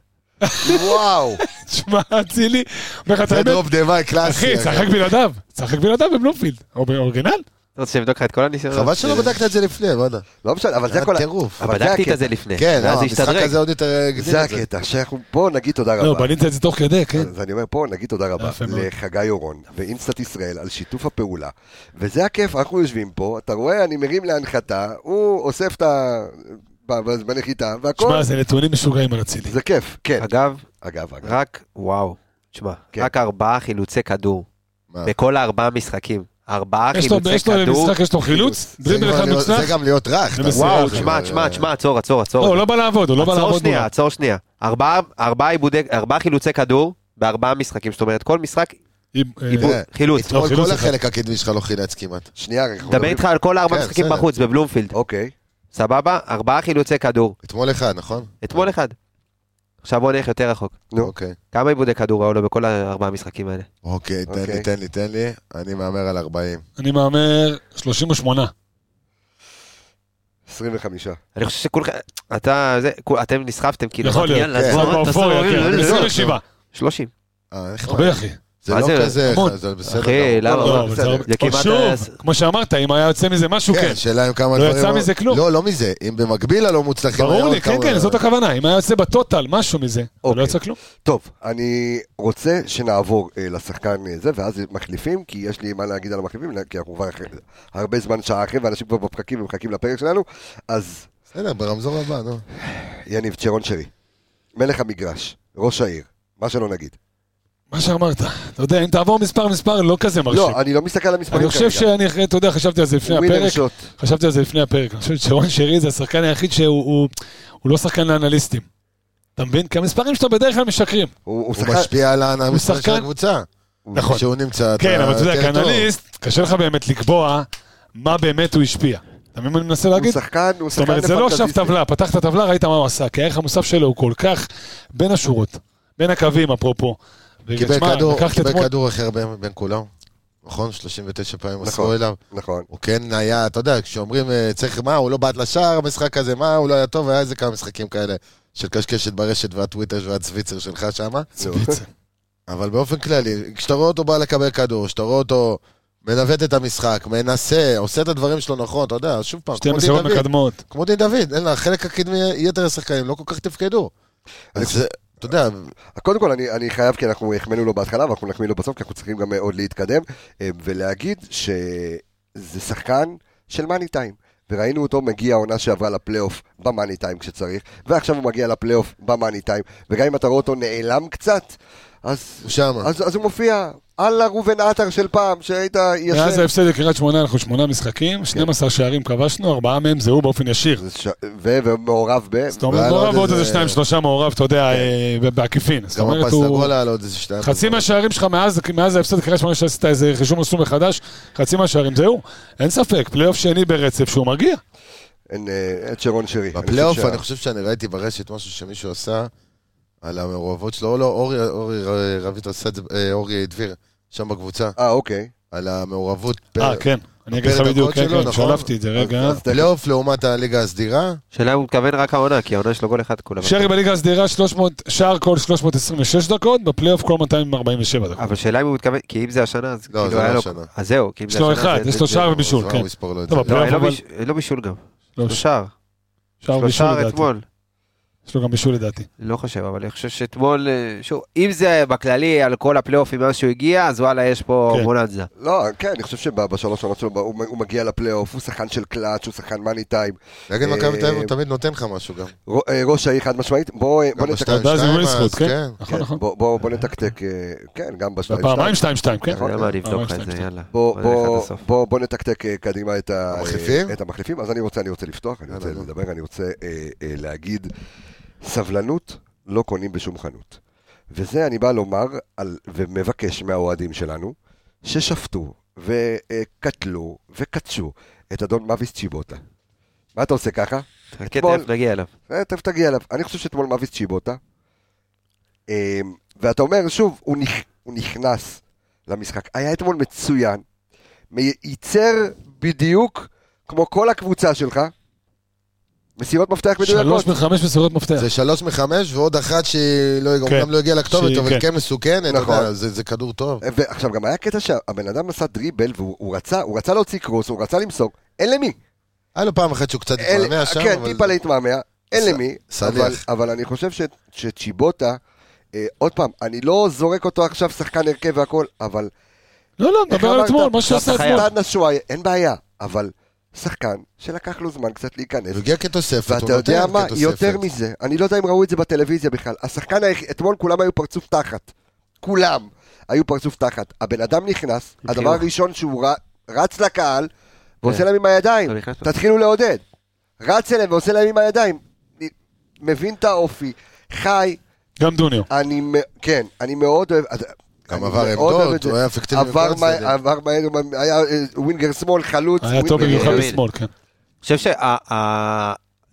וואו.
תשמע, אצילי, אומר לך את
זה לא
האמת.
דרופ דה וואי קלאסי.
אחי, צחק בלעדיו. צחק בלעדיו בבלומפילד. או באורגינל.
אתה רוצה שאבדוק לך את כל הניסיונות?
חבל שלא בדקת את זה לפני, וואלה.
לא משנה, אבל זה
היה
כל... ה-
טירוף.
אבל זה
בדקתי
הקטע.
את זה לפני,
כן,
ואז
לא,
אה, זה
המשחק
השתדרג.
הזה עוד יותר הגדיל
זה
את זה.
הקטע, שאנחנו פה נגיד תודה
לא,
רבה.
בנית את זה תוך כדי, כן.
אז אני אומר, פה נגיד תודה רבה
יפה מאוד.
לחגי אורון ואינסטאט ישראל על שיתוף הפעולה. וזה הכיף, אנחנו יושבים פה, אתה רואה, אני מרים להנחתה, הוא אוסף את ה... ב- ב- בנחיתה, והכל,
תשמע, זה נתונים משוגעים על אצילי.
זה כיף, כן.
אגב,
אגב, אגב.
רק, וואו, תשמע,
כן.
רק ארבעה חילוצי כדור.
מה?
בכל הארבעה משחקים. ארבעה
יש לו-
חילוצי
יש לו
כדור.
למשחק, יש לו חילוץ,
זה
דריבל
כבר
אחד
להיות-
מוצלח.
זה גם להיות רך. אתה-
ומסירה.
וואו,
זה-
אה,
תשמע, תשמע, תשמע, עצור, עצור, עצור.
לא, הוא לא בא לעבוד, הוא לא בא
עצור
לעבוד מולו.
שנייה, עצור שנייה. ארבעה- ארבעה עיבודי- ארבעה חילוצי כדור בארבעה משחקים. זאת אומרת, כל
כן.
משחק
אם, אה,
עיבוד,
אה,
חילוץ.
לא,
אתמול
חילוץ
כל
אחד.
החלק הקדמי שלך לא חילץ כמעט.
שנייה, אנחנו
דבר
מדברים-
איתך על כל ארבע
כן,
משחקים
בסדר.
בחוץ, בבלומפילד.
אוקיי.
סבבה? ארבעה חילוצי כדור.
אתמול אחד, נכון?
אתמול אחד. עכשיו בוא נלך יותר רחוק.
נו.
אוקיי.
כמה עיבודי כדור היו לו בכל הארבעה המשחקים האלה?
אוקיי, תן
אוקיי.
לי, תן לי, תן לי. אני מהמר על 40.
אני מהמר 38.
25.
אני חושב שכולכם... אתה... זה... כול- אתם נסחפתם כאילו.
יכול
אמרתי,
להיות.
יאללה,
כן.
אז בוא,
עכשיו
בוא,
באופוריה,
תעשו-
כן.
לא, לא, לא.
27.
30.
אה, איך
הרבה אחי.
זה
מה
לא
זה?
כזה,
המון.
זה בסדר.
אחי,
גמור.
למה?
לא,
לא, אבל
בסדר.
זה הרבה-
זה
או
כמעט היה-
שוב, כמו שאמרת, אם היה יוצא מזה משהו, כן.
כן, שאלה עם כמה
לא
דברים...
יצא מזה כלום.
לא, לא מזה. אם במקביל הלא מוצלחים... היה
ברור
עוד
לי, כן,
כמה-
כן, זאת הכוונה. אם היה יוצא בטוטל משהו מזה, זה לא
אוקיי.
יצא כלום.
טוב, אני רוצה שנעבור אה, לשחקן אה, זה, ואז מחליפים, כי יש לי מה להגיד על המחליפים, כי אנחנו כבר אחרי- הרבה זמן שעה אחרי, ואנשים כבר בפקקים ומחכים לפרק שלנו, אז
בסדר, ברמזור הבא, נו.
יניב צ'רון שרי, מלך המגרש, ראש העיר, מה שלא נגיד.
מה שאמרת, אתה יודע, אם תעבור מספר מספר, לא כזה מרשים.
לא, אני לא מסתכל על המספרים
אני חושב שאני, אחרי- אתה יודע, חשבתי על זה לפני
הוא ווינר
הפרק.
שוט.
חשבתי על זה לפני הפרק. אני חושב שרון שרי זה השחקן היחיד שהוא הוא- הוא לא שחקן לאנליסטים. אתה מבין? כי המספרים שלו בדרך כלל משקרים.
הוא הוא
הוא
שחקן...
משפיע על המספר של
שחקן-
הקבוצה.
נכון.
שהוא נמצא...
כן,
אתה
אבל אתה יודע,
יותר טוב.
כאנליסט, קשה לך באמת לקבוע מה באמת הוא השפיע. אתה מבין מה אני מנסה
הוא
להגיד?
שחקן, הוא
זאת
שחקן
אומרת, זה לא עכשיו
לפנטזיסטי.
טבלה, פתחת טבלה, ראית מה הוא עשה, כי הערך המוסף שלו הוא כל כך בין השורות, בין הקווים, אפרופו.
קיבל
ותשמע,
כדור,
לקחת
קיבל
אתמול-
כדור הכי הרבה בין כולם. נכון? 39 פעמים עשו
נכון.
אליו.
נכון.
הוא כן היה, אתה יודע, כשאומרים אה, צריך מה, הוא לא בעט לשער המשחק הזה, מה, הוא לא היה טוב, היה איזה כמה משחקים כאלה של קשקשת ברשת והטוויטר והצוויצר שלך שם.
צוויצר.
אבל באופן כללי, כשאתה רואה אותו בא לקבל כדור, כשאתה רואה אותו מנווט את המשחק, מנסה, עושה את הדברים שלו נכון, אתה יודע, שוב פעם,
שתי
כמו דין
מסירות
דוד,
מקדמות.
כמו דין דוד, אין לה, חלק הקדמי, יתר השחקנים לא כל כך תפקדו.
אני
אז זה, אתה יודע,
קודם כל, אני, אני חייב, כי אנחנו החמאנו לו בהתחלה, ואנחנו נחמיא לו בסוף, כי אנחנו צריכים גם אה, עוד להתקדם, אה, ולהגיד שזה שחקן של מאני טיים. וראינו אותו מגיע העונה שעברה לפלייאוף במאני טיים כשצריך, ועכשיו הוא מגיע לפלייאוף במאני טיים, וגם אם אתה רואה אותו נעלם קצת, אז,
הוא שמה.
אז, אז הוא מופיע. אללה ראובן עטר של פעם, שהיית
מאז
ישן.
ההפסד לקריית שמונה אנחנו שמונה משחקים, 12 שערים כבשנו, ארבעה מהם זהו באופן ישיר.
זה ש- ו- ומעורב ב...
זאת אומרת,
והיה לו
מעורב
עוד
ועוד
לא איזה- כן.
איזה שניים, שלושה מעורב, אתה יודע, אה, ב- בעקיפין. זאת
גם
אומרת,
הפס
הוא...
לגול היה לו עוד איזה שתיים.
חצי מהשערים שלך מאז, מאז ההפסד לקריית שמונה שעשית איזה חישוב מסלול מחדש, חצי מהשערים זהו. אין ספק, פלייאוף שני ברצף שהוא מגיע.
אין, אה, את שרון שרי. אני
בפלייאוף
חושב שה-
אני חושב שאני ראיתי ברשת משהו שמישהו עשה על המעורבות שלו, או לא, אורי- אורי ר- רביד עשה את זה, אה, אורי דביר, שם בקבוצה,
אה, אוקיי.
על המעורבות. פר-
אה, כן. אני אגיד לך
בפרק
בדיוק,
הקוד
כן,
שלו,
כן,
נכון?
שלפתי את זה רגע.
אז- אז תכף-
פלייאוף לעומת הליגה הסדירה,
שאלה אם הוא מתכוון רק העונה, כי העונה שלו גול אחד כולה.
שרי בליגה הסדירה 300, שער כל 326 דקות, בפלייאוף כל 247
אה,
דקות.
אבל שאלה אם הוא מתכוון, כי אם זה השנה, אז
לא,
כאילו
זה לא
היה לו-
השנה.
אז זהו, כי אם
יש
זה
לו
השנה...
אחד,
זה-
יש לו
זה-
שער
זה-
בישול,
אז מה,
כן.
הוא יספור לו את זה.
לא,
לא, אין לו
אבל-
ביש- אין לו בישול גם.
לא,
לא שער.
שער
לא
בישול
שער
לדעתי.
אתמול.
יש לו גם בישול לדעתי.
לא חושב, אבל אני חושב שאתמול, אה, שוב, אם זה בכללי על כל הפלייאופים מאז שהוא הגיע, אז וואלה, יש פה
כן.
בוננזה.
לא, כן, אני חושב שבשלוש עונות שלו הוא הוא מגיע לפלייאוף, הוא שחקן של קלאץ', הוא שחקן מאני טיים.
נגד מכבי תל אביב
אה,
הוא תמיד נותן לך משהו גם.
רו- אה, ראש העיר חד משמעית, בוא אה, בוא
גם
נתקתק.
בשתיים
ואז
שתיים,
עם ווילסקוט,
אז
כן.
כן,
נכון, נכון.
בוא- בוא בוא נתקתק, אה, כן, גם בשתיים
פעמיים 2-2, כן.
אתה
נכון.
יודע מה, אני
פעמיים
אבדוק לך את זה,
שתיים.
יאללה.
בוא-
בוא נלך עד
בוא-
הסוף.
בוא- בוא נתקתק אה, קדימה את ה-
המחליפים?
אה, את המחליפים. אז אני רוצה אני רוצה לפתוח, אני רוצה
יאללה,
לדבר, אני רוצה אה, אה, להגיד, סבלנות לא קונים בשום חנות. וזה אני בא לומר על- ומבקש מהאוהדים שלנו, ששפטו וקטלו וקטשו את אדון מאביס צ'יבוטה. מה אתה עושה ככה?
חכה,
אתמול-
תכף נגיע אליו.
אה, תכף תגיע אליו. אני חושב שאתמול מאביס צ'יבוטה. אה, ואתה אומר, שוב, הוא, נכ... הוא נכנס למשחק. היה אתמול מצוין. מי- ייצר בדיוק כמו כל הקבוצה שלך. מסירות מפתח מדויקות.
שלוש מחמש מסירות מפתח.
זה שלוש מחמש ועוד אחת שהיא לא-
כן.
גם לא הגיעה לכתובת,
שהיא-
אבל
כן.
כן מסוכנת, אתה
נכון.
יודע, זה זה כדור טוב.
ועכשיו, גם היה קטע שהבן אדם עשה דריבל והוא הוא רצה, הוא רצה להוציא קרוס, הוא רצה למסור. אין למי.
היה לו פעם אחת שהוא קצת
אין-
התמרמע שם,
כן,
אבל-
טיפה להתמהמה, אין
ס-
למי,
סליח.
אבל- אבל אני חושב ש- שצ'יבוטה, אה, עוד פעם, אני לא זורק אותו עכשיו שחקן הרכב והכל, אבל
לא, לא, מדבר על
אמרת?
אתמול, מה שהוא עשה
חייב.
אתמול.
סטן אשוואי, אין בעיה, אבל שחקן שלקח לו זמן קצת להיכנס.
הוא הגיע כתוספת, הוא
ואתה יודע
נותן
מה,
כתוספת.
יותר מזה, אני לא יודע אם ראו את זה בטלוויזיה בכלל, השחקן, היח- אתמול כולם היו פרצוף תחת. כולם היו פרצוף תחת. הבן אדם נכנס, הדבר הראשון שהוא ר- רץ לקהל, ועושה
כן.
להם עם הידיים.
לא נכנס לו.
תתחילו לעודד. רץ אליהם ועושה להם עם הידיים. אני מבין את האופי, חי,
גם דוניו.
אני, מ- כן, אני מאוד אוהב...
גם
אני
עבר
מאוד
עמדות,
אוהב את
הוא
זה.
היה אפקטיבי
עבר
בכל
מה-
הצדדים.
עבר מהר, היה אה, ווינגר שמאל, חלוץ.
אה,
היה טוב
ווינגר- אה,
במיוחד
ימין.
בשמאל, כן.
אני חושב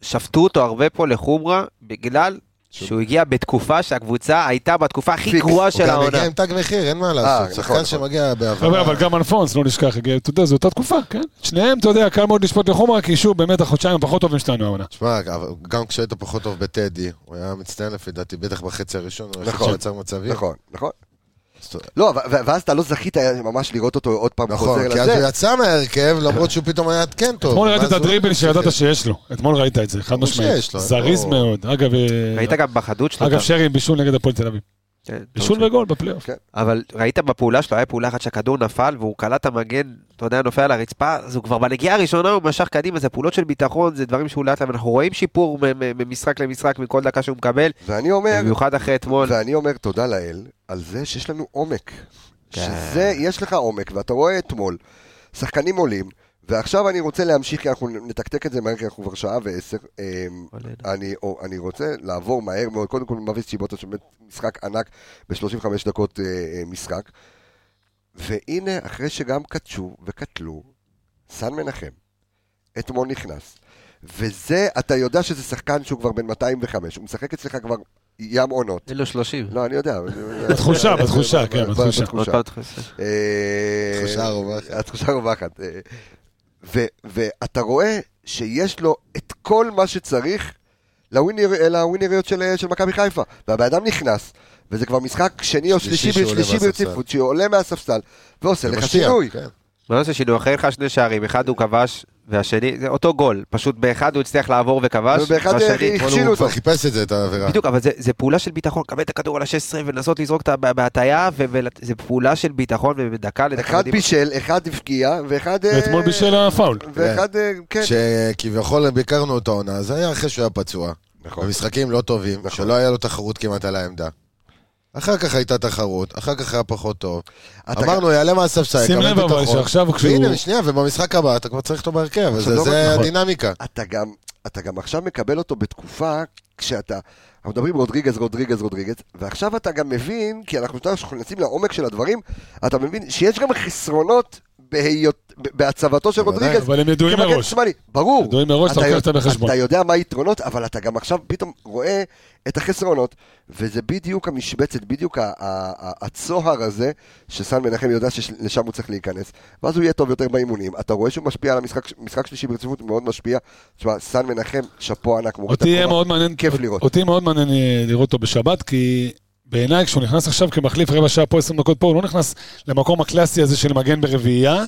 ששפטו אותו הרבה פה לחומרה, בגלל שהוא הגיע בתקופה שהקבוצה הייתה בתקופה הכי
פיקס.
גרועה
הוא
של
גם
העונה.
הגיע עם תג מחיר, אין מה
נכון,
לעשות. שחקן
נכון.
שמגיע
חבר'ה, אבל
בעבר.
גם אלפונס, לא נשכח, הגיע, אתה יודע, זו אותה תקופה, כן? שניהם, אתה יודע, קל מאוד לשפוט לחומרה, כי שוב, באמת, החודשיים הפחות טובים שלנו העונה.
תשמע, אבל גם כשהיית פחות טוב בטדי, הוא היה מצטיין לפי דעתי, בטח בחצי הראשון, הוא היחיד
נכון.
שיצר מצבים.
נכון, נכון.
אז-
לא, ו- ו- ואז אתה לא זכית ממש לראות אותו עוד פעם
נכון,
חוזר
כי אז
לזה.
הוא יצא מההרכב, למרות שהוא פתאום היה כן טוב.
אתמול ראית
ואז
את
הוא-
הדריבל שידעת שיש לו. אתמול ראית את זה, חד
ברור
משמעית.
שיש לו,
זריז
לא-
מאוד. אגב, אה,
ראית גם בחדות שלו.
אגב,
אתה-
שרי עם בישול נגד הפועל תל אביב.
כן, טוב
בישול
שלו.
וגול בפלייאוף.
אבל ראית בפעולה שלו, היה פעולה אחת שהכדור נפל והוא קלט את המגן, אתה יודע, נופל על הרצפה, אז הוא כבר בנגיעה הראשונה הוא משך קדימה, זה פעולות של ביטחון, זה דברים שהוא לאט לאט, אנחנו רואים שיפור מ- מ- ממשחק למשחק מכל דקה שהוא מקבל,
ואני
כן.
אומר,
במיוחד אחרי אתמול.
ואני אומר תודה לאל על זה שיש לנו עומק. שזה, יש לך עומק, ואתה רואה אתמול, שחקנים עולים, ועכשיו אני רוצה להמשיך, כי אנחנו נתקתק את זה מהר, כי אנחנו כבר שעה ועשר. אמ, אני, או, אני רוצה לעבור מהר מאוד, קודם כל מביס צ'יבוטה, שבאמת משחק ענק ב-35 דקות אה, אה, משחק. והנה, אחרי שגם קדשו וקטלו, סן מנחם, אתמול נכנס. וזה, אתה יודע שזה שחקן שהוא כבר בן 205, הוא משחק אצלך כבר ים עונות.
אין לו 30.
לא, אני יודע.
בתחושה, בתחושה, כן, בתחושה.
עוד פעם תחושה.
אה,
התחושה הרווחת.
התחושה הרווחת. אה, ו- ואתה רואה שיש לו את כל מה שצריך לווינר- אה, לווינריות של של מכבי חיפה. והבן אדם נכנס, וזה כבר משחק שני או
שלישי
שלישי
שהוא עולה
שלישי
מהספסל.
ברציפות, שעולה מהספסל, ועושה לך
משפיע,
שינוי.
כן.
מה עושה שינוי? אחרי לך שני שערים, אחד הוא כבש, והשני, זה אותו גול, פשוט באחד הוא הצליח לעבור וכבש,
ובאחד
והשני-
הכי-
אתמול
הכשילו
הוא כבר
אותו.
חיפש את זה, את העבירה.
בדיוק, אבל זה, זה פעולה של ביטחון, לקבל את הכדור על ה-16 ולנסות לזרוק את ה- בהטייה, וזה פעולה של ביטחון, ומדקה לדקה.
אחד
קדימה.
בישל, אחד הבקיע, ואחד... אה,
ואתמול בישל הפאול.
ואחד, אה, כן.
שכביכול ביקרנו אותו העונה,
נכון.
זה היה אחרי שהוא היה פצוע. במשחקים לא טובים, שלא היה לו תחרות כמעט על העמדה. אחר כך הייתה תחרות, אחר כך היה פחות טוב.
אתה-
אמרנו, יעלה מהספסל,
שים
יקבל
לב אבל
ביטחון.
שעכשיו כשהוא-
והנה, שנייה, ובמשחק הבא אתה כבר צריך אותו בהרכב, אז
עכשיו לא
זה-
רק-
זה
נכון.
הדינמיקה.
אתה גם, אתה גם עכשיו מקבל אותו בתקופה כשאתה... אנחנו מדברים רודריגז, רודריגז, רודריגז, ועכשיו אתה גם מבין, כי אנחנו שנייה נכנסים לעומק של הדברים, אתה מבין שיש גם חסרונות בהיות, ב- בהצבתו של
בוודאי,
רודריגז.
אבל הם ידועים
כמגן
מראש.
שמאלי, ברור.
ידועים מראש, אתה
יודע-
לוקח את זה בחשבון.
כן, אתה יודע מה היתרונות, אבל אתה גם עכשיו פתאום רואה את החסרונות, וזה בדיוק המשבצת, בדיוק ה- ה- ה- הצוהר הזה, שסן מנחם יודע שלשם הוא צריך להיכנס, ואז הוא יהיה טוב יותר באימונים. אתה רואה שהוא משפיע על המשחק, משחק שלישי ברציפות, הוא מאוד משפיע. תשמע, סן מנחם, שאפו ענק, מוריד את
אותי יהיה
הכובע.
מאוד מעניין,
כיף לראות.
אותי מאוד מעניין אה, לראות אותו בשבת, כי בעיניי כשהוא נכנס עכשיו כמחליף רבע שעה פה, 20 דקות פה, הוא לא נכנס למקום הקלאסי הזה של מגן ברביעייה.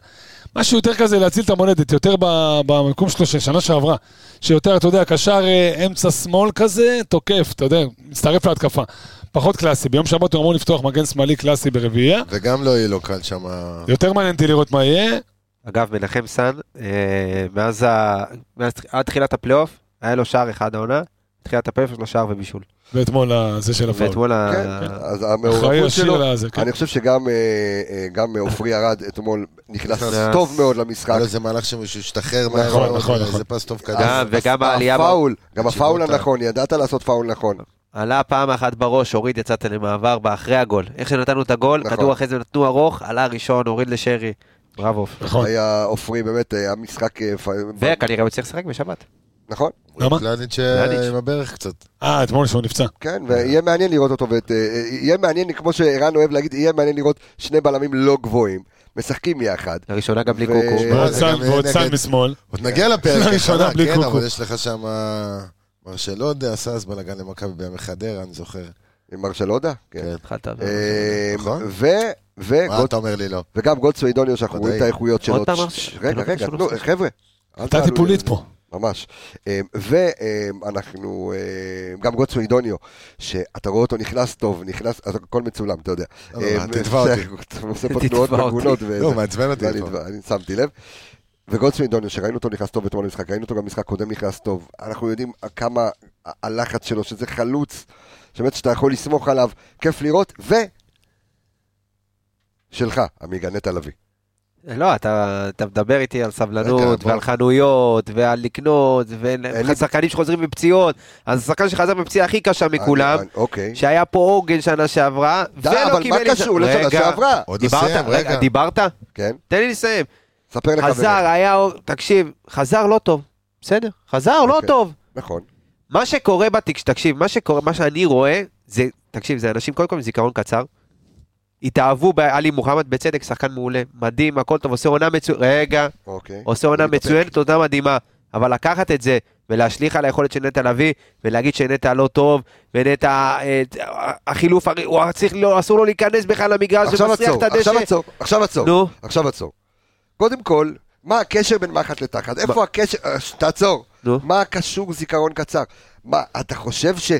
משהו יותר כזה להציל את המולדת, יותר ב- במקום שלו של שנה שעברה. שיותר, אתה יודע, קשר אה, אמצע שמאל כזה, תוקף, אתה יודע, מצטרף להתקפה. פחות קלאסי. ביום שבת הוא אמור לפתוח מגן שמאלי קלאסי ברביעייה.
וגם לא יהיה לו קל שם...
יותר מעניין אותי לראות מה יהיה.
אגב, מנחם סן, אה, מאז ה- מאז- עד תחילת הפלייאוף, היה לו שער אחד העונה, תחילת הפלייאוף יש לו שער ובישול.
ואתמול הזה של
נכון.
הפאול.
ואתמול ה...
כן, אז
אחראי
המעורבות
ישיר
שלו,
לזה, כן.
אני חושב שגם אה, אה, גם עופרי ארד אתמול נכנס
נכנס.
טוב מאוד למשחק.
היה לו איזה מהלך שמישהו השתחרר
נכון,
מהר,
נכון,
זה
נכון.
פס טוב
גם-
קדם.
וגם העלייה ב-
הפאול, גם הפאול
תקשיבו,
הנכון, ידעת לעשות פאול נכון.
עלה פעם אחת בראש, הוריד, יצאת למעבר, באחרי הגול. איך שנתנו את הגול,
נכון.
כדור אחרי זה נתנו ארוך, עלה ראשון, הוריד לשרי. בראבו.
נכון.
היה עופרי באמת, היה משחק... אה, פ-
וכנראה הוא יצטרך לשחק בשבת.
נכון,
למה?
פלניץ'
פלניץ'.
אה, עם הברך קצת.
אה, אתמול שהוא נפצע.
כן, ויהיה מעניין לראות אותו, ואת... אה, אה, יהיה מעניין, כמו שערן אוהב להגיד, יהיה מעניין לראות שני בלמים לא גבוהים, משחקים יחד.
לראשונה גם בלי
ו-
קוקו.
אה,
ועוד
זה
סן-
גם
ועוד סן
נגד-
משמאל.
עוד נגיע לפרק,
לראשונה
הכנה,
לא, בלי
כן,
קוקו.
אבל יש לך שם... אה, מרשלוד עשה אז אה, בלאגן למכבי בימי חדרה, אני זוכר.
עם מרשלודה? כן.
כן.
התחלת, אבל- לא
אה,
נכון.
ו... ו...
מה אתה אומר לי לא?
וגם גולדסווי דוניו, שאנחנו
ודאי.
רואים את האיכויות שלו.
פעם אמרת-
ש- ש-
אתה
רגע,
לא
רגע,
קשור
תנו,
לנושא.
חבר'ה. אל
הייתה
תעלו
טיפולית
לי.
פה.
ממש. אה, ואנחנו, אה, גם גולדסווי דוניו, שאתה רואה אותו נכנס טוב, נכנס, אז הכל מצולם, אתה יודע.
לא, לא,
אה,
תתבע אותי.
הוא עושה פה
תתבע
תנועות
אותי.
מגונות. וזה.
לא, מעצבן אותי.
זה
לפעמים.
אני- אני שמתי לב. וגולדסמין דוניו, שראינו אותו נכנס טוב אתמול למשחק, ראינו אותו גם במשחק קודם נכנס טוב. אנחנו יודעים כמה ה- הלחץ שלו, שזה חלוץ, שבאמת שאתה יכול לסמוך עליו, כיף לראות, ו... שלך, עמיגה נטע לביא.
לא, אתה, אתה מדבר איתי על
רגע,
סבלנות,
בוא.
ועל חנויות, ועל לקנות,
אין לי-
ושחקנים שחוזרים מפציעות. אז השחקן שחזר מפציעה הכי קשה מכולם,
אני- אני- אוקיי.
שהיה פה עוגן שנה שעברה,
די, אבל מה
הזד-
קשור לשנה
רגע,
שעברה?
עוד לא
דיברת?
סיים,
רגע,
רגע.
דיברת?
כן,
תן לי לסיים.
ספר לחברים.
חזר, היה... תקשיב, חזר לא טוב. בסדר, חזר לא
אוקיי.
טוב.
נכון.
מה שקורה בתקש... תקשיב, מה שקורה, מה שאני רואה, זה... תקשיב, זה אנשים, קודם כל עם זיכרון קצר. התאהבו בעלי מוחמד, בצדק, שחקן מעולה, מדהים, הכל טוב, עושה עונה מצוינת, רגע,
אוקיי.
עושה עונה
להתאפק.
מצוינת, עונה מדהימה, אבל לקחת את זה ולהשליך על היכולת של נטע לביא, ולהגיד שנטע לא טוב, ונטע, אה, החילוף, הרי- הוא צריך, לא, אסור לו להיכנס בכלל למגרש,
עכשיו
ומסריח
עצור,
את הדשא.
עכשיו עצור, עכשיו עצור.
נו,
עכשיו עצור. קודם כל, מה הקשר בין מחט לתחת? איפה הקשר? אה, ש- תעצור.
נו.
מה קשור זיכרון קצר? מה, אתה חושב ש...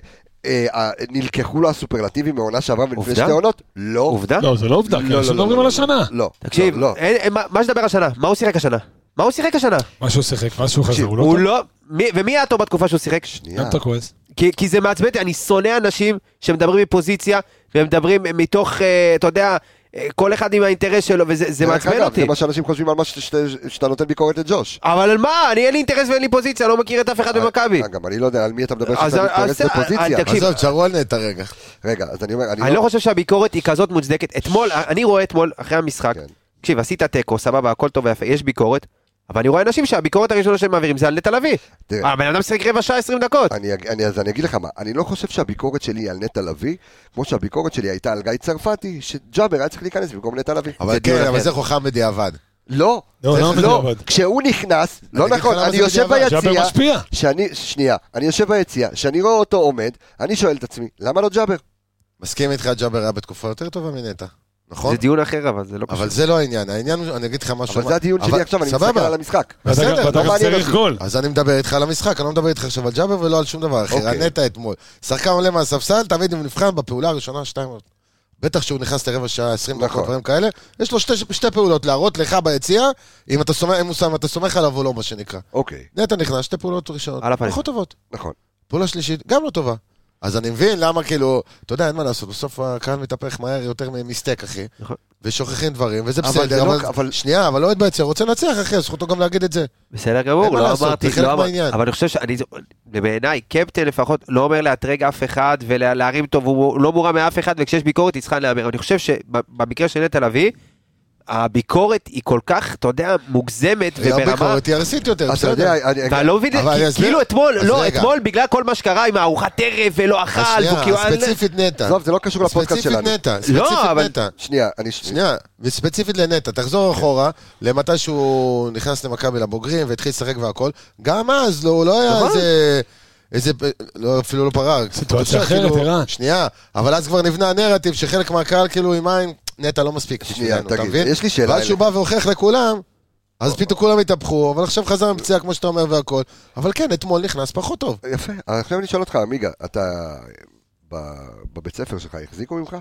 אה, אה, נלקחו לו הסופרלטיבים מעונה שעברה ולפני
עובדה?
שתי עונות? לא.
עובדה.
לא, זה לא עובדה, כי
לא,
אנשים
לא,
מדברים
לא,
על
לא.
השנה.
לא.
תקשיב, אה,
לא.
אין- אין- מה- מה שנדבר השנה? מה הוא שיחק השנה? מה הוא שיחק השנה?
מה שהוא שיחק, מה שהוא חזר,
תקשיב, לא- אה.
הוא לא...
הוא
טוב.
לא... מי- ומי היה טוב בתקופה שהוא שיחק?
שנייה.
גם אתה כועס.
כי, כי זה מעצבן, אותי, אני שונא אנשים שמדברים מפוזיציה, ומדברים מתוך, אה, אתה יודע, אה, כל אחד עם האינטרס שלו, וזה זה
דרך
מעצבן
אגב,
אותי.
זה מה שאנשים חושבים על מה ש- ש- שאתה נותן ביקורת לג'וש.
אבל על מה? אני אין לי אינטרס ואין לי פוזיציה, אני לא מכיר את אף אחד במכבי.
אה, גם אני לא יודע על מי אתה מדבר
אז-
שאתה מתפרץ
אז- אה, אה,
לפוזיציה.
תקשיב.
עזוב, תשארו על נטע רגע.
רגע, אז אני אומר,
אני לא חושב שהביקורת היא כזאת מוצדקת. אתמול, אה, אני רואה אתמול, אחרי המשחק,
כן.
תקשיב, עשית תיקו, סבבה, הכל טוב ויפה, יש ביקורת, אבל אני רואה אנשים שהביקורת הראשונה שהם מעבירים זה על נטע לביא.
תראה. אה,
הבן אדם שיחק רבע שעה, 20 דקות.
אני, אג- אני, אז אני אגיד לך מה, אני לא חושב שהביקורת שלי היא על נטע לביא, כמו שהביקורת שלי הייתה על גיא צרפתי, שג'אבר היה צריך להיכנס במקום נטע לביא.
אבל
דיון
כן, אבל
אחר.
זה חוכם בדיעבד.
לא,
לא,
זה-
לא
לא,
בדיעבד.
כשהוא נכנס, לא
אגיד לך
נכון,
למה
אני
זה
יושב
בדיעבד.
ביציע,
ג'אבר משפיע.
אה, שאני, שנייה, אני יושב ביציע, שאני רואה אותו עומד, אני שואל את עצמי, למה לא ג'אבר?
מסכים איתך, ג'אבר היה בתקופה יותר טובה מנטע, נכון?
זה דיון אחר, אבל זה לא
אבל
קשור.
זה לא העניין, העניין הוא, אני אגיד לך משהו.
אבל זה הדיון שלי
אבל-
עכשיו, אני מסתכל
סבבה.
על המשחק.
ואתה
בסדר,
גם- ואתה
לא
גם
מעניין
צריך
אותי.
גול.
אז אני מדבר איתך על המשחק, אני לא מדבר איתך עכשיו על ג'אבר ולא על שום דבר אחר.
אוקיי.
הנטע אתמול. שחקן עולה מהספסל, תמיד הוא נבחן בפעולה הראשונה, שתיים... בטח שהוא נכנס לרבע שעה, 20
נכון.
דקות, דברים כאלה. יש לו שתי, שתי פעולות, להראות לך ביציע, אם אתה סומך- אם הוא שם- אתה סומך עליו או לא, מה שנקרא.
אוקיי,
נטע נכנס, שתי פעולות ראשונות.
על הפנים.
פחות טובות.
נכון.
פעולה שלישית, גם לא טובה. אז אני מבין למה כאילו, אתה יודע, אין מה לעשות, בסוף הקהל מתהפך מהר יותר מ- מסטייק, אחי.
נכון.
ושוכחים דברים, וזה
אבל
בסדר,
זה לא-
אבל...
אבל-
שנייה, אבל לא מתבייצר, רוצה לנצח, אחי, אז זכותו גם להגיד את זה.
בסדר
אין
גמור,
מה
לא
לעשות,
אמרתי,
זה חלק
לא אמר-
מהעניין.
אבל אני חושב שאני, בעיניי, קפטן לפחות, לא אומר לאתרג אף אחד ולהרים טוב, הוא לא מורם מאף אחד, וכשיש ביקורת היא צריכה להמר. אני חושב שבמקרה של נטע לביא, הביקורת היא כל כך, אתה יודע, מוגזמת
גם
וברמה...
לא ביקורת היא ארסית יותר,
אתה
בסדר.
יודע, אני-
אתה לא מבין,
אבל
כי-
אני אסביר.
כאילו אתמול,
אז
לא,
רגע.
אתמול בגלל כל מה שקרה עם הארוחת ערב ולא אכל,
אז
והוא כאילו-
שנייה, ספציפית נטע.
עזוב, זה לא קשור לפודקאסט
ספציפית
שלנו. לא,
נטע, ספציפית
אבל-
נטע.
שנייה, אני...
שנייה, וספציפית לנטע, תחזור
כן.
אחורה, למתי שהוא נכנס למכבי לבוגרים והתחיל לשחק והכל, גם אז לא, הוא לא
נכון.
היה איזה... איזה, לא, אפילו לא פרה,
סיטואציה
כאילו-
אחרת, ערן.
שנייה, אבל אז כבר נבנה הנרטיב שחלק מהקהל כאילו עם עין, נטע לא מספיק
שנייה,
בשבילנו, אתה
תגיד,
מבין?
יש לי שאלה
ואז שהוא בא והוכיח לכולם, אז פתאום כולם התהפכו, אבל עכשיו חזר המציאה כמו שאתה אומר והכל, אבל כן, אתמול נכנס פחות טוב.
יפה, עכשיו אני אשאל אותך, עמיגה, אתה ב- בבית ספר שלך החזיקו ממך?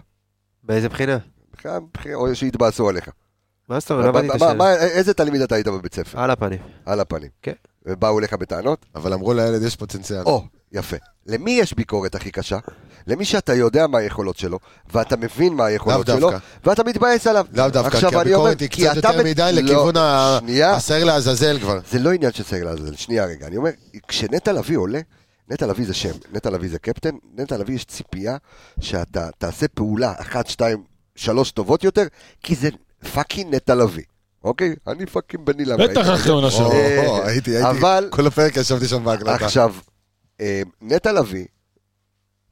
באיזה בחינה?
בכלל, בכלל, או שהתבאסו עליך.
מה זאת אומרת? לא
מה-
הבנתי את
מה-
השאלה.
מה- איזה תלמיד אתה היית בבית ספר?
על הפנים.
אה.
על הפנים.
כן.
ובאו אליך בטענות?
אבל אמרו לילד, יש פוטנציאל.
או, יפה. למי יש ביקורת הכי קשה? למי שאתה יודע מה היכולות שלו, ואתה מבין מה היכולות
לאו
שלו,
דווקא.
ואתה מתבאס עליו.
לאו דווקא,
עכשיו אני
כי
אומר,
הביקורת היא
כי
קצת
אתה
יותר
בת-
מדי
לא,
לכיוון ה-
שנייה,
השעיר לעזאזל כבר.
זה לא עניין של סגל לעזאזל, שנייה רגע, אני אומר, כשנטע לביא עולה, נטע לביא זה שם, נטע לביא זה קפטן, נטע לביא יש ציפייה שאתה תעשה פעולה אחת, שתיים, שלוש טובות יותר, כי זה פאקינג נטע לביא, אוקיי? אני פאקינג בני למד.
בטח אחרי עונה שלו.
אה,
או, הייתי, הייתי,
אבל-
כל הפרק ישבתי שם בהקלטה.
עכשיו, אה, נטע לביא,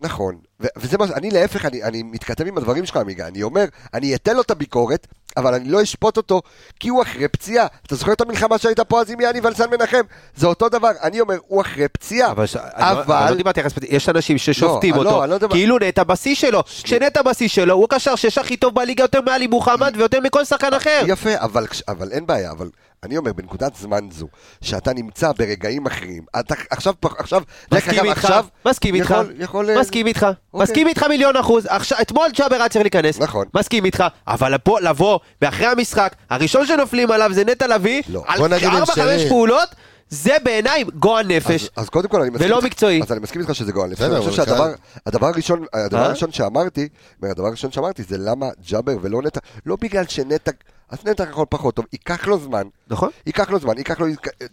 נכון, ו- וזה מה, ש- אני להפך, אני, אני מתכתב עם הדברים שלך, עמיגה, אני אומר, אני אתן לו את הביקורת, אבל אני לא אשפוט אותו, כי הוא אחרי פציעה. אתה זוכר את המלחמה שהייתה פה אז עם יאני ולסן מנחם? זה אותו דבר, אני אומר, הוא אחרי פציעה.
אבל... ש- אני לא-
אבל-
אני לא דיברתי עליך ספציפית, יש אנשים ששופטים
לא,
אותו,
אני לא מדבר-
כאילו נטע בשיא שלו, כשנטע בשיא שלו, הוא הקשר שיש הכי טוב בליגה, יותר מעלי מוחמד ויותר מכל שחקן אחר.
יפה, אבל, כש- אבל אין בעיה, אבל אני אומר, בנקודת זמן זו, שאתה נמצא ברגעים אחרים, אתה עכשיו, פח- עכשיו, דרך
מסכים
אגב,
איתך,
עכשיו,
מסכים איתך,
יכול, יכול, אה,
מסכים איתך,
אוקיי.
מסכים איתך מיליון אחוז, עכשיו- אתמול ג'אבר היה צריך להיכנס,
נכון.
מסכים איתך, אבל פה לבוא, ואחרי המשחק, הראשון שנופלים עליו זה נטע לביא,
לא.
על
בוא נגיד עם
4-5
שרי.
פעולות, זה בעיניי גועל נפש,
אז, אז קודם כל אני מסכים
ולא
איתך-
מקצועי.
אז אני מסכים איתך שזה גועל נפש.
בסדר,
אני חושב
אבל
שהדבר
קהל-
הדבר הראשון, הדבר
אה?
הראשון שאמרתי, הדבר הראשון שאמרתי זה למה ג'אבר ולא נטע, לא בגלל שנטע, אז נטע יכול פחות טוב, ייקח לו זמן.
נכון?
ייקח לו זמן, ייקח לו...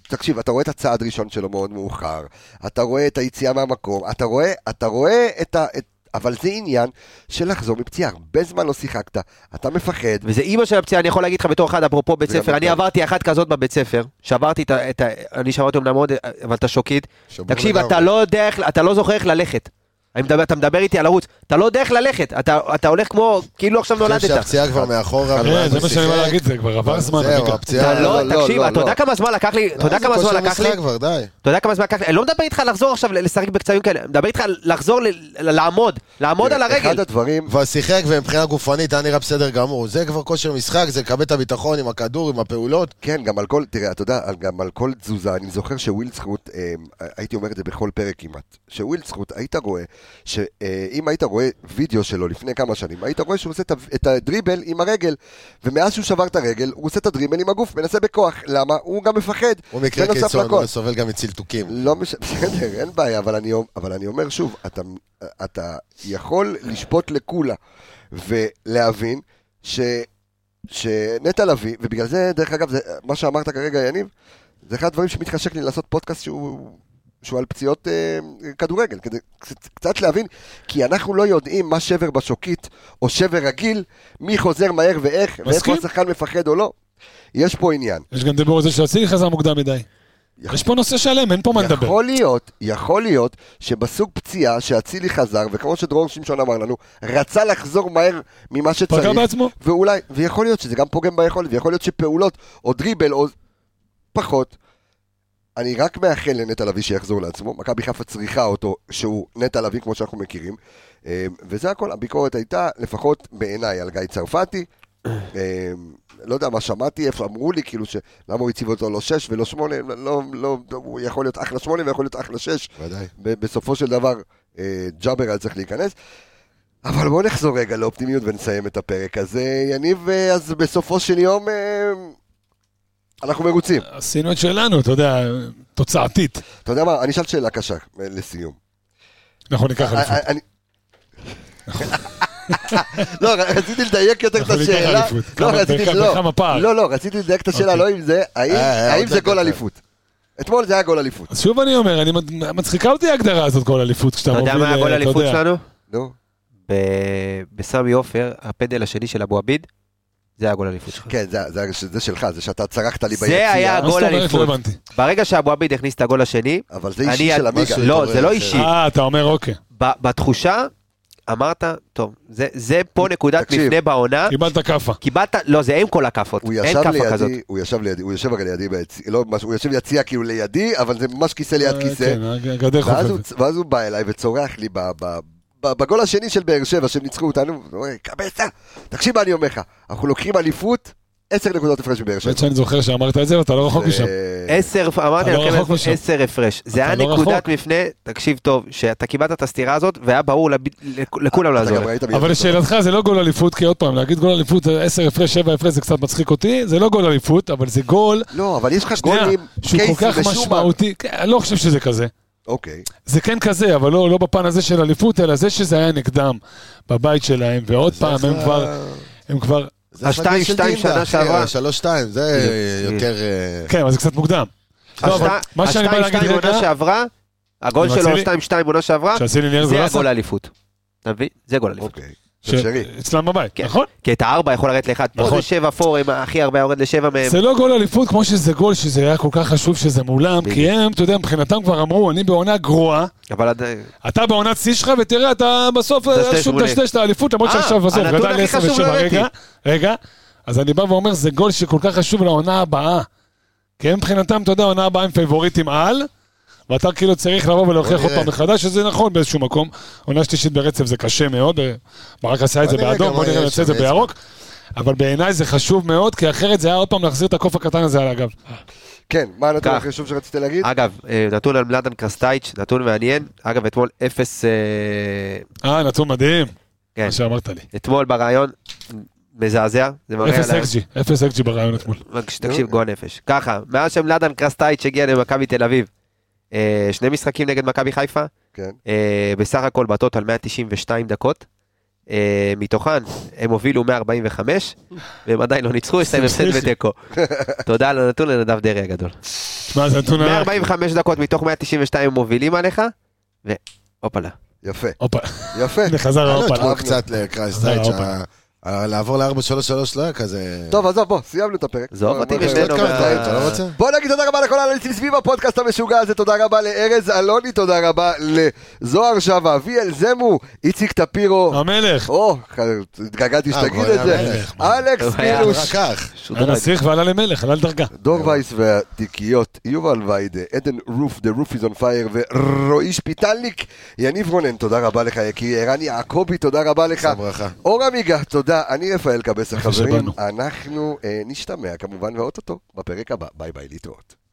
תקשיב, אתה רואה את הצעד ראשון שלו מאוד מאוחר, אתה רואה את היציאה מהמקום, אתה רואה, אתה רואה את ה... את... אבל זה עניין של לחזור מפציעה, הרבה זמן לא שיחקת, אתה מפחד,
וזה אימא של הפציעה, אני יכול להגיד לך בתור אחד, אפרופו בית
וגם
ספר, אני
אתה.
עברתי אחת כזאת בבית ספר, שברתי את ה... את ה- אני שמעתי אומנם עוד, אבל אתה שוקית.
שבור
תקשיב,
לגמרי.
אתה לא יודע איך, אתה לא זוכר איך ללכת. אני מדבר, אתה מדבר איתי על ערוץ, אתה לא יודע איך ללכת, אתה, אתה הולך כמו, כאילו
כן,
עכשיו
אני חושב
נולדת.
שהפציעה כבר מאחורה.
כן,
ואז
זה
הוא
מה שאני בא
שיחק.
להגיד, זה כבר עבר זמן.
זהו,
עמיגה.
הפציעה... לא-
אתה
לא,
לא,
לא,
תקשיב,
לא,
אתה
לא.
יודע כמה זמן לקח לי, אתה יודע כמה זמן לקח לי,
זה כושר משחק כבר, די.
אתה יודע כמה זמן לקח לי, אני לא מדבר איתך לחזור עכשיו לשחק בקצבים כאלה, אני מדבר איתך על לחזור ל- ל- לעמוד, לעמוד על
אחד
הרגל.
הדברים,
כבר שיחק, ומבחינה גופנית היה נראה בסדר גמור. זה כבר כושר משחק, זה לקבל את הביטחון עם הכדור, עם הפעולות.
כן, גם על כל, תראה, אתה יודע, על- גם על כל תזוזה, אני זוכר שוויל זכות, אה, הייתי אומר את זה בכל פרק כמעט, שוויל זכות, היית רואה, שאם היית רואה וידאו שלו לפני כמה שנים, היית רואה שהוא עושה את ה- את הדריבל עם הרגל, ומאז שהוא שבר את הרגל, הוא עושה את הדריבל עם הגוף, מנסה בכוח, למה? הוא גם מפחד.
הוא מקרה
בנוסף
קיצון,
לכל.
הוא סובל גם מצלתוקים.
לא משנה, בסדר, אין בעיה, אבל אני, אבל אני אומר שוב, אתה, אתה יכול לשפוט לקולה ולהבין ש, שנטע לביא, ובגלל זה, דרך אגב, זה, מה שאמרת כרגע, יניב, זה אחד הדברים שמתחשק לי לעשות פודקאסט שהוא, שהוא על פציעות אה, כדורגל, כדי קצת, קצת להבין, כי אנחנו לא יודעים מה שבר בשוקית או שבר רגיל, מי חוזר מהר ואיך, ואיפה
מסכים.
השחקן מפחד או לא. יש פה עניין.
יש גם דיבור על זה שאצילי חזר מוקדם מדי. יש פה נושא שלם, אין פה מה לדבר.
יכול להיות, יכול להיות שבסוג פציעה שאצילי חזר, וכמו שדרור שמשון אמר לנו, רצה לחזור מהר ממה שצריך.
פגע בעצמו.
ואולי, ויכול להיות שזה גם פוגם ביכולת, ויכול להיות שפעולות, או דריבל, או פחות. אני רק מאחל לנטע לביא שיחזור לעצמו, מכבי חיפה צריכה אותו, שהוא נטע לביא כמו שאנחנו מכירים. אה, וזה הכל, הביקורת הייתה, לפחות בעיניי, על גיא צרפתי. אה, לא יודע מה שמעתי, איפה אמרו לי, כאילו, ש- למה הוא הציב אותו לא שש ולא שמונה, לא, לא, לא, הוא יכול להיות אחלה שמונה ויכול להיות אחלה שש.
ודאי.
ב- בסופו של דבר, אה, ג'אבר היה צריך להיכנס. אבל בואו נחזור רגע לאופטימיות ונסיים את הפרק הזה. יניב, אה, אז בסופו של יום אה, אנחנו מרוצים.
עשינו את שלנו, אתה יודע, תוצאתית.
אתה יודע מה, אני אשאל שאלה קשה אה, לסיום.
אנחנו ניקח אליפות.
אני- לא, רציתי לדייק יותר את
נכון. אנחנו ניקח
השאלה.
אליפות.
לא,
כמה-
רציתי,
בכ-
לא.
בכמה פער? אוקיי.
לא, לא, רציתי לדייק את השאלה, לא אם זה, האם-
אה,
האם
עוד
זה
דקה.
גול אליפות. אתמול זה היה גול אליפות.
אז שוב אני אומר, אני מד- מצחיקה אותי ההגדרה הזאת, גול אליפות, כשאתה
אתה
מוביל...
יודע מה הגול
אה, אתה
האליפות
יודע.
שלנו?
נו,
ב- בסמי עופר, הפנדל השני של אבו עביד, זה היה הגול האליפות שלך.
כן, זה- זה- זה שלך, זה שאתה צרחת לי
זה
ביציאה.
היה
מה זאת
גול
אומרת? לא
אליפות.
הבנתי.
ברגע שאבו עביד הכניס את הגול השני,
אבל זה אישי
אני-
של עמיגה.
משהו
לא,
התעורר,
זה לא
זה-
אישי.
אה, אתה אומר אוקיי.
ב- בתחושה, אמרת, טוב, זה- זה פה נקודת
תקשיב.
מפנה בעונה.
קיבלת כאפה.
קיבלת, לא, זה עם כל הכאפות.
הוא
אין
ישב
כאפה כזאת.
לידי, הוא ישב לידי, הוא יושב הרי לידי, ביצ- לא, ממש- הוא יושב יציע כאילו לידי, אבל זה ממש כיסא ליד
אה,
כיסא.
כן, הגדר
ואז הוא,
חופפת.
ואז הוא בא אליי וצורח לי ב, ב, ב, בגול השני של באר שבע, שהם ניצחו אותנו, הוא אומר, קבסה, תקשיב מה אני אומר לך, אנחנו לוקחים אליפות, עשר נקודות הפרש מבאר שבע.
באמת שאני זופר שאמרת את זה, ואתה לא רחוק משם.
אה,
עשר, אמרתי,
אתה לא
לכם,
רחוק משם.
עשר הפרש. זה
אתה
היה
לא
נקודת
רחוק.
מפנה, תקשיב טוב, שאתה קיבלת את הסתירה הזאת, והיה ברור לב- לכ- לכולם
אתה
לעזור.
גם ראית מי
אבל
זה.
לשאלתך זה לא גול אליפות, כי עוד פעם, להגיד גול אליפות, 10 הפרש, 7 הפרש, זה קצת מצחיק אותי, זה לא גול אליפות, אבל זה גול,
לא, אבל יש לך
שנייה,
גולים,
שהוא
קייסי
כל כך
ושומן.
משמעותי, כן, אני לא חושב שזה כזה.
אוקיי,
זה כן כזה, אבל לא, לא בפן הזה של אליפות, אלא זה שזה היה נגדם בבית שלהם, ועוד פעם, הם כבר, הם כבר,
זה השניים,
השתיים,
של
שתיים
דינדה,
שנה
אחי,
שעברה.
השלוש שתיים, זה
זה-
יותר... אה,
כן, אבל זה קצת מוקדם. לא, אבל
השת-
מה שאני בא להגיד
השתיים-שתיים
רגע,
עונה שעברה, הגול
זה
שלו,
מצחיק.
השתיים-שתיים עונה שעברה,
שעשי לי נהר
זה
גולסה,
הגול האליפות. אתה מבין? זה גול אליפות.
אוקיי.
ש-
של שרי.
אצלם בבית,
כן.
נכון?
כי את הארבע יכול לרדת לאחד. פה
נכון.
זה שבע פור, עם הכי הרבה יורד לשבע מהם.
זה לא גול אליפות כמו שזה גול, שזה היה כל כך חשוב שזה מולם, כי הם, אתה יודע, מבחינתם כבר אמרו, אני בעונה גרועה,
אבל עדיין-
אתה בעונת שיא שלך, ותראה, אתה בסוף אה,
דשדש
שוב
מולי.
דשדש את האליפות, למרות
אה,
שעכשיו, עזוב,
הנתון
גדל
הכי
ל-27,
חשוב לא ראיתי.
רגע, רגע. אז אני בא ואומר, זה גול שכל כך חשוב לעונה הבאה. כי הם מבחינתם, אתה יודע, העונה הבאה הם פייבוריטים על, ואתה כאילו צריך לבוא ולהוכיח עוד פעם מחדש, שזה נכון באיזשהו מקום. עונה שלישית ברצף זה קשה מאוד, אה, ברק עשה את זה
בוא נראה
באדום,
גם
בוא
מה
נראה אם
יש
יוצא את
שם,
זה בירוק. אבל בעיניי זה חשוב מאוד, כי אחרת זה היה עוד פעם להחזיר את הקוף הקטן הזה על הגב.
כן, מה הנתון
כך.
הכי חשוב שרצית להגיד?
אגב, אה, נתון על מלאדן קרסטייץ', נתון מעניין. אגב, אתמול אפס... אה,
אה, נתון מדהים,
כן,
מה שאמרת לי.
אתמול בריאיון, מזעזע. זה מראה
אפס
על ה-
אקג'י, אפס אקג'י ברעיון אתמול.
רק שתקשיב, גועל נפש. ככה, מאז שמלאדן קרסטייץ' הגיע למכבי תל אביב, אה, שני משחקים נגד מכבי חיפה,
כן.
אה, בסך הכל בטוטל 192 דקות. אה, מתוכן הם הובילו 145 והם עדיין לא ניצחו, יש להם הפסד ותיקו. תודה על הנתון לנדב דרעי הגדול.
שמע, זה נתון... ענק.
145 דקות מתוך 192 הם מובילים עליך, והופלה.
יפה,
הופה,
יפה.
הנה חזר
לא,
ההופה.
תנו
אהבנו.
קצת לקרייסטייץ',
אהבנו.
ה- ה- לעבור ל-4-3-3 לא היה כזה...
כן. טוב, אה, עזוב, בוא, סיימנו את הפרק.
זו
בוא,
אותי
בוא,
יש
בוא.
לי עוד
ושנינו
כמה
מה-
דברים, אתה לא רוצה?
בוא נגיד תודה רבה לכל האנליסטים סביב הפודקאסט המשוגע הזה, תודה רבה לארז אלוני, תודה רבה לזוהר שווה, אביאל זמו, איציק טפירו,
המלך,
או, התגעגעתי
אה,
שתגיד
הוא היה
את זה,
המלך, מה?
אלכס
הוא היה
מילוש,
רק כך.
היה נסיך ועלה למלך, עלה לדרגה.
דור וייס והתיקיות, יובל ויידה, עדן רוף, The Roof is on fire, ורועי שפיטלניק, יניב רונן, תודה רבה לך יקירי, ערן יעקבי, תודה רבה לך.
עשה ברכה.
אוקיי. אור עמיגה, תודה. אני רפאל קבסה,
אחרי
חברים.
שבאנו.
אנחנו אה, נשתמע כמובן, ואו-טו-טו, בפרק הבא. ביי ביי, להתראות.